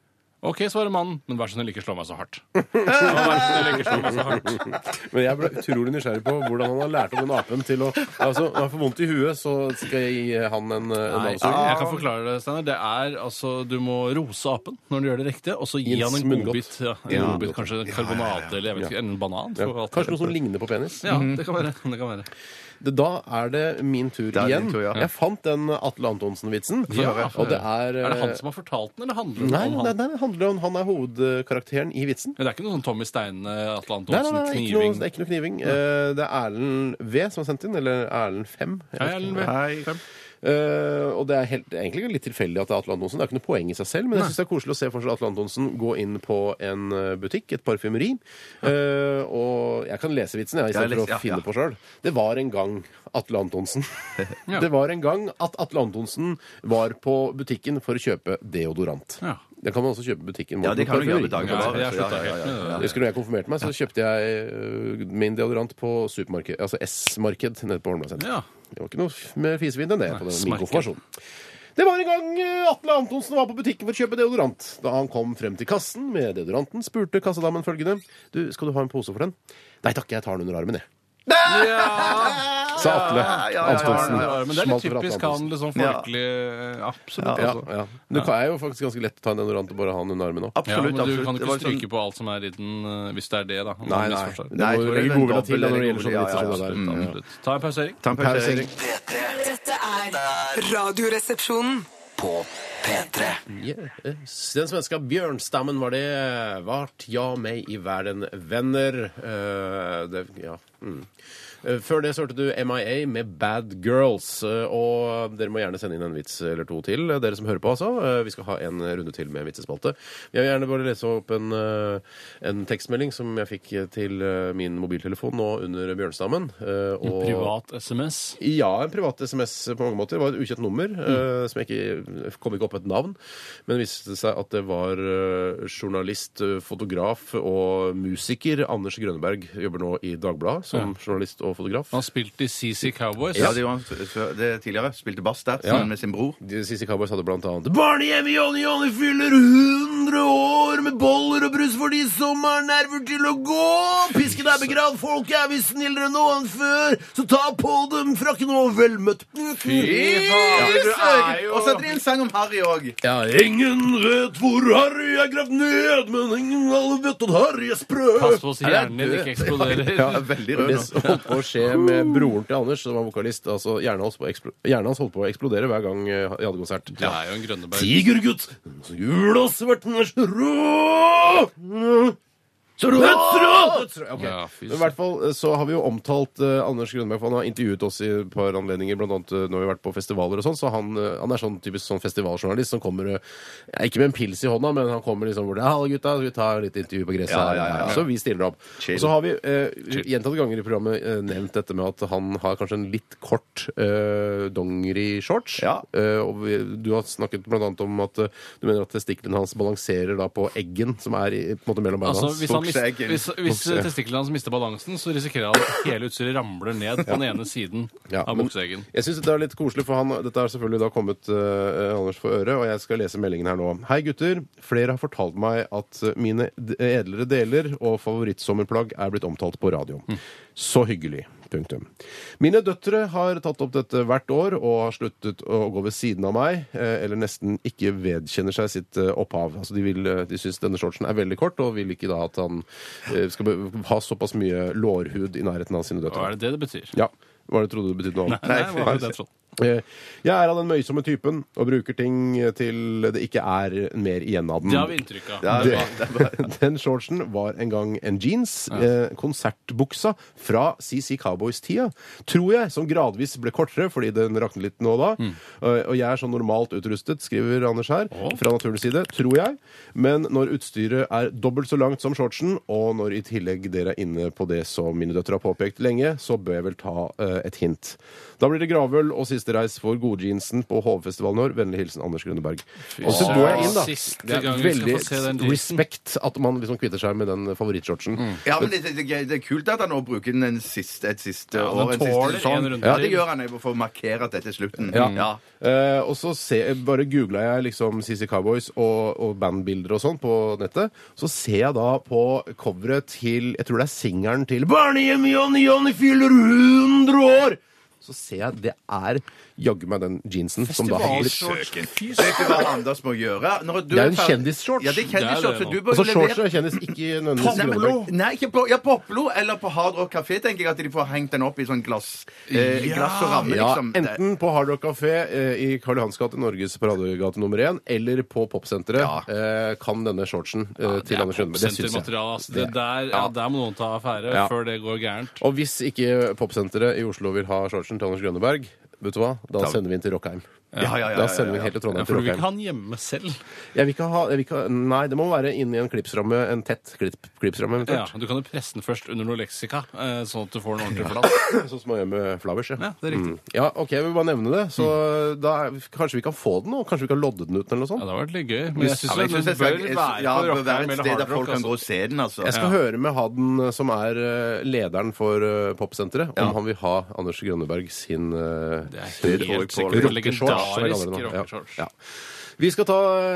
Speaker 3: OK, svarer mannen, men vær så snill, ikke slå meg så hardt. Ja, vær så snill, ikke slå meg så hardt.
Speaker 4: Men jeg ble utrolig nysgjerrig på hvordan han har lært om den apen til å Altså, han får vondt i huet, så skal jeg gi han en, en
Speaker 3: Nei, jeg
Speaker 4: avsugning.
Speaker 3: kan forklare det, Steinar. Det er altså Du må rose apen når du gjør det riktige, og så gi
Speaker 4: Gi en
Speaker 3: han en
Speaker 4: smunngodt.
Speaker 3: godbit. Ja, en godbit, kanskje en karbonade eller jeg vet ikke, en banan.
Speaker 4: Ja.
Speaker 3: for alt
Speaker 4: Kanskje
Speaker 3: det.
Speaker 4: noe som ligner på penis.
Speaker 3: Ja, det kan være. Det kan være.
Speaker 4: Det- Da er det min tur
Speaker 8: er
Speaker 4: igjen.
Speaker 8: din tur, ja.
Speaker 4: Jeg fant den Atle Antonsen-vitsen.
Speaker 3: Ja,
Speaker 4: og det er eh,
Speaker 3: er det han som har fortalt den, eller handler det
Speaker 4: Nei,
Speaker 3: om
Speaker 4: nei,
Speaker 3: han?
Speaker 4: nei, det handler om han er hovedkarakteren i vitsen.
Speaker 3: Det er ikke noe sånn Tommy Steine,
Speaker 8: sånn
Speaker 3: Atle
Speaker 4: Nei, nei,
Speaker 3: Antonsen,
Speaker 4: nei, ikke noe,
Speaker 3: kniving
Speaker 4: det er ikke noe kniving. Eh, Det er Erlend V som har sendt inn. Eller Erlend 5.
Speaker 3: Hei, Ellen Bøe. Fem.
Speaker 4: Eh, og det er helt, det er egentlig litt tilfeldig at det er Atle Antonsen. Det er ikke noe poeng i seg selv, men jeg syns det er koselig å se for seg Atle Antonsen gå inn på en eh, butikk, et parfymeri, eh, og jeg kan lese vitsen, jeg,
Speaker 8: Ja,
Speaker 4: istedenfor
Speaker 8: les- ja,
Speaker 4: å finne
Speaker 8: ja.
Speaker 4: på sjøl. Det var en gang Atle Antonsen. Det var en gang at Atle Antonsen var på butikken for å kjøpe deodorant.
Speaker 3: Ja.
Speaker 4: Det kan man også kjøpe i butikken.
Speaker 8: Ja, det kan du gjøre med
Speaker 4: parfymeri.
Speaker 3: Ja,
Speaker 8: dagligvarer.
Speaker 3: jeg slutta helt med det.
Speaker 4: Jeg husker når jeg konfirmerte meg, så kjøpte jeg øh, min deodorant på supermarked, altså S-marked nede på Holmlia senter.
Speaker 3: Ja.
Speaker 4: Det var ikke noe f- mer fisefint enn det på den, min
Speaker 3: smarked.
Speaker 4: konfirmasjon. Det var en gang øh, Atle Antonsen var på butikken for å kjøpe deodorant. Da han kom frem til kassen med deodoranten, spurte kassadamen følgende Du, skal du ha en pose for den? Nei takk, jeg tar den under armen, jeg. Sa Atle Antonsen.
Speaker 3: Ja, men det er litt
Speaker 4: Smalt over Atle
Speaker 3: typisk
Speaker 4: Antonsen.
Speaker 3: han, liksom folkelig Absolutt.
Speaker 4: Ja,
Speaker 3: altså.
Speaker 4: ja. Men Det kan- er jo faktisk ganske lett å ta en deodorant og bare ha den under armen òg.
Speaker 3: Ja, men
Speaker 8: Absolutt,
Speaker 3: du
Speaker 8: absolutt.
Speaker 3: kan
Speaker 8: Det
Speaker 3: ikke
Speaker 8: var sånn-
Speaker 3: stryke på alt som er i den, eh, hvis det er det, da. om
Speaker 4: Nei,
Speaker 3: du
Speaker 4: nei.
Speaker 3: misforstår.
Speaker 4: Det
Speaker 8: jeg tror
Speaker 4: må
Speaker 8: det er
Speaker 4: legge
Speaker 8: en
Speaker 4: godvilja til
Speaker 8: dobbel-
Speaker 4: da, når det gjelder
Speaker 8: Ja,
Speaker 4: sånne vitser
Speaker 8: ja,
Speaker 4: som det sånn der.
Speaker 3: Mm, absolutt. Ta en pausering.
Speaker 8: Ta en pausering.
Speaker 2: P3
Speaker 6: Dette er Radioresepsjonen.
Speaker 2: på P3
Speaker 4: Yes. Den svenska bjørnstammen var det. eh, Vart jag mig i världen vänner. Eh, det, ja. mm. Eh, Før det så hørte du MIA med Bad Girls. Eh, Og dere må gjerne sende inn en vits eller to til, eh, dere som hører på, altså. Eh, Vi skal ha en runde til med vitsespalte. Jeg vil gjerne bare lese opp en, eh, en tekstmelding som jeg fikk eh, til eh, min mobiltelefon nå under bjørnstammen. eh, og-
Speaker 3: Privat SMS.
Speaker 4: ja, en privat SMS på mange måter. Det var et ukjent nummer. eh, som jeg ikke, kom ikke opp med et navn. Men det viste seg at det var eh, journalist, eh, fotograf og musiker Anders Grønneberg. Jobber nå i Dagbladet som journalist og fotograf.
Speaker 3: Han spilte i CC Cowboys.
Speaker 5: Ja, det gjorde han f- før- det tidligere. Spilte bass der sammen med sin bror.
Speaker 4: De siste Cowboys hadde blant annet Barnehjemmet Jonny Jonny fyller 100 år med boller og brus fordi sommeren nerver til å gå. Pisken er begravd, folk er visst snillere nå enn før, så ta på dem frakken og vel møtt. Fy
Speaker 5: Og så hadde de en sang om Harry òg.
Speaker 4: Ja, ingen vet hvor Harry er gravd ned, men ingen alle vet at Harry er sprø.
Speaker 3: Pass på så hjernen din
Speaker 4: Er
Speaker 3: ikke
Speaker 4: det-
Speaker 3: eksploderer.
Speaker 5: Veldig rød
Speaker 4: Det
Speaker 5: nå.
Speaker 4: som holdt på å skje med broren til Anders, som var vokalist. Altså, Hjernen hans, på å eksplo- hjernen hans holdt på å eksplodere hver gang eh, de hadde konsert.
Speaker 3: Det er jo en Grønneberg.
Speaker 4: Tigergutt, gul og svart, den er så rå! Så rå! Dødsrå! Ok.
Speaker 3: Ja, fy
Speaker 4: Men I hvert fall eh, så har vi jo omtalt eh, Anders Grønberg, for han har intervjuet oss i et par anledninger, blant annet eh, når vi har vært på festivaler og sånn, så han, eh, han er sånn typisk sånn festivaljournalist som kommer, eh, ja, ikke med en pils i hånda, men han kommer liksom hvor det er, hallo gutta, skal vi ta litt intervju på gresset
Speaker 5: Ja,
Speaker 4: her?
Speaker 5: ja, ja, ja.
Speaker 4: Så vi stiller opp. Og så har vi eh, gjentatte ganger i programmet eh, nevnt dette med at han har kanskje en litt kort eh, dongeri-shorts.
Speaker 5: Ja.
Speaker 4: Eh, og vi, du har snakket blant annet om at eh, du mener at testiklene hans balanserer da på eggen som er i, på en måte mellom beina
Speaker 3: Altså,
Speaker 4: hans.
Speaker 3: hvis, han mist,
Speaker 5: Bukseeggen.
Speaker 3: hvis, hvis
Speaker 4: Bukse.
Speaker 3: testiklene hans mister balansen, så risikerer han at hele utstyret ramler ned på den ene siden
Speaker 4: Ja,
Speaker 3: av
Speaker 4: men
Speaker 3: bukseeggen.
Speaker 4: Jeg syns dette er litt koselig, for han, dette er selvfølgelig da kommet eh, Anders for øre, og jeg skal lese meldingen her nå. Hei, gutter. Flere har fortalt meg at eh, mine d- edlere deler og favorittsommerplagg er blitt omtalt på radioen. Så hyggelig. Punktum. Mine døtre har tatt opp dette hvert år og har sluttet å gå ved siden av meg, eh, eller nesten ikke vedkjenner seg sitt eh, opphav. Altså, de, vil, eh, de syns denne shortsen er veldig kort, og vil ikke da at han eh, skal be- ha såpass mye lårhud i nærheten av sine døtre.
Speaker 3: Hva er det det det betyr?
Speaker 4: Ja. Hva var det trodde du betydde noe annet?
Speaker 3: Nei, hva var det jeg trodde?
Speaker 4: Eh, Jeg er av den møysomme typen og bruker ting til det ikke er mer igjen av den.
Speaker 3: Det har vi inntrykk av.
Speaker 5: Ja, det var- det var-
Speaker 4: Det- Den shortsen var en gang en jeans, eh, konsertbuksa fra CC Cowboys-tida, tror jeg, som gradvis ble kortere fordi den raknet litt nå og da. Eh, Og jeg er så normalt utrustet, skriver Anders her, fra naturens side, tror jeg. Men når utstyret er dobbelt så langt som shortsen, og når i tillegg dere er inne på det som mine døtre har påpekt lenge, så bør jeg vel ta eh, et hint. Da blir det gravøl og siste reis for godjeansen på HV-festivalen i år. Vennlig hilsen Anders Grønneberg. Og så går jeg inn, da.
Speaker 3: Siste
Speaker 4: Det
Speaker 3: gang
Speaker 4: er
Speaker 3: vi skal få se den Mm.
Speaker 4: veldig
Speaker 3: jeansen.
Speaker 4: respekt at man liksom kvitter seg med den favorittshortsen.
Speaker 5: Ja, men det, det, det er kult at han nå bruker den en siste, et siste
Speaker 3: Ja,
Speaker 5: år.
Speaker 3: den
Speaker 5: En siste
Speaker 3: tåler
Speaker 5: sesong.
Speaker 3: en runde
Speaker 5: ja,
Speaker 3: til.
Speaker 5: det gjør han jeg, for å markere at dette er slutten.
Speaker 3: Mm.
Speaker 4: Ja.
Speaker 5: Ja.
Speaker 4: Eh, og så se, bare googla jeg liksom CC Cowboys og, og bandbilder og sånn på nettet. Så ser jeg da på coveret til Jeg tror det er singelen til Barnehjem Johnny Johnny fyller 100 år! Så ser jeg det er jaggu meg den jeansen som da har blitt
Speaker 5: Vet du hva Anders må gjøre? Når du
Speaker 4: Det er jo en
Speaker 5: ferdig-
Speaker 4: kjendisshorts.
Speaker 5: Ja, det er
Speaker 3: Det er det
Speaker 5: kjendisshorts, så
Speaker 3: nå.
Speaker 5: du bør
Speaker 4: Altså
Speaker 5: levere-
Speaker 4: shortsen er kjendis, ikke nødvendigvis
Speaker 5: Nei, men-
Speaker 4: Grønneberg.
Speaker 5: Nei, ikke på, ja, Poplo eller på Hard Rock Café, tenker jeg at de får hengt den opp i sånn glass, eh, glass og ramme,
Speaker 4: Ja,
Speaker 5: liksom.
Speaker 4: enten på Hard Rock Café eh, i Karl Johans gate, Norges paradegate nummer én, eller på Popsenteret eh, kan denne shortsen eh, til Anders Rønneberg. Det syns jeg.
Speaker 3: Sentermateriale, altså. Det der, ja, der må noen ta affære
Speaker 4: Ja.
Speaker 3: før det går gærent.
Speaker 4: Og hvis ikke Popsenteret i Oslo vil ha shortsen til Anders Grønneberg, vet du hva? Da sender vi den til Rockheim.
Speaker 5: Ja, ja, ja, ja,
Speaker 4: Da sender vi den helt til
Speaker 3: Ja,
Speaker 4: Trondheim
Speaker 3: for
Speaker 4: til
Speaker 3: du vil ikke
Speaker 4: Rockheim.
Speaker 3: ha den hjemme selv.
Speaker 4: Jeg vil ikke ha, jeg vil ikke ha, nei, det må være inni en klipsramme, en tett klipp, klipsramme
Speaker 3: Ja,
Speaker 4: eventuelt.
Speaker 3: Du kan jo presse den først under noe leksika, eh, sånn at du får den ordentlig flat.
Speaker 4: Sånn som man gjør med Flowers, ja.
Speaker 3: Ja, det er riktig.
Speaker 4: Mm. Ja, ok, jeg vil bare nevne det. Så da er- kanskje vi kan få den nå? Kanskje vi kan lodde den ut eller noe
Speaker 3: Ja,
Speaker 4: sånt?
Speaker 3: Det hadde vært litt gøy. Men jeg
Speaker 5: Ja,
Speaker 3: syns
Speaker 5: men jeg
Speaker 3: den
Speaker 5: synes
Speaker 3: bør
Speaker 5: jeg skal-
Speaker 3: være
Speaker 5: jeg-
Speaker 3: på
Speaker 5: ja, det bør
Speaker 3: Rockheim
Speaker 5: være et
Speaker 3: eller
Speaker 5: sted der
Speaker 3: Hard
Speaker 5: folk
Speaker 3: Rock.
Speaker 5: kan gå og
Speaker 3: altså.
Speaker 5: se den, altså.
Speaker 4: Jeg skal høre med Haden, eh, som er eh, lederen for eh, Popsenteret, om
Speaker 5: Ja.
Speaker 4: han vil ha Anders Grønneberg sin eh,
Speaker 3: Det er
Speaker 4: sin
Speaker 3: helt
Speaker 4: rock-
Speaker 3: sikkert.
Speaker 4: rockeshorts,
Speaker 3: Legendarisk
Speaker 4: som jeg kaller det nå. Ja,
Speaker 3: rockeshorts.
Speaker 4: ja. Vi skal ta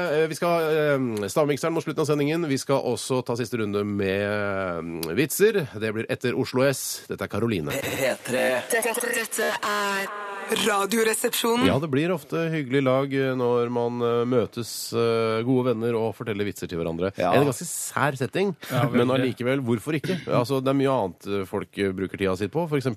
Speaker 4: eh, vi skal, ha, eh, stavmikseren mot slutten av sendingen. Vi skal også ta siste runde med eh, vitser. Det blir etter Oslo S. Dette er Karoline.
Speaker 2: P3
Speaker 6: Dette, dette er Radioresepsjonen.
Speaker 4: Ja, det blir ofte hyggelig lag eh, når man eh, møtes eh, gode venner og forteller vitser til hverandre.
Speaker 5: Ja.
Speaker 4: En ganske sær setting, men allikevel, hvorfor ikke? Altså, det er mye annet eh, folk eh, bruker tida si på, f.eks.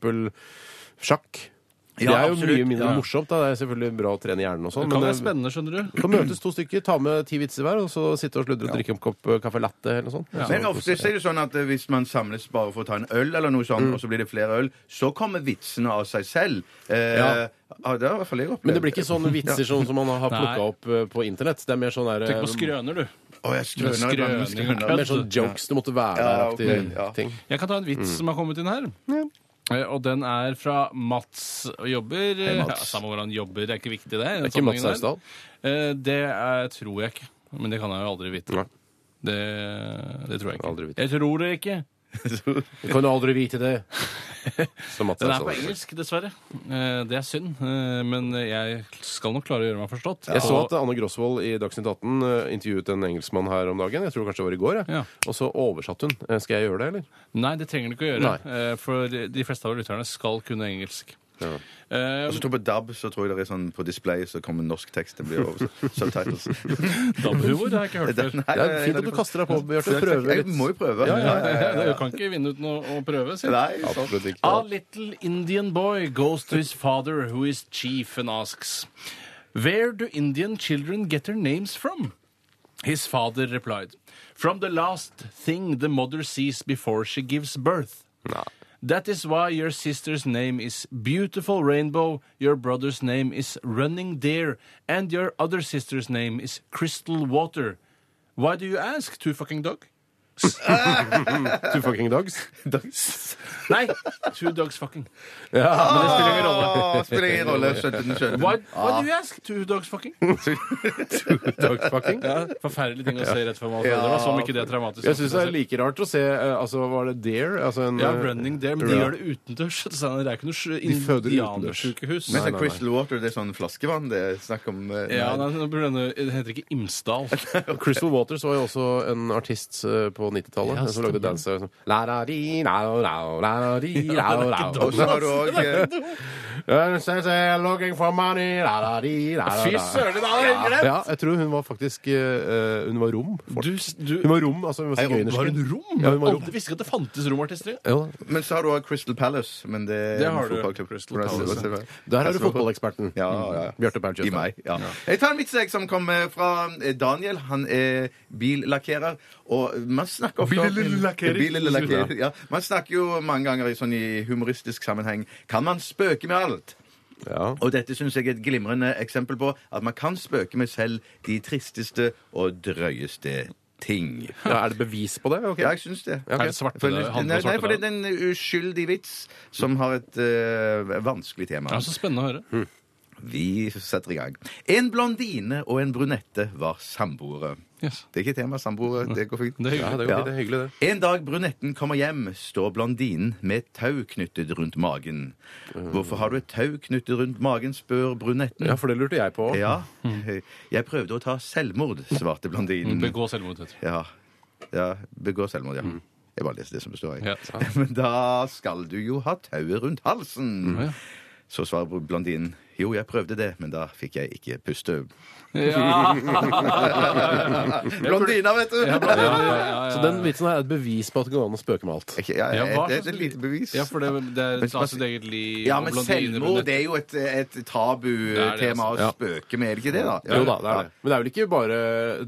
Speaker 4: sjakk. Det
Speaker 5: Ja,
Speaker 4: er jo
Speaker 5: absolutt.
Speaker 4: mye mindre
Speaker 5: Ja.
Speaker 4: morsomt. Da. Det er selvfølgelig bra å trene hjernen og sånn.
Speaker 3: Det kan
Speaker 4: men,
Speaker 3: være spennende, skjønner du.
Speaker 4: Kan møtes to stykker, ta med ti vitser hver, og så sitte og sludre og drikke en kopp eh, caffè latte eller noe sånt.
Speaker 5: Men ofte så er det sånn at eh, hvis man samles bare for å ta en øl, eller noe
Speaker 4: Mm.
Speaker 5: sånt, og så blir det flere øl, så kommer vitsene av seg selv. Eh, ja.
Speaker 4: Ja.
Speaker 5: Det har i hvert fall jeg opplevd.
Speaker 4: Men det blir ikke sånne vitser sånn som man har
Speaker 3: Nei.
Speaker 4: plukka opp eh, på internett. Det er mer sånn der, eh,
Speaker 3: Tenk på skrøner, altså. du.
Speaker 5: Å, jeg skrøner iblant. jeg
Speaker 3: Skrøning.
Speaker 5: skrøner.
Speaker 4: mer sånn jokes. Det måtte være
Speaker 5: Ja,
Speaker 4: der-aktig
Speaker 5: ok, ja.
Speaker 4: ting.
Speaker 3: Jeg kan ta en vits som har kommet inn her. Eh, Og den er fra Mats og jobber.
Speaker 4: Mats.
Speaker 3: Ja, samme hvor han jobber, det er ikke viktig, det.
Speaker 4: Det er ikke Mats Hausdal.
Speaker 3: Eh, Det er, tror jeg ikke. Men det kan jeg jo aldri vite.
Speaker 4: Nei.
Speaker 3: Det, det tror jeg ikke.
Speaker 4: Aldri vite.
Speaker 3: Jeg tror det ikke.
Speaker 4: Du kan aldri vite det. Som Mats
Speaker 3: Den er på
Speaker 4: Hausdal.
Speaker 3: engelsk, dessverre. Eh, Det er synd, eh, men jeg skal nok klare å gjøre meg forstått.
Speaker 4: Jeg så
Speaker 3: Og-
Speaker 4: at Anne Grosvold i Dagsnytt 18 eh, intervjuet en engelskmann her om dagen. Jeg tror kanskje det var i går. Jeg.
Speaker 3: Ja.
Speaker 4: Og så oversatte hun. Eh, Skal jeg gjøre det, eller?
Speaker 3: Nei, det trenger du ikke å gjøre,
Speaker 4: Nei.
Speaker 3: eh, for de fleste av lytterne skal kunne engelsk. Eh,
Speaker 5: Og så tror jeg på DAB, så tror jeg det er sånn på display, så kommer norsk tekst. Det blir over subtitles.
Speaker 3: Dabbhumor det har jeg ikke hørt før.
Speaker 4: Det er fint at du kaster deg på, Bjarte. Prøve
Speaker 5: Jeg
Speaker 4: litt.
Speaker 5: må jo prøve.
Speaker 4: Ja, ja,
Speaker 3: Du kan ikke vinne uten å, å prøve, si.
Speaker 5: Nei, sånn. sant.
Speaker 4: Absolutt ikke.
Speaker 3: A little Indian boy goes to his father, who is chief, and asks, Where do Indian children get their names from? His father replied, From the last thing the mother sees before she gives birth. That is why your sister's name is Beautiful Rainbow, your brother's name is Running Deer, and your other sister's name is Crystal Water. Why do you ask, two fucking dog?
Speaker 4: Two fucking dogs.
Speaker 3: Nei, two dogs fucking.
Speaker 4: Ja.
Speaker 3: Det spiller ingen rolle.
Speaker 5: Å, Ah, spiller ingen rolle. 17-17.
Speaker 3: Why, why do you ask? Two dogs fucking?
Speaker 4: Dogs fucking.
Speaker 3: Forferdelig ting å se rett før man føder. da, Som om ikke det er traumatisk.
Speaker 4: Jeg syns det er like rart å se eh, Altså, var det Dare? Altså en
Speaker 3: ja,
Speaker 4: eh,
Speaker 3: running there, men de gjør det utendørs. så Det er ikke noe sj-
Speaker 4: De føder utendørs.
Speaker 3: indianersykehus.
Speaker 5: Men sånn Crystal Water, det er sånn flaskevann det er snakk om? eh,
Speaker 3: Ja,
Speaker 5: nei.
Speaker 3: nei, nå burde denne, det heter ikke Imsdal.
Speaker 4: Crystal Waters var jo også en artist eh, på 90-tallet
Speaker 3: Ja,
Speaker 4: som lagde
Speaker 3: stemmer.
Speaker 4: dance. Sånn. La, la, di, la, la, la, la, di, la,
Speaker 3: Ja, det er
Speaker 4: la.
Speaker 3: ikke
Speaker 5: Og så har du eh, òg
Speaker 4: Uh, says I'm Looking for money la, la, di, la, la,
Speaker 3: Fy
Speaker 4: la.
Speaker 3: søren, da er det greit!
Speaker 4: Ja, jeg tror hun var faktisk eh, Hun var rom.
Speaker 3: Du, du
Speaker 4: Hun var rom, altså hun var sigøynersk.
Speaker 3: Var hun rom?
Speaker 4: Ja, hun var rom.
Speaker 3: Aldri visste ikke at det fantes romartister.
Speaker 4: Jo da.
Speaker 5: Men så har du også Crystal Palace. Men det, er
Speaker 3: Det har
Speaker 5: en
Speaker 3: du,
Speaker 5: fotballklubb.
Speaker 3: Crystal Palace.
Speaker 4: Der er du fotballeksperten.
Speaker 5: Ja, ja, ja.
Speaker 4: Bjarte Paul
Speaker 5: I meg, ja. Jeg tar en vits jeg, som kom eh, fra eh, Daniel. Han er billakkerer. Og man snakker ofte om-
Speaker 3: Billakkerer.
Speaker 5: Billakkerer, Ja. Man snakker jo mange ganger i, sånn, i humoristisk sammenheng Kan man spøke med alt?
Speaker 4: Ja.
Speaker 5: Og dette syns jeg er et glimrende eksempel på at man kan spøke med selv de tristeste og drøyeste ting.
Speaker 4: Ja, er det bevis på det? Ok.
Speaker 5: Ja, jeg syns det.
Speaker 3: Er det svarte
Speaker 5: For,
Speaker 3: det handler om
Speaker 5: nei, nei,
Speaker 3: svarte
Speaker 5: for det er en uskyldig vits som har et eh, vanskelig tema.
Speaker 3: Ja, Så spennende å høre.
Speaker 5: Vi setter i gang. En blondine og en brunette var samboere.
Speaker 3: Yes.
Speaker 5: Det er ikke tema samboere. Det går fint.
Speaker 3: Det er
Speaker 4: Ja,
Speaker 3: hyggelig.
Speaker 4: det, er jo,
Speaker 5: Ja.
Speaker 4: det er hyggelig, det.
Speaker 5: En dag brunetten kommer hjem, står blondinen med et tau knyttet rundt magen. Hvorfor har du et tau knyttet rundt magen, spør brunetten.
Speaker 4: Ja, for det lurte jeg på.
Speaker 5: Ja. Jeg prøvde å ta selvmord, svarte blondinen.
Speaker 3: Mm, Begå selvmord. vet du.
Speaker 5: Ja. ja. Begå selvmord, ja. Jeg bare leser det som det står.
Speaker 3: Ja.
Speaker 5: Jeg. Men da skal du jo ha tauet rundt halsen.
Speaker 3: Mm, ja.
Speaker 5: Så svarer blondinen. Jo, jeg prøvde det, men da fikk jeg ikke puste.
Speaker 3: Ja.
Speaker 5: Blondina, vet du!
Speaker 3: Ja, ja, ja, ja.
Speaker 4: Så den vitsen her er et bevis på at det går an å spøke med alt.
Speaker 5: Ok, ja,
Speaker 3: Ja,
Speaker 5: ja,
Speaker 3: hva
Speaker 5: det er
Speaker 3: slags-
Speaker 5: et lite bevis.
Speaker 3: Ja, for det, det er
Speaker 5: Men-
Speaker 3: ta sitt eget liv
Speaker 5: Ja,
Speaker 3: og
Speaker 5: men
Speaker 3: blondiner,
Speaker 5: selvmord
Speaker 3: brunette.
Speaker 5: det er jo et, et
Speaker 3: er det,
Speaker 5: tabutema å
Speaker 4: altså.
Speaker 5: spøke med, er det ikke det? da?
Speaker 4: Jo da, det er det. Men det er vel ikke bare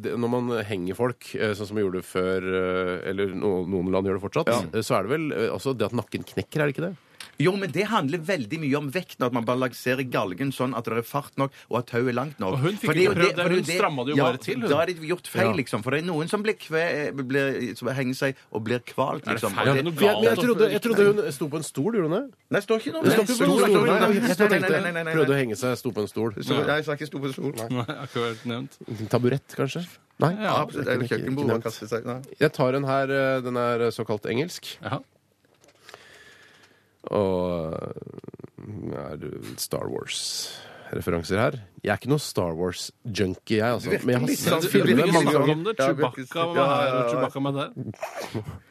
Speaker 4: det, når man henger folk, eh, sånn som vi gjorde det før, eh, eller no, noen land gjør det fortsatt, eh, så er det vel eh, også det at nakken knekker, er det ikke det?
Speaker 5: Jo, men det handler veldig mye om vekten, at man balanserer galgen sånn at det er fart nok, og at tauet er langt nok.
Speaker 3: Og hun fikk
Speaker 5: For det er
Speaker 3: ikke
Speaker 5: jo
Speaker 3: prøvd det,
Speaker 5: for er
Speaker 3: hun stramma det jo bare til, hun.
Speaker 5: Da er det gjort feil,
Speaker 4: Ja.
Speaker 5: liksom. For det er noen som blir kve, blir, som henger seg og blir kvalt, liksom.
Speaker 3: feil?
Speaker 5: Og
Speaker 3: Er det noe
Speaker 4: For jeg, men jeg,
Speaker 3: galt å-
Speaker 4: trodde, jeg trodde hun sto på en stol, gjorde hun det?
Speaker 5: Nei, står ikke noe
Speaker 4: Det
Speaker 5: om
Speaker 4: sto
Speaker 5: det.
Speaker 4: ikke på en stol,
Speaker 5: Nei,
Speaker 4: nei,
Speaker 5: nei,
Speaker 4: jeg
Speaker 5: nei, nei, nei, nei, nei.
Speaker 4: Prøvde å henge seg, sto på en stol.
Speaker 5: Så- Nei, jeg sa ikke sto på en stol.
Speaker 3: Nei, jeg har ikke vært nevnt.
Speaker 4: En Taburett, kanskje? Nei.
Speaker 3: Ja,
Speaker 5: Absolutt. Eller
Speaker 4: ikke- ikke
Speaker 5: kjøkkenbord.
Speaker 4: nevnt.
Speaker 5: og kastet seg- nei.
Speaker 4: Jeg tar en her, eh, den er såkalt engelsk.
Speaker 3: Jaha.
Speaker 4: Og eh, er det Star Wars-referanser her. Jeg er ikke noe Star Wars-junkie, jeg, altså. Men jeg har
Speaker 5: litt sånn-
Speaker 4: sett
Speaker 5: du virker
Speaker 4: filmene
Speaker 5: litt
Speaker 4: mange
Speaker 5: sånn-
Speaker 4: ganger.
Speaker 3: om det.
Speaker 5: Ja,
Speaker 3: Chewbacca
Speaker 5: virkelig.
Speaker 3: var her,
Speaker 5: Ja, ja,
Speaker 3: og
Speaker 5: ja.
Speaker 3: Chewbacca var der.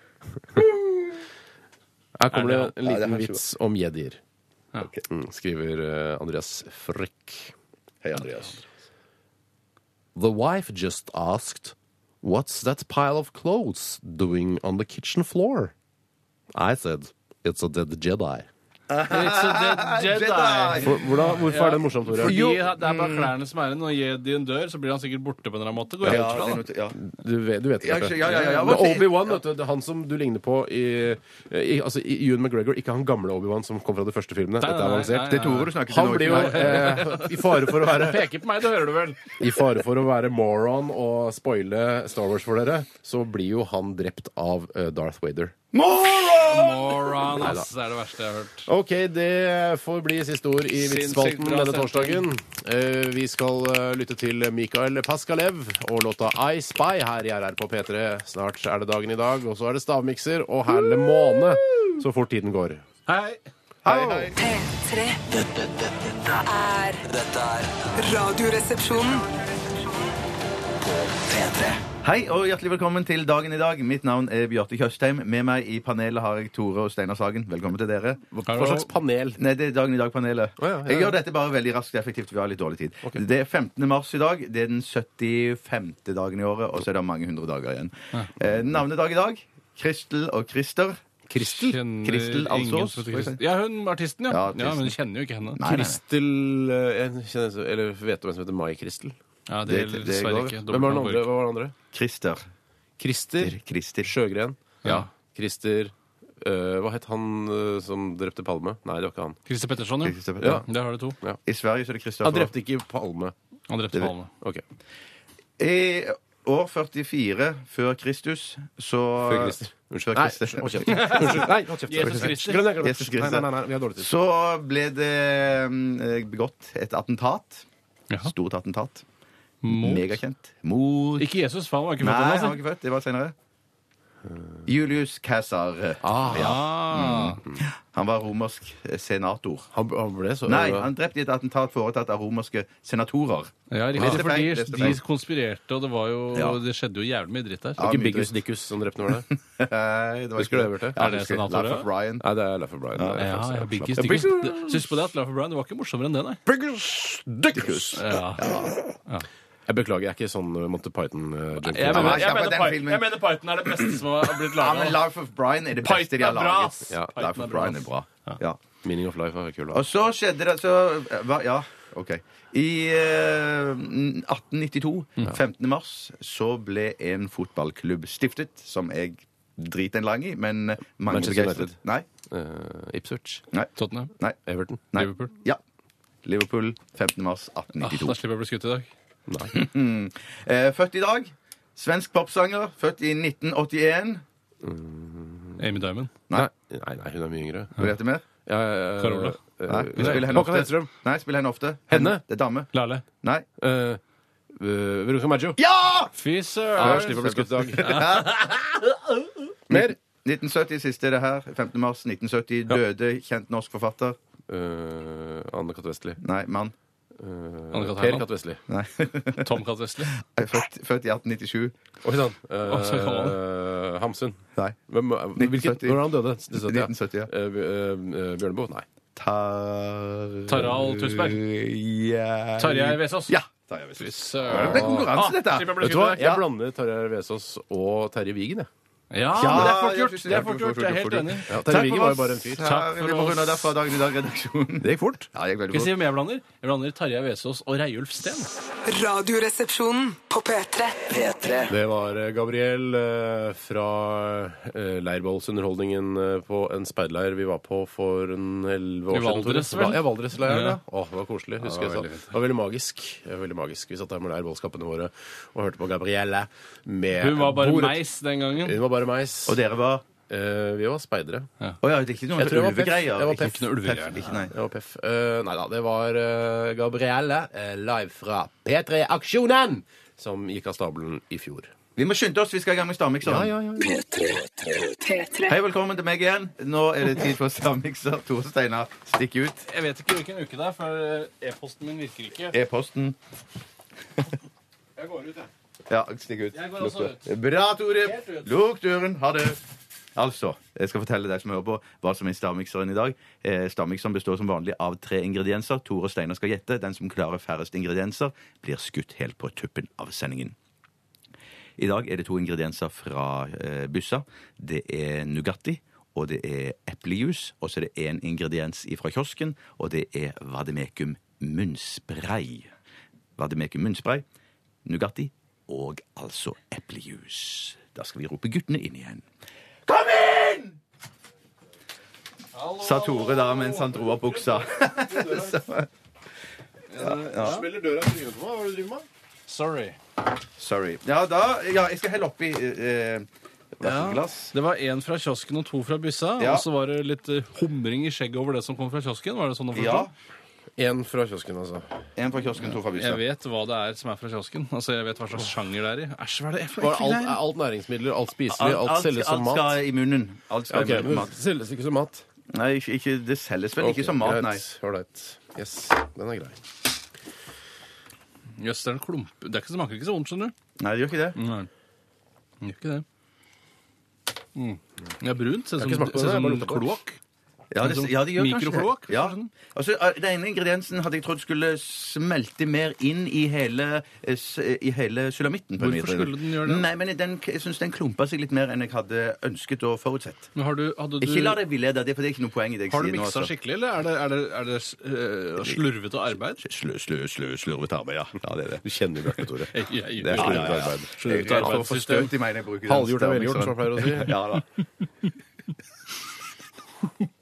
Speaker 4: Her kommer det
Speaker 3: Er
Speaker 4: en
Speaker 5: Ja, det
Speaker 4: liten
Speaker 5: er
Speaker 4: vits om jedier.
Speaker 3: Ja.
Speaker 4: Mm, Skriver eh, Andreas Frøkk.
Speaker 5: Hei, Andreas.
Speaker 4: The wife just asked What's that pile of clothes doing on the kitchen floor? I said It's a dead Jedi.
Speaker 3: It's a dead Jedi.
Speaker 4: Hvor- Hvordan, hvorfor er det morsomt, Tore?
Speaker 3: Fordi det er bare klærne som er igjen. Når jedien dør, så blir han sikkert borte på en eller annen måte. Går jeg
Speaker 5: Ja,
Speaker 3: ut
Speaker 5: det er
Speaker 3: fra, da.
Speaker 5: noe til- ja.
Speaker 4: Du vet, du vet
Speaker 5: Ja,
Speaker 4: kanskje.
Speaker 5: ja, ja, ja, ja.
Speaker 4: Men Obi-Wan, vet du, det er han som du ligner på i, i, altså, i Ewan McGregor, ikke han gamle Obi-Wan som kom fra de første
Speaker 3: Nei,
Speaker 4: filmene. Dette er
Speaker 3: nei,
Speaker 4: avansert.
Speaker 3: nei,
Speaker 5: Det er Tore du snakker til
Speaker 4: Han
Speaker 5: nå,
Speaker 4: blir jo
Speaker 5: ikke meg.
Speaker 4: eh, i fare for å være
Speaker 3: Peker på meg, det hører du vel.
Speaker 4: I fare for å være moron og spoile Star Wars for dere, så blir jo han drept av eh, Darth Vader.
Speaker 3: Moron, ass. Det er det verste jeg har hørt.
Speaker 4: OK, det får bli siste ord i
Speaker 3: Sinnssykt
Speaker 4: Vitsspalten
Speaker 3: bra
Speaker 4: denne
Speaker 3: stemning.
Speaker 4: torsdagen. Eh, vi skal eh, lytte til Mikael Paskalev og låta I Spy her i RR på P3. Snart er det dagen i dag, og så er det stavmikser og herlig måne så fort tiden går.
Speaker 3: Hei.
Speaker 4: Hei, hei.
Speaker 6: P3
Speaker 2: Dette, dette, dette,
Speaker 6: er
Speaker 2: dette er
Speaker 6: Radioresepsjonen.
Speaker 2: P3.
Speaker 5: Hei og hjertelig velkommen til dagen i dag. Mitt navn er Bjarte Tjøstheim. Med meg i panelet har jeg Tore og Steinar Sagen. Velkommen til dere.
Speaker 4: Hva slags panel?
Speaker 5: Nei, det er Dagen i dag-panelet.
Speaker 4: Å, ja, ja, ja.
Speaker 5: Jeg gjør dette bare veldig raskt og effektivt. Vi har litt dårlig tid. Det er 15. mars i dag. Det er den 75. dagen i året, og så er det mange hundre dager igjen. Eh, navnedag i dag. Kristel og Christer.
Speaker 4: Kristel?
Speaker 3: Kjenner
Speaker 5: Kristel Alsås,
Speaker 3: ingen som heter
Speaker 5: for
Speaker 3: Kristel. Ja, hun artisten, ja.
Speaker 5: Ja,
Speaker 3: ja,
Speaker 5: artisten.
Speaker 3: men du kjenner jo ikke henne.
Speaker 5: Nei, nei, nei.
Speaker 4: Kristel eh, jeg kjenner, Eller vet du hvem som heter Mai Kristel?
Speaker 3: Ja, det
Speaker 5: Det-
Speaker 3: gjelder
Speaker 5: det
Speaker 3: dessverre
Speaker 5: går.
Speaker 3: ikke.
Speaker 4: Hvem var den andre?
Speaker 3: Dobbeltnavn går
Speaker 4: Hva var den andre?
Speaker 5: Christer.
Speaker 4: Krister
Speaker 5: Christer.
Speaker 4: Sjøgren.
Speaker 3: ikke. Ja.
Speaker 4: Christer eh, Hva het han eh, som drepte Palme? Nei, det var ikke han.
Speaker 3: Christer Petterson, jo.
Speaker 5: Christer
Speaker 4: Ja.
Speaker 5: Pettersen.
Speaker 3: Der har du to.
Speaker 5: I Sverige så er det Christoffer.
Speaker 4: Han drepte ikke Palme. Eh,
Speaker 3: Han drepte Palme.
Speaker 4: Ok.
Speaker 5: I år 44 før Kristus så
Speaker 4: Før Christer.
Speaker 5: Unnskyld.
Speaker 4: Nei,
Speaker 5: Christer.
Speaker 4: hold kjeft. Unnskyld. Nei, hold kjeft.
Speaker 3: Jesus Christer.
Speaker 4: Glem det, glem det.
Speaker 5: Jesus Christer.
Speaker 4: Nei, nei, nei, vi har dårlig tid.
Speaker 5: Så ble det mm, begått et attentat.
Speaker 3: Jaha.
Speaker 5: Stort attentat.
Speaker 3: Mot.
Speaker 5: Megakjent. Mot
Speaker 3: Ikke Jesus, for han var ikke altså.
Speaker 5: Nei,
Speaker 3: født
Speaker 5: han
Speaker 3: ennå.
Speaker 5: var ikke født. Det var senere. Julius Cæsar.
Speaker 3: altså. Ah.
Speaker 5: Han var romersk eh, senator.
Speaker 4: Han, han ble så
Speaker 5: Nei, han drepte i et attentat foretatt av romerske senatorer.
Speaker 3: Ja,
Speaker 5: Leste
Speaker 3: riktig, for
Speaker 5: feil,
Speaker 3: de,
Speaker 5: leste
Speaker 3: de
Speaker 5: feil.
Speaker 3: konspirerte, og det, var jo,
Speaker 5: Ja.
Speaker 3: det skjedde jo jævlig mye dritt der.
Speaker 5: Ja,
Speaker 4: Ikke
Speaker 5: mye
Speaker 4: Biggus
Speaker 5: dritt.
Speaker 4: Dickus som drepte, var det?
Speaker 5: Nei, det var
Speaker 4: Husker du det, Bjarte?
Speaker 5: Ja,
Speaker 3: Er det
Speaker 5: husker
Speaker 3: senatorer?
Speaker 5: Laugh of Ryan.
Speaker 4: Nei, det er Laffer Bryan. Det er
Speaker 3: Ja,
Speaker 4: faktisk-
Speaker 3: ja, Biggie
Speaker 4: Ja,
Speaker 3: Stickers. Det- Syns på det at Laugh Brown var ikke morsommere enn det, nei.
Speaker 4: Biggus Dickus!
Speaker 3: Ja.
Speaker 4: Jeg beklager, jeg er ikke sånn uh, Monty Python-junkie.
Speaker 3: Jeg,
Speaker 5: men-
Speaker 3: mener,
Speaker 5: ja,
Speaker 3: jeg,
Speaker 5: men
Speaker 3: mener
Speaker 5: den
Speaker 3: Python,
Speaker 5: filmen-
Speaker 3: jeg mener Python er det beste som har blitt
Speaker 5: Ja, men
Speaker 3: laga.
Speaker 5: Life of Brian er det
Speaker 3: Python
Speaker 5: beste de
Speaker 3: er
Speaker 5: har
Speaker 3: bra,
Speaker 5: laget.
Speaker 3: ass.
Speaker 5: Ja,
Speaker 3: Python
Speaker 5: Life
Speaker 3: er
Speaker 5: of
Speaker 3: bra,
Speaker 5: Brian er
Speaker 3: ass.
Speaker 5: bra. Ja.
Speaker 4: Meaning of life er kul. da.
Speaker 5: Og så skjedde det så eh, hva- Ja, OK. I eh, 1892, 15. mars, så ble en fotballklubb stiftet, som jeg driter en lang i, men eh, mange
Speaker 4: Manchester
Speaker 5: begeistret.
Speaker 4: United.
Speaker 5: Nei.
Speaker 4: Eh, Ipswich.
Speaker 5: Nei.
Speaker 3: Tottenham,
Speaker 5: Nei.
Speaker 4: Everton.
Speaker 5: Nei.
Speaker 3: Liverpool.
Speaker 5: Ja. Liverpool, 15. mars
Speaker 3: Ah, da
Speaker 5: 1892.
Speaker 3: slipper jeg å bli skutt i dag.
Speaker 5: Eh, født i dag. Svensk popsanger. Født i 1981.
Speaker 3: Amy Diamond.
Speaker 4: Nei. Nei, nei, hun er mye yngre.
Speaker 5: Vil du vite mer?
Speaker 4: Ja, ja, ja,
Speaker 3: Carola.
Speaker 4: eh,
Speaker 5: Nei.
Speaker 4: eh,
Speaker 5: Spiller
Speaker 4: Håkan
Speaker 5: henne ofte.
Speaker 4: Hellstrøm.
Speaker 5: Nei, spiller henne ofte.
Speaker 4: Henne?
Speaker 5: Det er dame.
Speaker 3: Lale.
Speaker 5: Nei.
Speaker 4: Eh, eh, Veronica Maggio.
Speaker 5: Ja!
Speaker 3: Fy
Speaker 4: Jeg
Speaker 3: søren!
Speaker 4: slipper å bli skutt i dag. Mer.
Speaker 5: 1970, siste er det her. 15. mars 1970. Døde kjent norsk forfatter.
Speaker 4: Eh, Anne Katt Vestli.
Speaker 5: Nei, mann.
Speaker 3: Anne-Kat.
Speaker 4: Per
Speaker 3: Herman.
Speaker 4: Katt Vestli.
Speaker 5: Nei.
Speaker 3: Tomcat Wesley.
Speaker 5: Er Født, født i 1897.
Speaker 4: Oi sann.
Speaker 3: så kan
Speaker 4: Eh, Hamsun.
Speaker 5: Nei.
Speaker 4: Hvem, hvilket,
Speaker 5: 1970.
Speaker 4: når han døde? 1970, ja.
Speaker 5: 1970, ja.
Speaker 4: Eh, eh, eh, Bjørneboe? Nei.
Speaker 5: Tar...
Speaker 3: Tarald Tusberg.
Speaker 5: Ja.
Speaker 3: Tarjei Vesaas.
Speaker 5: Eh, Ja. Tarjei
Speaker 3: Fy
Speaker 5: Vesaas. Det ble
Speaker 3: søren. Ah,
Speaker 5: konkurranse, dette.
Speaker 3: Slipper jeg å bli
Speaker 4: Vet du
Speaker 3: skutt
Speaker 4: hva?
Speaker 3: i dag.
Speaker 4: Jeg blander Tarjei Vesaas og Terje Vigen. Jeg.
Speaker 3: Ja,
Speaker 5: Ja,
Speaker 3: men det er fort
Speaker 5: ja,
Speaker 3: gjort.
Speaker 5: fy søren.
Speaker 3: Det er fort gjort. Jeg er helt
Speaker 5: Fort gjort.
Speaker 3: enig.
Speaker 4: Ja,
Speaker 5: Takk
Speaker 4: Terje Vigen
Speaker 5: for
Speaker 4: var
Speaker 5: oss.
Speaker 4: jo bare en fyr.
Speaker 5: Her,
Speaker 3: Takk for
Speaker 5: vi må
Speaker 3: oss.
Speaker 5: runde av derfra dagen i dag-redaksjonen.
Speaker 4: Det gikk fort.
Speaker 5: Ja, jeg er
Speaker 3: Skal
Speaker 5: veldig
Speaker 3: jeg si
Speaker 5: godt.
Speaker 3: hvem jeg blander? Jeg blander Tarjei Vesaas og Reiulf Steen.
Speaker 6: Radioresepsjonen på P3.
Speaker 2: P3.
Speaker 4: Det var eh, Gabriel eh, fra eh, Leirbålsunderholdningen eh, på en speiderleir vi var på for en elleve
Speaker 3: I
Speaker 4: år siden.
Speaker 3: Valdres,
Speaker 4: tror jeg.
Speaker 3: vel?
Speaker 4: Ja, Valdresleiren, ja.
Speaker 3: Ja.
Speaker 4: Åh, det var koselig. husker
Speaker 3: det var
Speaker 4: jeg
Speaker 3: veldig
Speaker 4: sa.
Speaker 3: fint.
Speaker 4: Det var veldig magisk. Det var veldig magisk. Vi satt der med leirbålskappene våre og hørte på Gabrielle med
Speaker 3: Hun var bare
Speaker 4: bordet-
Speaker 3: meis den gangen.
Speaker 4: Hun var bare meis.
Speaker 5: Og dere var
Speaker 4: Eh, vi var speidere.
Speaker 5: Å ja, det er ikke noe
Speaker 4: Jeg tror jeg var Peff.
Speaker 5: ulvegreier.
Speaker 4: Jeg var Peff.
Speaker 5: Ikke noe ulvegreier. Peff, Ikke, nei.
Speaker 4: Det var peff. Eh, nei da, det var eh, Gabrielle eh, live fra P3-aksjonen som gikk av stabelen i fjor.
Speaker 5: Vi må skynde oss, vi skal i gang med stavmikseren. Hei, velkommen til meg igjen. Nå er det tid for stavmikser. Tore Steinar, stikk ut.
Speaker 3: Jeg vet ikke hvilken uke det er, for eh, e-posten min virker ikke.
Speaker 5: E-posten.
Speaker 3: Jeg går ut, jeg.
Speaker 5: Ja, stikk ut.
Speaker 3: Jeg går
Speaker 5: Lukk
Speaker 3: også ut.
Speaker 5: døren. Bra, Tore.
Speaker 3: Helt ut.
Speaker 5: Lukk døren. Ha det. Altså, jeg skal fortelle deg som hører på, hva som er stavmikseren i dag. Eh, Stavmikseren består som vanlig av tre ingredienser. Tore Steinar skal gjette. Den som klarer færrest ingredienser, blir skutt helt på tuppen av sendingen. I dag er det to ingredienser fra eh, byssa. Det er Nugatti og det er eplejus, og så er det én ingrediens fra kiosken, og det er vademecum munnspray. Vademecum munnspray, Nugatti og altså eplejus. Da skal vi rope guttene inn igjen. Kom inn! Sa Tore da mens han dro opp buksa.
Speaker 4: Smeller døra i trynet på meg? Hva er det du driver med?
Speaker 3: Sorry.
Speaker 5: Sorry. Ja, da Ja, jeg skal helle oppi eh, glass.
Speaker 3: Det var én fra kiosken og to fra byssa.
Speaker 5: Ja.
Speaker 3: Og så var det litt eh, humring i skjegget over det som kom fra kiosken. Var det sånn å forstå?
Speaker 5: Ja.
Speaker 4: En fra kiosken, altså.
Speaker 5: En fra kiosken, to fra
Speaker 3: Jeg
Speaker 5: huset.
Speaker 3: vet hva det er som er fra kiosken. Altså, Jeg vet hva slags sjanger det er i. Æsj, hva er det for
Speaker 4: Var alt, er alt næringsmidler, alt spiselig, alt, selges som mat?
Speaker 5: skal i munnen. Alt skal
Speaker 4: Ok,
Speaker 5: i munnen.
Speaker 4: men
Speaker 5: Mat.
Speaker 4: det selges ikke som mat?
Speaker 5: Nei, ikke, ikke, det selges vel ikke som mat, nei.
Speaker 4: Ålreit. Yes, den er grei.
Speaker 3: Jøss, det er en klump. Det, er ikke, det smaker ikke så vondt, skjønner du.
Speaker 5: Nei, det gjør ikke det.
Speaker 3: Nei. Det Gjør ikke det. Mm. Det er brunt. Ser
Speaker 4: har
Speaker 3: ut
Speaker 4: ikke
Speaker 3: som,
Speaker 4: smakt på det,
Speaker 3: ser
Speaker 4: jeg
Speaker 3: ut
Speaker 4: bare
Speaker 3: som
Speaker 4: lukter på det.
Speaker 3: kloakk.
Speaker 5: Ja, det, ja, det gjør kanskje det.
Speaker 3: Mikroflok,
Speaker 5: Ja.
Speaker 3: kanskje den?
Speaker 5: Altså, eh, den ene ingrediensen hadde jeg trodd skulle smelte mer inn i hele, eh, s- i hele sulamitten. på en
Speaker 3: Hvorfor
Speaker 5: måte.
Speaker 3: skulle den gjøre det?
Speaker 5: Nei, men den, jeg syns den klumpa seg litt mer enn jeg hadde ønsket og forutsett.
Speaker 3: Men har du, hadde du,
Speaker 5: Ikke la deg villede av det, for det er ikke noe poeng i det jeg
Speaker 3: har du
Speaker 5: sier nå.
Speaker 3: miksa
Speaker 5: altså.
Speaker 3: skikkelig, eller er det, er det, er det eh, slurvete arbeid?
Speaker 5: Slø, slø, slø, slurvet arbeid, ja. ja det er det.
Speaker 4: Du kjenner jo Bjarte, Tore.
Speaker 3: Jeg, jeg,
Speaker 5: Det er
Speaker 3: gjør
Speaker 5: slurvete
Speaker 3: det.
Speaker 5: arbeid.
Speaker 3: Slurvete
Speaker 5: Jeg får for
Speaker 3: arbeidssystem.
Speaker 5: støt i meg når jeg bruker den
Speaker 4: Halvgjort er velgjort, som
Speaker 5: stavmiksen.
Speaker 4: jeg pleier å si.
Speaker 5: Ja da.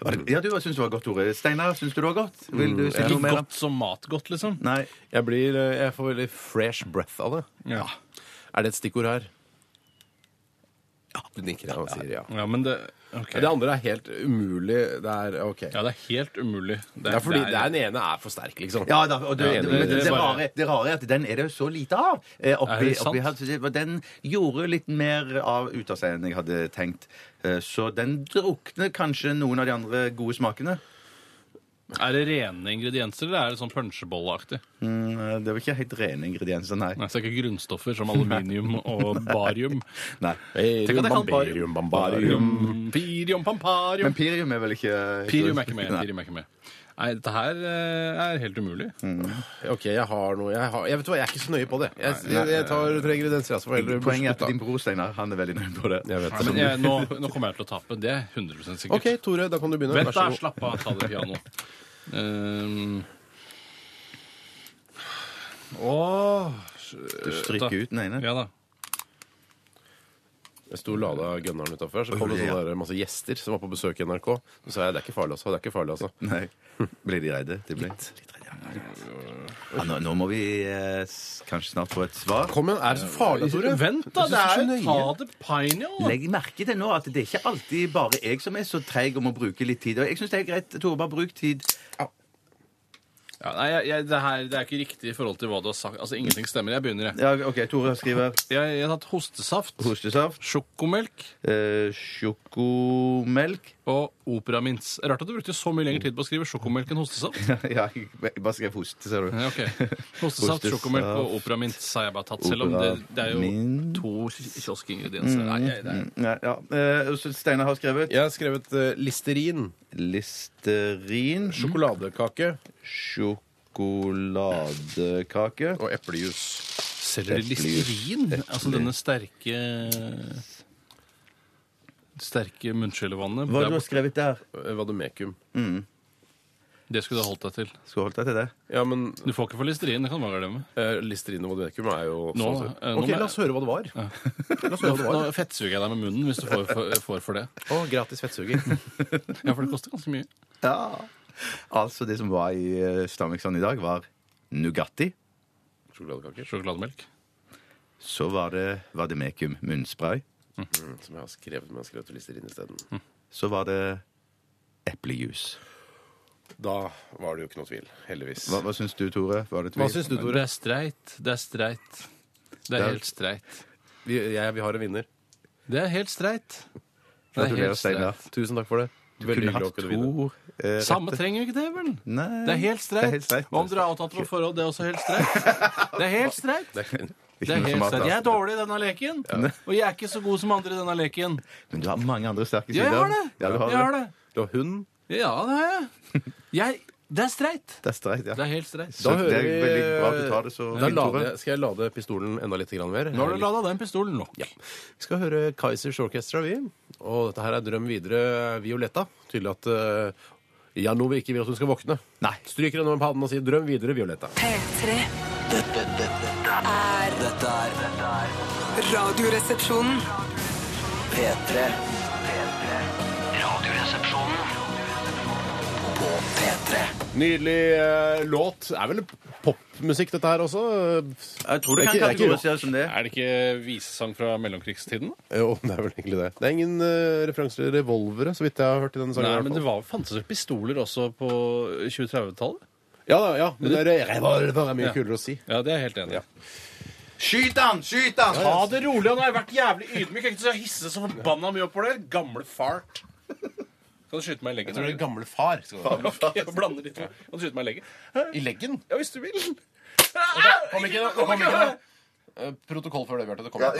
Speaker 5: Var det- Ja, du syns det var godt, Tore. Steinar, syns du det var godt? Vil du si noe
Speaker 3: Ikke
Speaker 5: mer? da?
Speaker 3: godt som matgodt, liksom.
Speaker 5: Nei.
Speaker 4: Jeg, blir, eh, jeg får veldig fresh breath av det.
Speaker 3: Ja.
Speaker 4: Er det et stikkord her? Ja. Du nikker, ja. og Sier, ja.
Speaker 3: ja, men det ok.
Speaker 4: Det andre er helt umulig. Det er OK.
Speaker 3: Ja, det er helt umulig.
Speaker 4: Det er fordi det er den ene er for sterk, liksom.
Speaker 5: Ja da, og det,
Speaker 4: Ja,
Speaker 5: det,
Speaker 4: det-
Speaker 5: men det,
Speaker 3: det
Speaker 5: det,
Speaker 3: bare-
Speaker 5: rare, det rare er at den er det jo så lite av. eh,
Speaker 3: Er
Speaker 5: Oppi,
Speaker 3: det sant?
Speaker 5: oppi her, så det var- den gjorde litt mer av ut av seg enn jeg hadde tenkt. Eh, Så den drukner kanskje noen av de andre gode smakene.
Speaker 3: Er det rene ingredienser, eller er det sånn punsjebolleaktig?
Speaker 5: Mm, Det var ikke helt rene ingredienser, nei.
Speaker 3: Nei, så er det ikke grunnstoffer som aluminium og barium.
Speaker 5: nei.
Speaker 3: Tenk at jeg kan
Speaker 4: Bambarium, bambarium.
Speaker 3: Pirium, pamparium
Speaker 5: Men Pirium er vel ikke
Speaker 3: Pirium er ikke med.
Speaker 5: Nei.
Speaker 3: Pirium er ikke med. Nei, dette her eh, er helt umulig.
Speaker 4: OK, jeg har noe Jeg, har, jeg vet hva, jeg er ikke så nøye på det. Jeg, jeg, jeg tar tre ingredienser, jeg, så får jeg heller
Speaker 5: Poenget er at din
Speaker 4: slutte.
Speaker 5: bror Steinar han er veldig nøye på det.
Speaker 4: Jeg vet
Speaker 3: Nei,
Speaker 4: det.
Speaker 3: men jeg, nå, nå kommer jeg til å tape. Det er 100 sikkert.
Speaker 4: OK, Tore, da kan du begynne.
Speaker 3: Vent,
Speaker 4: Vær så
Speaker 3: da.
Speaker 4: god.
Speaker 3: Slapp av. Ta det piano. Um, Åh
Speaker 5: Du stryker ut den ene.
Speaker 3: Ja da.
Speaker 4: Jeg sto og lada gunneren utafor, så kom det
Speaker 5: Ja.
Speaker 4: sånne der, masse gjester som var på besøk i NRK. Så sa jeg det er ikke farlig, altså. Det er ikke farlig, altså.
Speaker 5: Nei. Ble de redde? De ble... Litt, redde, ja. Ja, nå, nå må vi eh, s- kanskje snart få et svar.
Speaker 4: Kom igjen, er det så farlig, Tore?
Speaker 3: Vent, da!
Speaker 4: Jeg
Speaker 3: Det
Speaker 4: synes
Speaker 3: er
Speaker 4: det er så
Speaker 3: Ta
Speaker 4: nøye.
Speaker 3: det piano!
Speaker 5: Legg merke til nå at det er ikke alltid bare jeg som er så treig om å bruke litt tid. Og jeg syns det er greit, Tore, bare bruk tid.
Speaker 3: Ja, nei, jeg, jeg, det, her, det er ikke riktig i forhold til hva du har sagt. Altså, Ingenting stemmer. Jeg begynner, jeg.
Speaker 5: Ja, OK, Tore skriver
Speaker 3: Jeg, jeg har tatt hostesaft,
Speaker 5: hostesaft,
Speaker 3: sjokomelk
Speaker 5: eh, sjokomelk
Speaker 3: og operamins. Rart at du brukte så mye lengre tid på å skrive sjokomelk enn hostesaft.
Speaker 5: Ja, jeg bare skrev hoste, ser du.
Speaker 3: Ja, ok. Hostesaft,
Speaker 5: Hostesaft,
Speaker 3: sjokomelk og operamint har jeg bare tatt, selv om det, det er jo
Speaker 5: Operamint.
Speaker 3: to kioskingredienser. Nei, jeg- det er-
Speaker 5: Nei, ja. eh, og så Steinar har skrevet
Speaker 4: Jeg har skrevet eh, listerin,
Speaker 5: listerin,
Speaker 4: sjokoladekake
Speaker 5: sjokoladekake
Speaker 4: og eplejus.
Speaker 3: Selger de listerin? Altså denne sterke Sterke munnskyllevannet.
Speaker 5: Hva har
Speaker 3: Det,
Speaker 5: du
Speaker 3: er
Speaker 5: har skrevet der?
Speaker 4: Eh, Vademekum.
Speaker 3: bort- det skulle du ha holdt deg til.
Speaker 5: Skal holde deg til det?
Speaker 4: Ja, men
Speaker 3: Du får ikke for listerin, det kan du bare glemme.
Speaker 4: eh, listerin og vademekum er jo
Speaker 3: Nå,
Speaker 4: sånn.
Speaker 3: eh, nå
Speaker 4: OK,
Speaker 3: må jeg-
Speaker 4: la oss høre hva det var. La oss høre hva det var.
Speaker 3: Nå fettsuger jeg deg med munnen hvis du får for, eh, får for det.
Speaker 4: Å, gratis fettsuger.
Speaker 3: Ja, for det koster ganske mye.
Speaker 5: Ja. Altså, det som var i eh, Stamikson i dag, var Nugatti.
Speaker 4: Sjokoladekaker.
Speaker 3: Sjokolademelk.
Speaker 5: Så var det Vademecum munnspray.
Speaker 4: Mm, Som jeg har skrevet, men jeg har skrevet listerin isteden.
Speaker 3: Hm.
Speaker 5: Så var det eplejus.
Speaker 4: Da var det jo ikke noe tvil. Heldigvis.
Speaker 5: Hva, hva syns du, Tore? Var det tvil?
Speaker 4: Hva syns du,
Speaker 3: Det
Speaker 4: Tore?
Speaker 3: er streit. Det er streit. Det er helt streit.
Speaker 4: Vi, jeg, vi har en vinner.
Speaker 3: Det er helt streit. Det er
Speaker 5: Gratulerer,
Speaker 3: helt
Speaker 5: Steinar.
Speaker 3: streit.
Speaker 4: Tusen takk for det.
Speaker 5: Du kunne hatt
Speaker 4: å kunne vinne.
Speaker 5: to eh,
Speaker 3: Samme trenger jo ikke det, vel?
Speaker 5: Nei.
Speaker 3: Det er helt
Speaker 5: Det er helt
Speaker 3: streit.
Speaker 5: streit.
Speaker 3: Hva om dere er avtatt for forhold, det er også helt streit? Det er helt streit. Det er
Speaker 5: noe altså. som
Speaker 3: helt
Speaker 5: er
Speaker 3: streit. Jeg er
Speaker 5: streit.
Speaker 3: dårlig i denne leken, og jeg er ikke så god som andre i denne leken.
Speaker 5: Men du har mange andre sterke
Speaker 3: Ja, jeg
Speaker 5: sider.
Speaker 3: har det.
Speaker 5: Ja, du har
Speaker 3: Jeg har det.
Speaker 4: Det var hund.
Speaker 3: Ja, det har jeg. Jeg Det er streit!
Speaker 5: Det er streit, ja.
Speaker 3: Det er helt streit.
Speaker 5: Så det er veldig bra at du tar det så
Speaker 4: da
Speaker 5: fint,
Speaker 4: lader,
Speaker 5: Tore.
Speaker 4: jeg- Skal jeg lade pistolen enda litt grann mer?
Speaker 3: Nå har du lada den pistolen nå.
Speaker 4: Ja. Vi skal høre Kaizers Orchestra, vi. Og dette her er Drøm videre, Violetta. Tydelig at eh, Janove ikke vil at hun skal våkne.
Speaker 5: Nei.
Speaker 4: Stryker henne over pannen og sier 'Drøm videre, Violetta'.
Speaker 6: P3
Speaker 2: Dette, dette, dette er Dette er dette er
Speaker 6: Radioresepsjonen
Speaker 2: P3. P3. Radioresepsjonen på P3.
Speaker 4: Nydelig eh, låt. Det er vel popmusikk, dette her også?
Speaker 5: Jeg tror du
Speaker 4: Det er ikke- det er
Speaker 5: kan
Speaker 4: ikke
Speaker 5: kategorisere som det.
Speaker 3: Er det ikke visesang fra mellomkrigstiden?
Speaker 4: Jo, det er vel egentlig det. Det er ingen eh, referanser til revolvere, så vidt jeg har hørt i denne sangen.
Speaker 3: Nei,
Speaker 4: i hvert
Speaker 3: men
Speaker 4: fall.
Speaker 3: det var, fantes jo pistoler også på 2030-tallet?
Speaker 4: Ja, da, ja, men det er revolver er mye
Speaker 3: Ja.
Speaker 4: kulere å si.
Speaker 3: Ja, det er jeg helt enig i.
Speaker 5: Skyt han! Skyt han!
Speaker 3: Ta det rolig. Han har vært jævlig ydmyk. Jeg har hisset så forbanna mye opp for det. Gamle fart. Kan du skyte meg i leggen?
Speaker 4: er gamle far. Skal det være.
Speaker 3: Ok, jeg blander litt. Kan du skyte meg i leggen?
Speaker 4: I leggen?
Speaker 3: Ja, hvis du vil.
Speaker 4: Kom ikke nå. Kom ikke nå. Eh, Protokoll før det, Bjarte. Det kommer.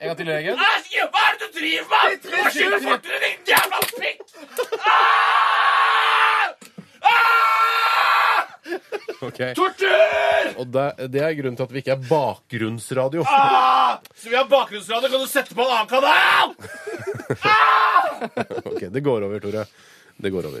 Speaker 4: En gang til i leggen.
Speaker 3: Æsj, Hva er det du driver med?! Hva skjer
Speaker 4: skyter.
Speaker 3: fortere, din jævla pikk?!
Speaker 4: Ok.
Speaker 3: Tortur!
Speaker 4: Og det, det er grunnen til at vi ikke er bakgrunnsradio.
Speaker 3: Så vi har bakgrunnsradio, kan du sette på en annen kanal?!
Speaker 4: Ok, Det går over, Tore. Det går over.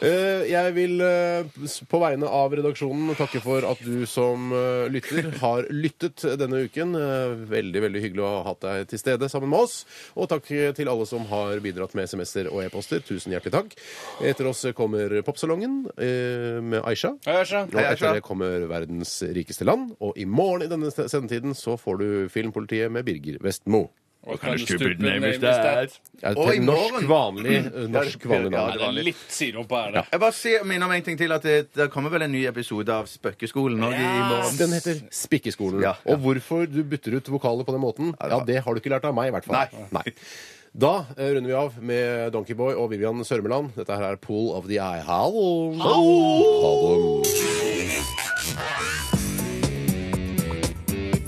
Speaker 4: Eh, jeg vil eh, s- på vegne av redaksjonen takke for at du som eh, lytter har lyttet denne uken. Eh, veldig veldig hyggelig å ha hatt deg til stede sammen med oss. Og takk til alle som har bidratt med SMS-er og e-poster. Tusen hjertelig takk. Etter oss kommer Popsalongen eh, med Aisha. Og etter det kommer Verdens rikeste land. Og i morgen i denne st- sendetiden så får du Filmpolitiet med Birger Vestmo. Ja,
Speaker 5: Og i
Speaker 4: til norsk,
Speaker 5: morgen-
Speaker 4: vanlig, eh, norsk vanlig
Speaker 5: Ja,
Speaker 4: navn.
Speaker 5: det var litt.
Speaker 3: sirup på æra.
Speaker 5: Jeg bare sier- minner om en ting til, at det, det kommer vel en ny episode av Spøkkeskolen nå i morgen.
Speaker 4: Den heter Spikkeskolen.
Speaker 5: Ja, ja.
Speaker 4: Og hvorfor du bytter ut vokaler på den måten, ja, det har du ikke lært av meg, i hvert fall. Nei. Da eh, runder vi av med Donkeyboy og Vivian Sørmeland. Dette her er Pool of the Eye. Hallo! Hallo!